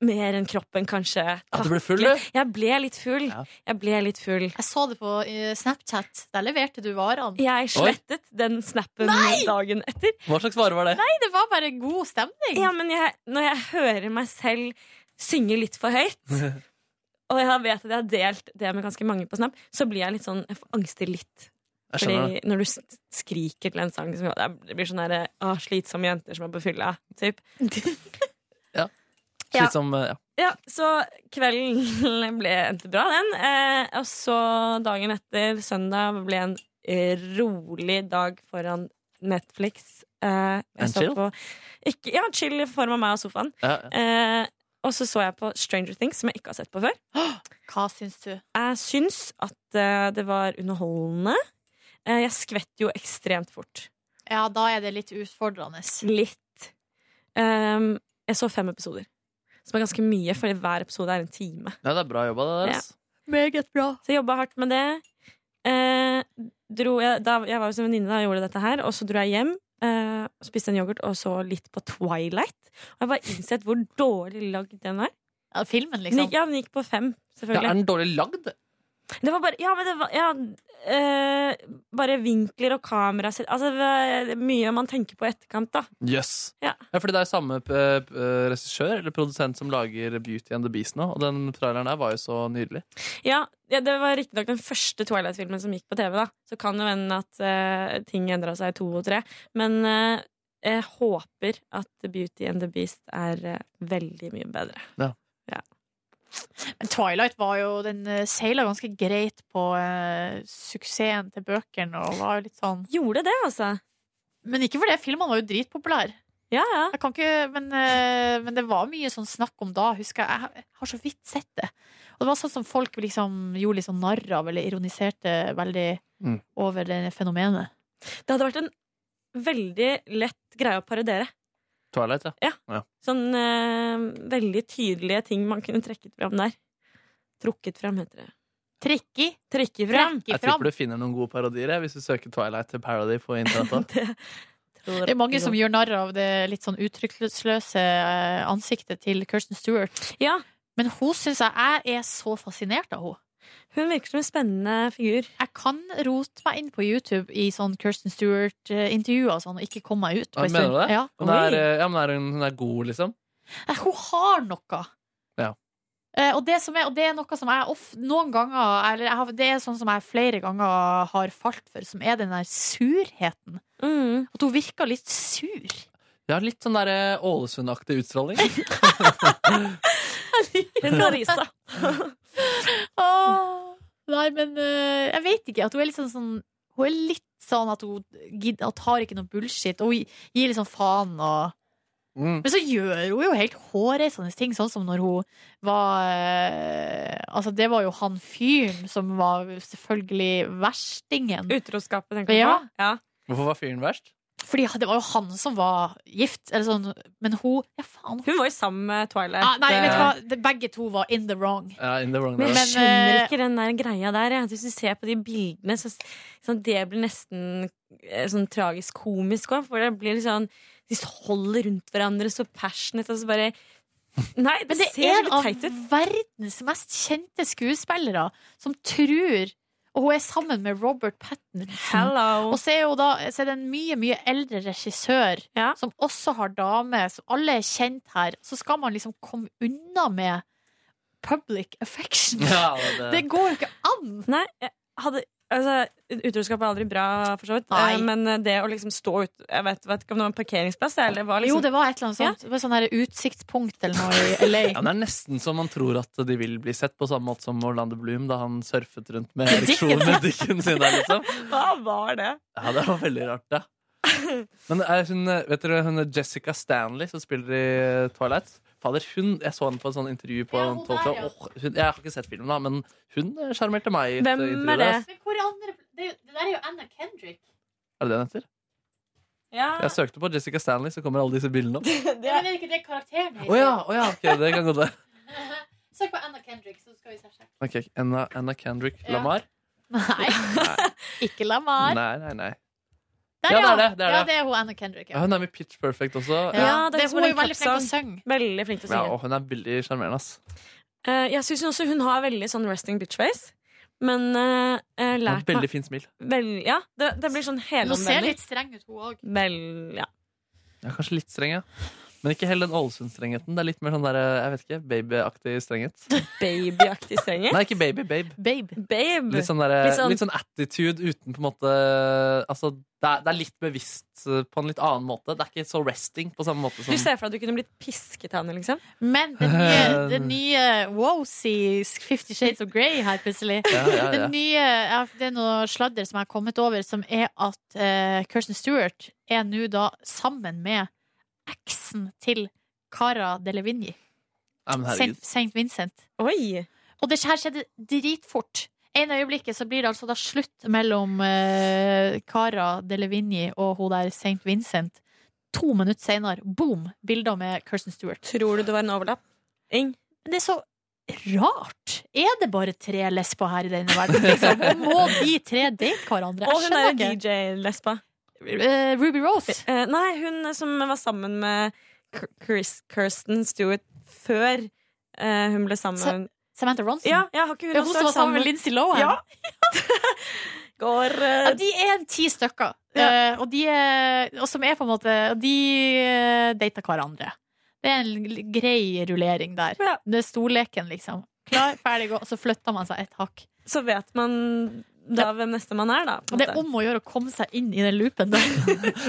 Speaker 12: mer enn kroppen, kanskje.
Speaker 3: Ja, du ble full,
Speaker 12: taklet.
Speaker 3: du?
Speaker 12: Jeg ble litt full. Jeg ble litt full.
Speaker 2: Jeg så det på eh, Snapchat. Der leverte du varene.
Speaker 12: Jeg slettet den snappen dagen etter.
Speaker 3: Hva slags vare var det?
Speaker 2: Nei, det var bare god stemning.
Speaker 12: Ja, men jeg, når jeg hører meg selv synge litt for høyt, og jeg vet at jeg har delt det med ganske mange på Snap, så blir jeg litt sånn Jeg får angster litt.
Speaker 3: Jeg
Speaker 12: Fordi
Speaker 3: skjønner
Speaker 12: når du s- skriker til en sang som Det blir sånn derre «Å, slitsomme jenter som er på fylla, typ. Ja.
Speaker 3: Slitt som eh, ja.
Speaker 12: Ja, så kvelden ble endte bra, den. Eh, og så dagen etter, søndag, ble en eh, rolig dag foran Netflix. Eh,
Speaker 3: En
Speaker 12: jeg så
Speaker 3: chill?
Speaker 12: på ikke, Ja, chill i form av meg og sofaen.
Speaker 3: Ja,
Speaker 12: Eh, og så så jeg på Stranger Things, som jeg ikke har sett på før.
Speaker 2: Hva syns du?
Speaker 12: Jeg syns at eh, det var underholdende. Eh, jeg skvetter jo ekstremt fort.
Speaker 2: Ja, da er det litt utfordrende.
Speaker 12: Litt. Ehm, jeg så fem episoder, som er ganske mye, fordi hver episode er en time.
Speaker 3: Nei, det er bra jobba, det der.
Speaker 12: Ja.
Speaker 3: ass.
Speaker 2: Meget bra.
Speaker 12: Så jeg jobba hardt med det. Eh, dro jeg, da, jeg var hos en venninne da jeg gjorde dette her, og så dro jeg hjem. eh, og spiste en yoghurt og så litt på Twilight. Og jeg bare innsett hvor dårlig lagd den er.
Speaker 2: Ja, filmen, liksom.
Speaker 12: Den gikk- Ja, den gikk på fem,
Speaker 3: Ja, er
Speaker 12: selvfølgelig.
Speaker 3: den dårlig lagd?
Speaker 12: Det var bare, ja, men det var ja, eh, Bare vinkler og kamera Altså det var mye man tenker på i etterkant, da.
Speaker 3: Jøss.
Speaker 12: Ja.
Speaker 3: Ja, fordi det er jo samme eh, eh, regissør eller produsent som lager Beauty and the Beast nå, og den traileren der var jo så nydelig.
Speaker 12: Ja, ja Det var riktignok den første Twilight-filmen som gikk på TV. da Så kan det hende at eh, ting endra seg i to og tre. Men eh, jeg håper at Beauty and the Beast er eh, veldig mye bedre.
Speaker 3: Ja.
Speaker 2: Men Twilight var jo Den eh, seila ganske greit på eh, suksessen til bøkene og var jo litt sånn
Speaker 12: Gjorde det, altså.
Speaker 2: Men ikke for det. Filmene var jo dritpopulære.
Speaker 12: Ja, ja.
Speaker 2: Jeg kan ikke, men, eh, men det var mye sånn snakk om da, husker jeg. Jeg har så vidt sett det. Og det var sånn som folk liksom gjorde litt sånn narr av, eller ironiserte veldig
Speaker 12: Mm.
Speaker 2: over det fenomenet.
Speaker 12: Det hadde vært en veldig lett greie å parodiere.
Speaker 3: Twilight, ja. ja.
Speaker 12: Sånn eh, veldig tydelige ting man kunne trekket fram der. Trukket fram, heter det.
Speaker 2: Trikki?
Speaker 12: Trekke fram!
Speaker 3: Jeg tipper du finner noen gode parodier jeg, hvis du søker Twilight til parody på internett. da.
Speaker 2: Det er mange som gjør narr av det litt sånn uttrykksløse eh, ansiktet til Kirsten Stewart. Men hun syns jeg jeg er så fascinert av henne.
Speaker 12: Hun virker som en spennende figur.
Speaker 2: Jeg kan rote meg inn på YouTube i sånn Kirsten Stewart-intervjuer og sånn, og ikke komme meg ut. på
Speaker 3: Ja,
Speaker 2: en
Speaker 3: Mener du
Speaker 2: stund.
Speaker 3: det?
Speaker 2: Ja.
Speaker 3: Hun er, eh, ja, men er hun, hun er god, liksom?
Speaker 2: Eh, Hun har noe.
Speaker 3: Ja.
Speaker 2: Eh, Og det, som er, og det er noe som jeg of, noen ganger eller jeg har, Det er sånn som jeg flere ganger har falt for, som er den der surheten. At hun virker litt sur.
Speaker 3: Ja, litt sånn der eh, Ålesund-aktig utstråling.
Speaker 12: Larisa.
Speaker 2: Åh, nei, men eh, jeg vet ikke. At hun er litt sånn, sånn Hun er litt sånn at hun gid- at tar ikke noe bullshit. Og hun gi- gir litt sånn faen og
Speaker 3: Mm.
Speaker 2: Men så gjør hun jo helt hårreisende ting, sånn som når hun var eh, Altså, det var jo han fyren som var selvfølgelig verstingen.
Speaker 12: Utroskapen,
Speaker 3: tenker du
Speaker 2: ja,
Speaker 3: på? Hvorfor var fyren verst?
Speaker 2: Fordi det var jo han som var gift, eller sånn, men hun Ja, faen.
Speaker 12: Hun var jo sammen med Twilight. eh,
Speaker 2: Ah, nei, vet du hva? Det- Begge to var in the wrong.
Speaker 3: Ja, in the wrong
Speaker 12: Men eh, jeg
Speaker 3: direction.
Speaker 12: skjønner ikke den der greia der. Jeg. Hvis du ser på de bildene, så sånn, det blir nesten eh, sånn tragisk komisk òg. For det blir litt sånn De holder rundt hverandre så passionate, og så bare Nei, det,
Speaker 2: Men det
Speaker 12: ser
Speaker 2: er
Speaker 12: så
Speaker 2: en av
Speaker 12: teit ut.
Speaker 2: verdens mest kjente skuespillere som tror Og hun er sammen med Robert Pattinson.
Speaker 12: Hello.
Speaker 2: Og så er, hun da, så er det en mye, mye eldre regissør som også har dame, så alle er kjent her. Så skal man liksom komme unna med public affection.
Speaker 12: Ja,
Speaker 2: det,
Speaker 12: det-
Speaker 2: går jo ikke an!
Speaker 12: Nei, jeg hadde Altså, Utroskap er aldri bra, for så vidt.
Speaker 2: Nei.
Speaker 12: Eh, Men det å liksom stå ut Jeg vet, vet ikke om det var en parkeringsplass. Eller det var liksom,
Speaker 2: Jo, det var et eller annet sånt. Det var sånn her utsiktspunkt eller noe i LA.
Speaker 3: Ja, men det er nesten så man tror at de vil bli sett, på samme måte som Orlando Bloom da han surfet rundt med ereksjon med dikken sin der, liksom.
Speaker 12: Hva var det?
Speaker 3: Ja, det var veldig rart, da. Men er hun, vet dere, hun er Jessica Stanley som spiller i eh, Twilight. Fader, hun, Jeg så henne på et sånt intervju på en talkshow. Åh, hun, Jeg har ikke sett filmen, da, men hun sjarmerte meg. i et intervju der, altså.
Speaker 2: Men hvor andre, det, det der er jo Anna Kendrick.
Speaker 3: Er det det hun heter? Jeg søkte på Jessica Stanley, så kommer alle disse bildene opp.
Speaker 2: Det er vel ikke det karakteren
Speaker 3: Å ja, å ja, ok, det kan godt være.
Speaker 2: Søk på Anna Kendrick, så skal vi se.
Speaker 3: Ok, Anna, Anna Kendrick
Speaker 2: Ja.
Speaker 3: Lamar?
Speaker 2: Nei. ikke Lamar.
Speaker 3: Nei, nei, nei.
Speaker 2: Der,
Speaker 3: Ja, det er det, det er
Speaker 2: ja,
Speaker 3: det.
Speaker 2: det er hun Anna Kendrick.
Speaker 3: Ja,
Speaker 2: Ja.
Speaker 3: hun er med i Pitch Perfect også.
Speaker 12: Ja, det
Speaker 2: det,
Speaker 12: er
Speaker 2: hun er jo
Speaker 12: en
Speaker 2: veldig flink til å
Speaker 12: kappsang.
Speaker 2: synge.
Speaker 12: Veldig flink til å
Speaker 3: Ja,
Speaker 12: synge.
Speaker 3: og hun er veldig sjarmerende, ass.
Speaker 12: Eh, jeg syns også hun har veldig sånn resting bitch face. Men eh,
Speaker 3: Hun
Speaker 12: eh,
Speaker 3: har
Speaker 12: lært
Speaker 3: et veldig fint smil.
Speaker 12: meg vel, Ja, det, det blir sånn
Speaker 2: Hun ser
Speaker 12: helomvending.
Speaker 2: litt streng ut, hun òg.
Speaker 12: Vel, ja.
Speaker 3: Ja, kanskje litt streng, ja. Men ikke heller den Ålesund-strengheten. Det er litt mer sånn der, jeg vet ikke, babyaktig strenghet.
Speaker 12: Babyaktig strenge.
Speaker 3: Nei, ikke baby, babe.
Speaker 2: Babe.
Speaker 3: Litt sånn, der, litt, sånn... attitude uten på en måte Altså, det er, det er litt bevisst eh, på en litt annen måte. Det er ikke så resting på samme måte som
Speaker 12: Du ser for deg at du kunne blitt pisket av henne, liksom?
Speaker 2: Men den nye, den nye Wowsy Fifty Shades of Grey her, plutselig.
Speaker 12: Ja, ja, ja.
Speaker 2: Den nye, ja, det er noe sladder som jeg har kommet over, som er at eh, Kirsten Stewart er nå da sammen med eksen til Cara Delevingne.
Speaker 3: Ja, men herregud.
Speaker 2: Saint, Saint Vincent.
Speaker 12: Oi.
Speaker 2: Og det her skjedde dritfort. En øyeblikket så blir det altså da slutt mellom eh, Cara Delevingne og hun der Saint Vincent. To minutter senere, boom, bilder med Kirsten Stewart.
Speaker 12: Tror du det var en overlapp? Ing?
Speaker 2: Det er så rart. Er det bare tre lesber her i denne verden? Liksom? Og Må de tre date hverandre?
Speaker 12: Og
Speaker 2: Jeg
Speaker 12: hun er
Speaker 2: skjønner ikke.
Speaker 12: DJ-lesba.
Speaker 2: Eh, Ruby Rose?
Speaker 12: nei, hun som var sammen med K- Chris Kirsten Stewart før eh, hun ble sammen
Speaker 2: Sa- Samantha Ronson?
Speaker 12: Ja, ja, har ikke hun
Speaker 2: Ja,
Speaker 12: også
Speaker 2: hun som
Speaker 12: vært
Speaker 2: var sammen med Lindsay Lohan?
Speaker 12: Ja. Går eh,
Speaker 2: Ja, de er en ti stykker, Eh, og, de er, og som er på en måte og De eh, dater hverandre. Det er en l- grei rullering der. Det er storleken, liksom. Klar, ferdig, gå. Og så flytter man seg et hakk.
Speaker 12: så vet man da hvem nestemann er, da. på en
Speaker 2: Det er
Speaker 12: måte.
Speaker 2: om å gjøre å komme seg inn i den loopen der.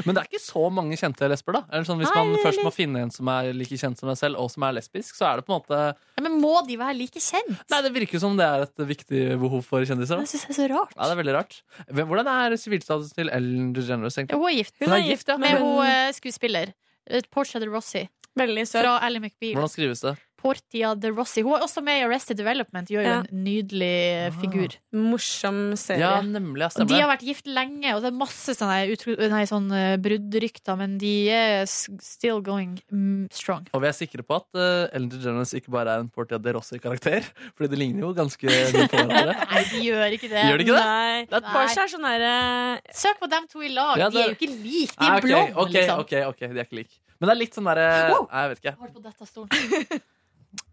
Speaker 3: Men det er ikke så mange kjente lesber, da. Eller sånn, hvis
Speaker 2: Nei,
Speaker 3: man
Speaker 2: det er
Speaker 3: først må
Speaker 2: litt-
Speaker 3: finne en som er like kjent som deg selv, og som er lesbisk, så er det på en måte
Speaker 2: Ja, men må de være like kjent?
Speaker 3: Nei, det virker som det er et viktig behov for kjendiser.
Speaker 2: Det
Speaker 3: Da.
Speaker 2: syns jeg er så rart.
Speaker 3: Ja, det er veldig rart. Hvem- Hvordan er sivilstatusen til Ellen DeGeneres, egentlig?
Speaker 2: Ja, Hun er gift,
Speaker 3: Hun er gift, ja.
Speaker 2: med
Speaker 3: Men-
Speaker 2: hun eh, skuespiller. Eh, Portia de Rossi. Fra Ally McBeal.
Speaker 3: Hvordan skrives det?
Speaker 2: Portia de Rossi. Hun er også med i Arrested Development. Gjør jo
Speaker 12: Ja.
Speaker 2: en nydelig eh,
Speaker 3: Ah,
Speaker 2: figur.
Speaker 12: Morsom serie.
Speaker 3: Ja, nemlig. Ja,
Speaker 2: Og de har
Speaker 3: stemmer det.
Speaker 2: vært gift lenge, og det er masse sånne, utro- nei, sånne bruddrykter, men de er s- still going mm, strong.
Speaker 3: Og vi er sikre på at eh, Ellen DeGeneres ikke bare er en Portia de Rossi-karakter, Fordi de ligner jo ganske mye på hverandre.
Speaker 2: Nei, de gjør ikke det.
Speaker 3: Gjør de ikke det?
Speaker 12: Nei.
Speaker 2: Nei.
Speaker 12: Porsche er sånn derre
Speaker 2: Søk på dem to i lag.
Speaker 3: Ja,
Speaker 2: De er jo
Speaker 3: det-
Speaker 2: ikke like. De
Speaker 3: Nei,
Speaker 2: er
Speaker 3: Ah, ok,
Speaker 2: blonde,
Speaker 3: ok,
Speaker 2: liksom.
Speaker 3: ok, ok, de er ikke like. Men det er litt sånn derre
Speaker 2: Wow!
Speaker 3: Nei, Jeg vet ikke.
Speaker 2: Har du på dette stolen?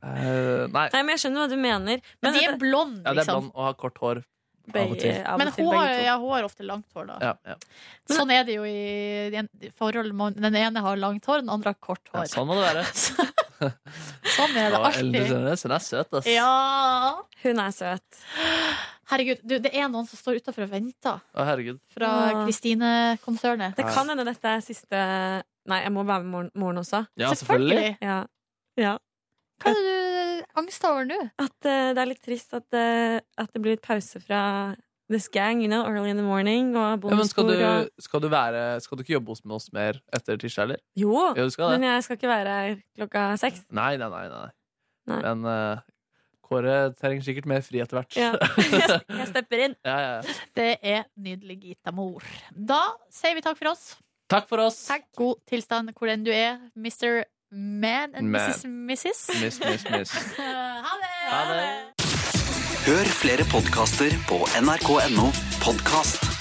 Speaker 3: Eh, nei.
Speaker 12: Nei, men jeg skjønner hva du mener.
Speaker 2: Men de er blonde,
Speaker 3: Ja, det er
Speaker 2: liksom.
Speaker 3: blond og har kort hår av og
Speaker 12: Begge-
Speaker 3: til.
Speaker 12: av og
Speaker 2: Men
Speaker 12: til,
Speaker 2: hun har,
Speaker 12: begge to.
Speaker 2: ja, hun har ofte langt hår, da.
Speaker 3: Ja, ja.
Speaker 2: Sånn er det jo i de en- forhold. man- Den ene har langt hår, den andre har kort
Speaker 3: Ja,
Speaker 2: hår.
Speaker 3: sånn må det være.
Speaker 2: Sånn er det
Speaker 3: Og Ellen
Speaker 2: alltid.
Speaker 3: DeGeneres, hun er søt, ass.
Speaker 2: Ja.
Speaker 12: Hun er søt.
Speaker 2: Herregud, du, det er noen som står utafor og venter
Speaker 3: Å, herregud.
Speaker 2: fra
Speaker 12: Ah.
Speaker 2: Kristine-konsernet.
Speaker 12: Det kan hende dette er siste Nei, jeg må være med morgen, morgen også.
Speaker 3: Ja, selvfølgelig.
Speaker 12: Ja. ja.
Speaker 2: Hva er det du angster over nå?
Speaker 12: At eh, det er litt trist at, eh, at det blir litt pause fra This Gang, you know, early in the morning, og
Speaker 3: Ja, men skal
Speaker 12: bonusbord
Speaker 3: du,
Speaker 12: og
Speaker 3: skal du være Skal du ikke jobbe hos med oss mer etter tirsdag, eller?
Speaker 12: Jo,
Speaker 3: Ja, du skal
Speaker 12: men
Speaker 3: det.
Speaker 12: jeg skal ikke være her klokka seks.
Speaker 3: Nei, nei, nei. nei.
Speaker 12: Nei.
Speaker 3: Men eh, Kåre trenger sikkert mer fri etter hvert.
Speaker 12: Ja. Jeg, jeg stepper inn.
Speaker 3: ja, ja, ja.
Speaker 2: Det er nydelig, Gita Mor. Da sier vi takk for oss.
Speaker 3: Takk for oss!
Speaker 2: God tilstand hvor enn du er, Mr. Man and
Speaker 4: Man.
Speaker 2: Mrs. Mrs.
Speaker 4: Miss, miss, miss.
Speaker 2: ha det!
Speaker 4: Hør flere podkaster på nrk.no podkast.